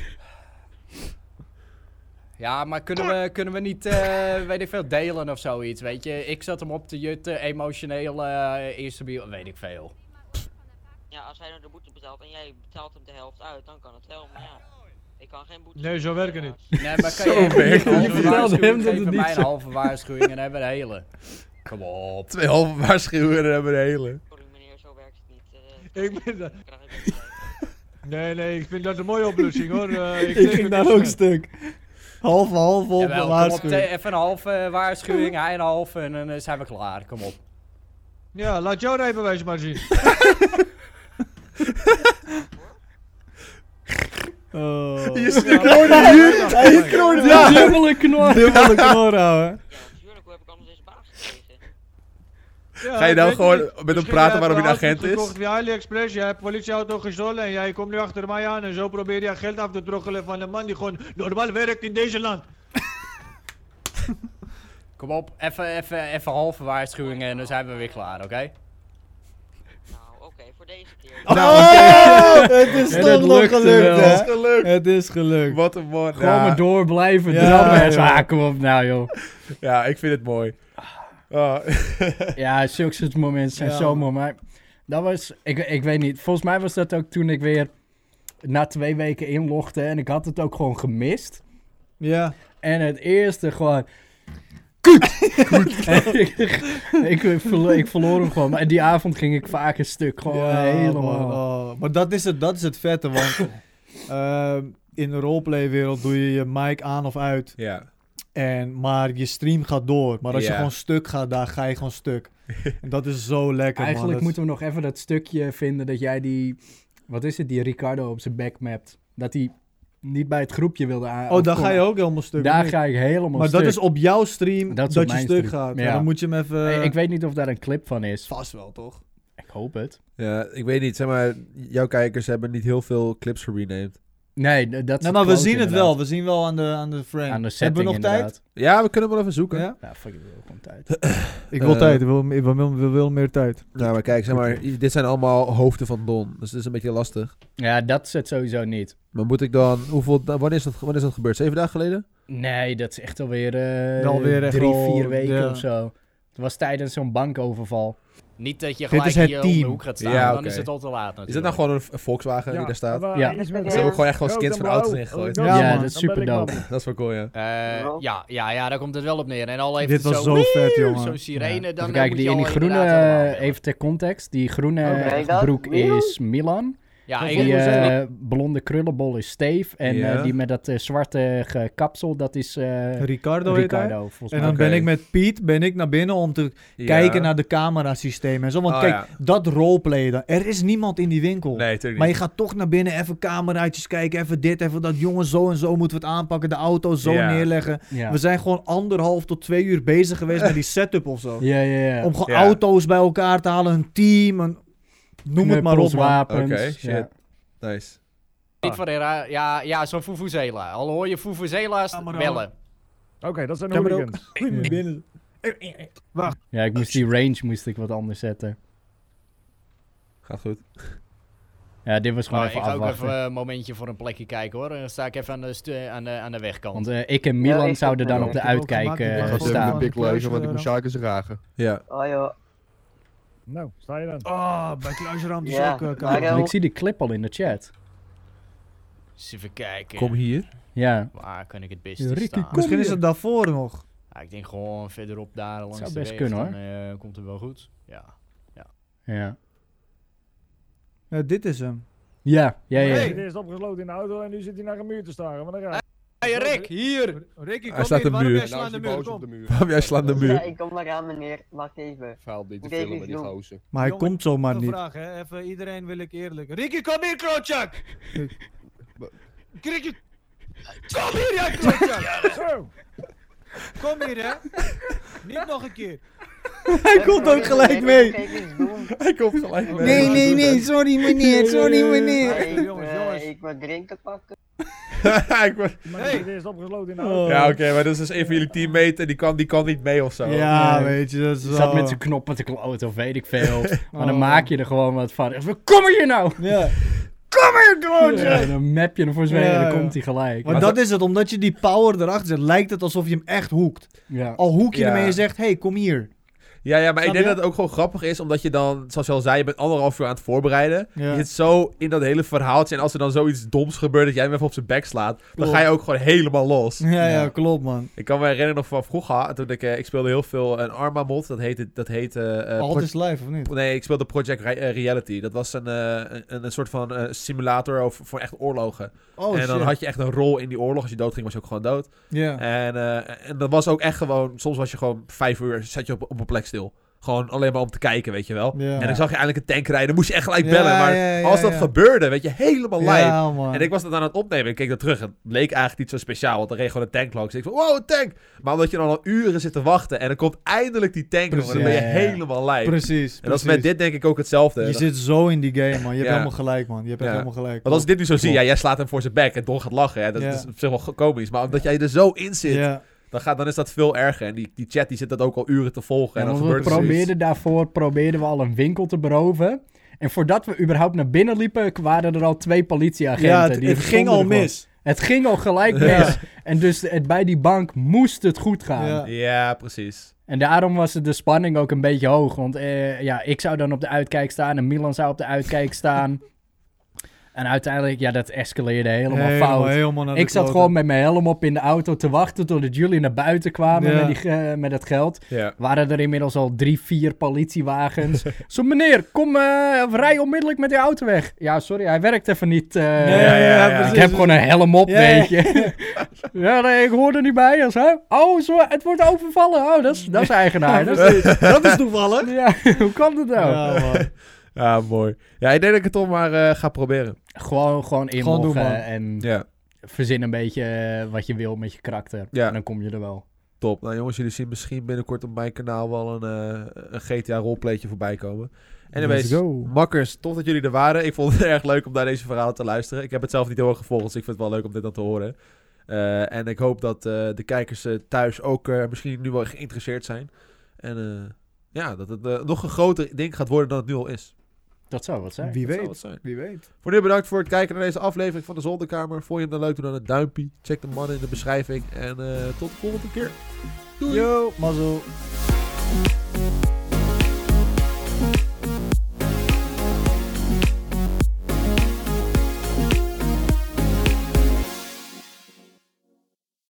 Speaker 7: Ja, maar kunnen we, kunnen we niet, eh, weet ik veel, delen of zoiets, weet je? Ik zat hem op te jutten, emotioneel, eh instabiel, weet ik veel.
Speaker 8: Ja, als hij nou de boete betaalt en jij betaalt hem de helft uit, dan kan het wel. Maar ja, ik kan geen boete...
Speaker 5: Nee, zo
Speaker 8: betalen,
Speaker 5: werken
Speaker 8: helaas.
Speaker 7: Nee,
Speaker 2: <laughs>
Speaker 7: maar kan
Speaker 1: Zo
Speaker 7: je even
Speaker 1: werkt het
Speaker 7: een halve
Speaker 1: niet.
Speaker 7: waarschuwing
Speaker 2: Vertel hem dat
Speaker 7: geven,
Speaker 2: het niet
Speaker 7: mij
Speaker 2: zo-
Speaker 7: een halve waarschuwing en hebben we de hele. Kom op.
Speaker 1: Twee halve waarschuwen en hebben de hele.
Speaker 8: Sorry meneer, zo werkt het niet.
Speaker 5: <laughs>
Speaker 8: eh,
Speaker 5: Ik ben dat...
Speaker 8: krijg ik het niet.
Speaker 5: Nee, nee, ik vind dat een mooie oplossing hoor.
Speaker 1: <laughs>
Speaker 5: Eh, ik
Speaker 3: Ik
Speaker 5: teken
Speaker 3: ging daar
Speaker 5: niks
Speaker 3: ook
Speaker 5: mee.
Speaker 3: stuk. Half, half op,
Speaker 7: Jawel, kom op,
Speaker 3: waarschuwing.
Speaker 7: te- even een halve waarschuwing, hij een halve en dan eh, zijn we klaar, kom op.
Speaker 5: Ja, laat jouw rijbewijs
Speaker 1: <laughs>
Speaker 5: maar zien.
Speaker 3: Oh.
Speaker 1: Je
Speaker 5: Nou,
Speaker 1: snoorde hier. Hij snoorde ja.
Speaker 2: Dubbele knor.
Speaker 3: Dubbele knor houden.
Speaker 8: Ja, natuurlijk. Hoe heb ik anders deze baas gekregen?
Speaker 1: Ga je nou gewoon met hem praten waarom hij een agent
Speaker 5: Je
Speaker 1: is?
Speaker 5: hebt via AliExpress, je hebt politieauto gestolen en jij komt nu achter mij aan. En zo probeer je geld af te troggelen van een man die gewoon normaal werkt in deze land.
Speaker 7: Kom op, even, even, even halve waarschuwingen en dan zijn we weer klaar, oké?
Speaker 9: Nou, oké, voor deze keer.
Speaker 1: Nou,
Speaker 7: Nou,
Speaker 3: Oh, het is
Speaker 2: En
Speaker 3: toch
Speaker 2: het
Speaker 3: nog
Speaker 2: lukte
Speaker 3: gelukt,
Speaker 2: wel.
Speaker 3: hè?
Speaker 1: Gelukt.
Speaker 3: Het is gelukt.
Speaker 1: Wat een man.
Speaker 2: Gewoon
Speaker 1: Ja.
Speaker 2: maar door blijven
Speaker 3: Ja,
Speaker 2: drammen. en zo,
Speaker 3: joh.
Speaker 2: ah, kom op nou, joh.
Speaker 1: ja, ik vind het mooi.
Speaker 7: Ah.
Speaker 1: Oh,
Speaker 2: Ja, zulke soort momenten zijn
Speaker 3: Ja.
Speaker 2: zo mooi. Maar dat was, ik, ik weet niet. Volgens mij was dat ook toen ik weer na twee weken inlogde. En ik had het ook gewoon gemist.
Speaker 3: Ja.
Speaker 2: En het eerste gewoon... <laughs> Kut! ik, ik, verlo- ik verloor hem gewoon. Maar die avond ging ik vaak een stuk. Gewoon eh,
Speaker 3: Ja,
Speaker 2: helemaal.
Speaker 3: man, oh. Maar dat is het, dat is het
Speaker 2: <laughs>
Speaker 3: vette, want ehm, in de roleplay-wereld doe je je mic aan of uit.
Speaker 1: <laughs> ja.
Speaker 3: En, maar je stream gaat door. Maar als je
Speaker 1: Ja.
Speaker 3: gewoon stuk gaat, daar ga je gewoon stuk. En dat is zo lekker,
Speaker 2: Eigenlijk
Speaker 3: man. Dat is-
Speaker 2: moeten we nog even dat stukje vinden dat jij die... Wat is het? Die Ricardo op zijn back mapt. Dat hij niet bij het groepje wilde aan.
Speaker 3: Oh, daar ga je
Speaker 2: ook.
Speaker 3: ook helemaal stuk.
Speaker 2: Daar
Speaker 3: Nee.
Speaker 2: ga ik helemaal
Speaker 3: maar
Speaker 2: stuk.
Speaker 3: dat is op jouw stream
Speaker 2: Dat
Speaker 3: dat,
Speaker 2: is op
Speaker 3: je
Speaker 2: mijn
Speaker 3: stuk
Speaker 2: stream.
Speaker 3: gaat.
Speaker 2: Ja.
Speaker 3: Ja. Dan moet je hem even...
Speaker 2: Ik- ik weet niet of daar een clip van is.
Speaker 3: Vast wel, toch?
Speaker 2: Ik hoop het.
Speaker 1: ja, ik weet niet. Zeg maar, jouw kijkers hebben niet heel veel clips gerenamed.
Speaker 2: Nee, d- dat is
Speaker 3: Nee, maar Nou, we
Speaker 2: klote
Speaker 3: zien het
Speaker 2: inderdaad.
Speaker 3: wel. We zien wel aan de, aan de frame.
Speaker 2: Aan de setting
Speaker 3: Hebben we nog
Speaker 2: inderdaad.
Speaker 1: Ja, we kunnen hem wel even zoeken.
Speaker 3: tijd? Ja?
Speaker 2: Nou, fuck, ik wil gewoon tijd.
Speaker 3: Ik wil
Speaker 1: Eh,
Speaker 3: tijd. Ik wil, ik wil, ik wil- ik wil meer tijd.
Speaker 1: Nou, maar kijk, zeg maar, i- dit zijn allemaal hoofden van Don. Dus het is een beetje lastig.
Speaker 2: Ja, dat is het sowieso niet.
Speaker 1: Maar moet ik dan... Hoeveel, da- wanneer, is dat, wanneer is dat gebeurd? Zeven dagen geleden?
Speaker 2: Nee, dat is echt alweer, eh
Speaker 3: Wel weer echt
Speaker 2: drie,
Speaker 3: al-
Speaker 2: vier weken
Speaker 3: ja.
Speaker 2: of zo. Het was tijdens zo'n bankoverval.
Speaker 7: Niet dat je
Speaker 3: Dit
Speaker 7: gelijk
Speaker 3: is het
Speaker 7: hier om de
Speaker 3: team.
Speaker 7: hoek gaat staan,
Speaker 1: Ja,
Speaker 7: dan
Speaker 1: oké.
Speaker 7: is het al te laat natuurlijk.
Speaker 1: Is dat nou gewoon een v- Volkswagen die daar staat? Ze
Speaker 2: Ja.
Speaker 1: hebben gewoon echt gewoon skins van auto's ingegooid.
Speaker 3: Ja,
Speaker 2: Ja,
Speaker 3: man.
Speaker 2: dat is super dope.
Speaker 1: <laughs> Dat is wel cool, ja.
Speaker 7: Eh, ja, ja, ja, daar komt het wel op neer. En al even
Speaker 3: Dit was
Speaker 7: zo,
Speaker 3: zo vet, jongen.
Speaker 7: zo'n sirene, dan
Speaker 2: Even
Speaker 7: eh,
Speaker 2: kijken,
Speaker 7: moet
Speaker 2: die
Speaker 7: je
Speaker 2: in die
Speaker 7: al
Speaker 2: groene, eh,
Speaker 7: inderdaad allemaal bellen.
Speaker 2: even ter context, die groene eh,
Speaker 10: Oké, dat-
Speaker 2: broek is Milan.
Speaker 7: Ja, ik,
Speaker 2: Die
Speaker 7: ik-
Speaker 2: eh, blonde krullenbol is Steve. En eh,
Speaker 1: Ja.
Speaker 2: die met dat eh, zwarte ge- kapsel, dat is eh,
Speaker 3: Ricardo heet hij.
Speaker 2: Ricardo, volgens
Speaker 3: En
Speaker 2: mij.
Speaker 3: dan
Speaker 1: Oké.
Speaker 3: ben ik met Piet ben ik naar binnen om te kijken naar de camerasysteem en zo. Want
Speaker 1: Oh,
Speaker 3: kijk,
Speaker 1: ja.
Speaker 3: dat roleplay dan. Er is niemand in die winkel.
Speaker 1: Nee, natuurlijk
Speaker 3: Maar je
Speaker 1: niet.
Speaker 3: gaat toch naar binnen, even cameraatjes kijken, even dit, even dat. Jongen, zo en zo moeten we het aanpakken, de auto zo
Speaker 1: Ja.
Speaker 3: neerleggen.
Speaker 2: Ja.
Speaker 3: We zijn gewoon anderhalf tot twee uur bezig geweest met die setup of zo.
Speaker 2: Ja, ja, ja.
Speaker 3: Om gewoon
Speaker 1: Ja.
Speaker 3: auto's bij elkaar te halen, een team, een... noem het maar op.
Speaker 2: Knuppels,
Speaker 3: man.
Speaker 2: wapens.
Speaker 1: Oké, shit.
Speaker 2: ja.
Speaker 1: Nice.
Speaker 7: Piet Ferreira, ja, ja zo'n Fufuzela. Al hoor je Fufuzela's
Speaker 5: Ja, maar dan-
Speaker 7: bellen.
Speaker 10: Oké, dat zijn
Speaker 3: Ja, maar ook-
Speaker 10: hooligans.
Speaker 2: Ja, ik moest die range moest ik wat anders zetten.
Speaker 1: Gaat goed.
Speaker 2: Ja, dit was gewoon
Speaker 7: Maar Oh, ik
Speaker 2: even
Speaker 7: ga ook
Speaker 2: afwachten.
Speaker 7: even eh, een momentje voor een plekje kijken hoor. Dan sta ik even aan de, stu- aan de, aan de wegkant.
Speaker 2: Want eh, ik en
Speaker 10: Ja,
Speaker 2: Milan
Speaker 10: ik
Speaker 2: zouden
Speaker 10: ook
Speaker 2: dan
Speaker 10: wel.
Speaker 2: op de
Speaker 10: Ik
Speaker 5: heb ook
Speaker 2: uitkijk
Speaker 5: gemaakt, ik
Speaker 2: eh,
Speaker 5: ben
Speaker 10: Ik ga
Speaker 5: gewoon
Speaker 10: even
Speaker 2: staan.
Speaker 10: de pik lezen, want ik moet Sjaak eens ragen.
Speaker 1: Ja.
Speaker 10: Oh joh.
Speaker 5: Nou.
Speaker 10: Sta je dan?
Speaker 5: Ah, bij Kluisram is
Speaker 10: Ja,
Speaker 5: ook eh,
Speaker 10: maar,
Speaker 5: koud.
Speaker 10: eh,
Speaker 2: Want ik zie die clip al in de chat.
Speaker 7: Eens Dus even kijken.
Speaker 1: Kom hier. <laughs>
Speaker 2: Ja,
Speaker 7: Waar kan ik het
Speaker 2: Ja,
Speaker 7: beste
Speaker 2: Ricky,
Speaker 7: staan?
Speaker 2: kom.
Speaker 3: Misschien is
Speaker 2: hier.
Speaker 3: het daarvoor nog.
Speaker 7: Ja, ik denk gewoon verderop daar langs
Speaker 2: Zou
Speaker 7: de
Speaker 2: best
Speaker 7: weg,
Speaker 2: kunnen, hoor.
Speaker 7: Dan eh, komt het wel goed. Ja.
Speaker 2: ja.
Speaker 3: Ja, dit is hem.
Speaker 2: Ja, ja, ja.
Speaker 10: Hij is opgesloten in de auto en nu zit hij naar een muur te staren. Wat een raar.
Speaker 7: Hey Rick, hier!
Speaker 5: Ricky,
Speaker 1: Hij
Speaker 5: kom
Speaker 1: staat
Speaker 5: in,
Speaker 1: een
Speaker 5: waarom
Speaker 1: muur.
Speaker 5: jij slaat de muur? Kom.
Speaker 1: Waarom jij slaat de
Speaker 8: Ja,
Speaker 1: <laughs> muur?
Speaker 8: ik kom eraan, meneer. Wacht even.
Speaker 10: Vuil niet
Speaker 8: te filmen, die
Speaker 10: gozer.
Speaker 3: Maar hij
Speaker 5: Jongen,
Speaker 3: komt zomaar
Speaker 5: Een
Speaker 3: niet.
Speaker 5: vraag, hè? Even, iedereen wil ik eerlijk. Ricky, kom hier,
Speaker 1: <laughs>
Speaker 5: klootzak! Ricky, kom hier, jij klootzak!
Speaker 10: Zo!
Speaker 5: Kom hier, hè? Niet nog een keer.
Speaker 3: Hij komt ook gelijk mee.
Speaker 1: Hij komt gelijk
Speaker 5: mee. Nee, nee, nee,
Speaker 3: sorry meneer, sorry meneer.
Speaker 8: Hey,
Speaker 5: Jongens,
Speaker 8: jongens,
Speaker 5: jongens.
Speaker 8: jongens. Ik wil drinken pakken.
Speaker 10: Hij is opgesloten in de
Speaker 11: Oh.
Speaker 10: auto.
Speaker 1: Ja, oké, maar dat is dus een van jullie teammate en die kan, die kan niet mee of zo.
Speaker 3: Ja,
Speaker 2: Nee.
Speaker 3: weet je, dat is
Speaker 2: Ze
Speaker 3: wel-
Speaker 2: zat met zijn knoppen te kloten of weet ik veel. Maar dan
Speaker 3: Oh.
Speaker 2: maak je er gewoon wat van. Echt, Kom hier nou!
Speaker 3: Ja.
Speaker 2: Ja, dan map je hem voor z'n en
Speaker 3: Ja,
Speaker 2: dan
Speaker 3: ja.
Speaker 2: komt hij gelijk.
Speaker 3: Maar dat is het, omdat je die power erachter zet, lijkt het alsof je hem echt hoekt.
Speaker 2: Ja.
Speaker 3: Al hoek je
Speaker 1: Ja.
Speaker 3: hem en je zegt, hey, kom hier.
Speaker 1: Ja, ja, maar ik
Speaker 3: Snap
Speaker 1: denk
Speaker 3: je?
Speaker 1: dat het ook gewoon grappig is, omdat je dan, zoals je al zei, je bent anderhalf uur aan het voorbereiden.
Speaker 3: Ja.
Speaker 1: Je zit zo in dat hele verhaaltje en als er dan zoiets doms gebeurt dat jij hem even op zijn bek slaat, dan
Speaker 3: Klopt.
Speaker 1: ga je ook gewoon helemaal los.
Speaker 3: Ja, ja,
Speaker 2: Ja.
Speaker 3: klopt man.
Speaker 1: Ik kan me herinneren nog van vroeger, toen ik, eh, ik speelde heel veel een Arma-mod, dat heette... Dat heette eh, eh,
Speaker 3: Altijd live, of niet?
Speaker 1: pro- nee, ik speelde Project Re- eh, Reality. Dat was een, eh, een, een soort van eh, simulator over, voor echt oorlogen.
Speaker 3: Oh
Speaker 1: en dan
Speaker 3: shit.
Speaker 1: had je echt een rol in die oorlog. Als je doodging, was je ook gewoon dood.
Speaker 3: Ja.
Speaker 1: En, eh, en dat was ook echt gewoon, soms was je gewoon vijf uur, zat je op, op een plek stil. Gewoon alleen maar om te kijken, weet je wel.
Speaker 11: Ja.
Speaker 1: En dan zag je eindelijk een tank rijden. Dan moest je echt gelijk
Speaker 11: Ja,
Speaker 1: bellen. Maar
Speaker 11: ja, ja,
Speaker 1: als dat
Speaker 11: ja.
Speaker 1: gebeurde, weet je, helemaal
Speaker 11: Ja,
Speaker 1: lijp.
Speaker 11: man.
Speaker 1: en ik was dat aan het opnemen. Ik keek dat terug. Het leek eigenlijk niet zo speciaal. Want dan reed gewoon een tank langs. Ik van, wow, een tank! Maar omdat je dan al uren zit te wachten. En dan komt eindelijk die tank. jongen, dan ben je
Speaker 11: Precies. Ja, ja.
Speaker 1: helemaal lijp.
Speaker 11: Precies,
Speaker 1: En dat is met
Speaker 11: precies.
Speaker 1: dit denk ik ook
Speaker 3: eh,
Speaker 1: hetzelfde.
Speaker 11: Je
Speaker 1: Dat-
Speaker 11: zit zo in die game, man. Je hebt
Speaker 1: Ja.
Speaker 11: helemaal gelijk, man. Je hebt echt
Speaker 1: Ja.
Speaker 11: helemaal gelijk.
Speaker 1: Want als ik dit nu zo zie,
Speaker 11: Klopt.
Speaker 1: ja, jij slaat hem voor zijn bek en Don gaat lachen. Ja, dat
Speaker 11: Ja.
Speaker 1: is op zich wel go- komisch. Maar omdat jij er zo in zit,
Speaker 11: Ja.
Speaker 1: dan, gaat, dan is dat veel erger. En die, die chat die zit dat ook al uren te volgen.
Speaker 2: Ja,
Speaker 1: en dan
Speaker 2: want
Speaker 1: gebeurt
Speaker 2: we
Speaker 1: er zoiets.
Speaker 2: probeerden daarvoor probeerden we al een winkel te beroven. En voordat we überhaupt naar binnen liepen, waren er al twee politieagenten.
Speaker 11: Ja, het-
Speaker 2: die
Speaker 11: het
Speaker 2: het
Speaker 11: ging
Speaker 2: stonden
Speaker 11: al
Speaker 2: gewoon.
Speaker 11: mis.
Speaker 2: Het ging al gelijk
Speaker 11: Ja.
Speaker 2: mis. En dus het, bij die bank moest het goed gaan.
Speaker 1: Ja, precies.
Speaker 2: En daarom was de spanning ook een beetje hoog. Want eh, ja, ik zou dan op de uitkijk staan en Milan zou op de uitkijk staan. <laughs> En uiteindelijk, ja, dat escaleerde helemaal,
Speaker 11: Helemaal-
Speaker 2: fout.
Speaker 11: helemaal naar de
Speaker 2: ik zat
Speaker 11: kloten.
Speaker 2: gewoon met mijn helm op in de auto te wachten totdat jullie naar buiten kwamen
Speaker 11: Ja.
Speaker 2: met, die, ge- met het geld.
Speaker 11: Ja.
Speaker 2: Waren er inmiddels al drie, vier
Speaker 11: <laughs>
Speaker 2: politiewagens. Zo, meneer, kom, eh, rij onmiddellijk met uw auto weg. Ja, sorry, hij werkt even niet. eh,
Speaker 11: ja, ja,
Speaker 2: Ik
Speaker 11: precies.
Speaker 2: heb gewoon een helm op,
Speaker 11: Ja, ja.
Speaker 2: weet je. <laughs> ja, nee, ik hoor er niet bij. als hè? Oh, zo, het wordt overvallen. Oh, dat is, dat is eigenaar.
Speaker 11: Ja,
Speaker 2: dat, is,
Speaker 11: precies. Dat is toevallig.
Speaker 2: Ja, <laughs> hoe kan dat nou?
Speaker 11: Ja, man.
Speaker 1: <laughs> Ja, mooi. Ja, ik denk dat ik het toch maar eh, ga proberen.
Speaker 2: Gewoon, gewoon
Speaker 1: Gewoon doen,
Speaker 2: inloggen
Speaker 1: man.
Speaker 2: en
Speaker 1: Ja.
Speaker 2: verzin een beetje eh, wat je wil met je karakter.
Speaker 1: Ja.
Speaker 2: En dan kom je er wel.
Speaker 1: Top. Nou jongens, jullie zien misschien binnenkort op mijn kanaal wel een, eh, een GTA roleplaytje voorbij komen. Anyways,
Speaker 11: Let's go.
Speaker 1: makkers, tof dat jullie er waren. Ik vond het <laughs> erg leuk om naar deze verhalen te luisteren. Ik heb het zelf niet heel erg gevolgd, dus ik vind het wel leuk om dit dan te horen. Eh, en ik hoop dat eh, de kijkers eh, thuis ook eh, misschien nu wel geïnteresseerd zijn. En eh, ja, dat het eh, nog een groter ding gaat worden dan het nu al is.
Speaker 2: Dat zou wat zijn.
Speaker 11: Wie
Speaker 1: Dat zou
Speaker 11: weet.
Speaker 1: wat zijn.
Speaker 11: Wie weet.
Speaker 1: Voor nu bedankt voor het kijken naar deze aflevering van de Zolderkamer. Vond je hem dan leuk, doe dan een duimpje. Check de mannen in de beschrijving. En eh, tot de volgende keer.
Speaker 11: Yo, mazzel.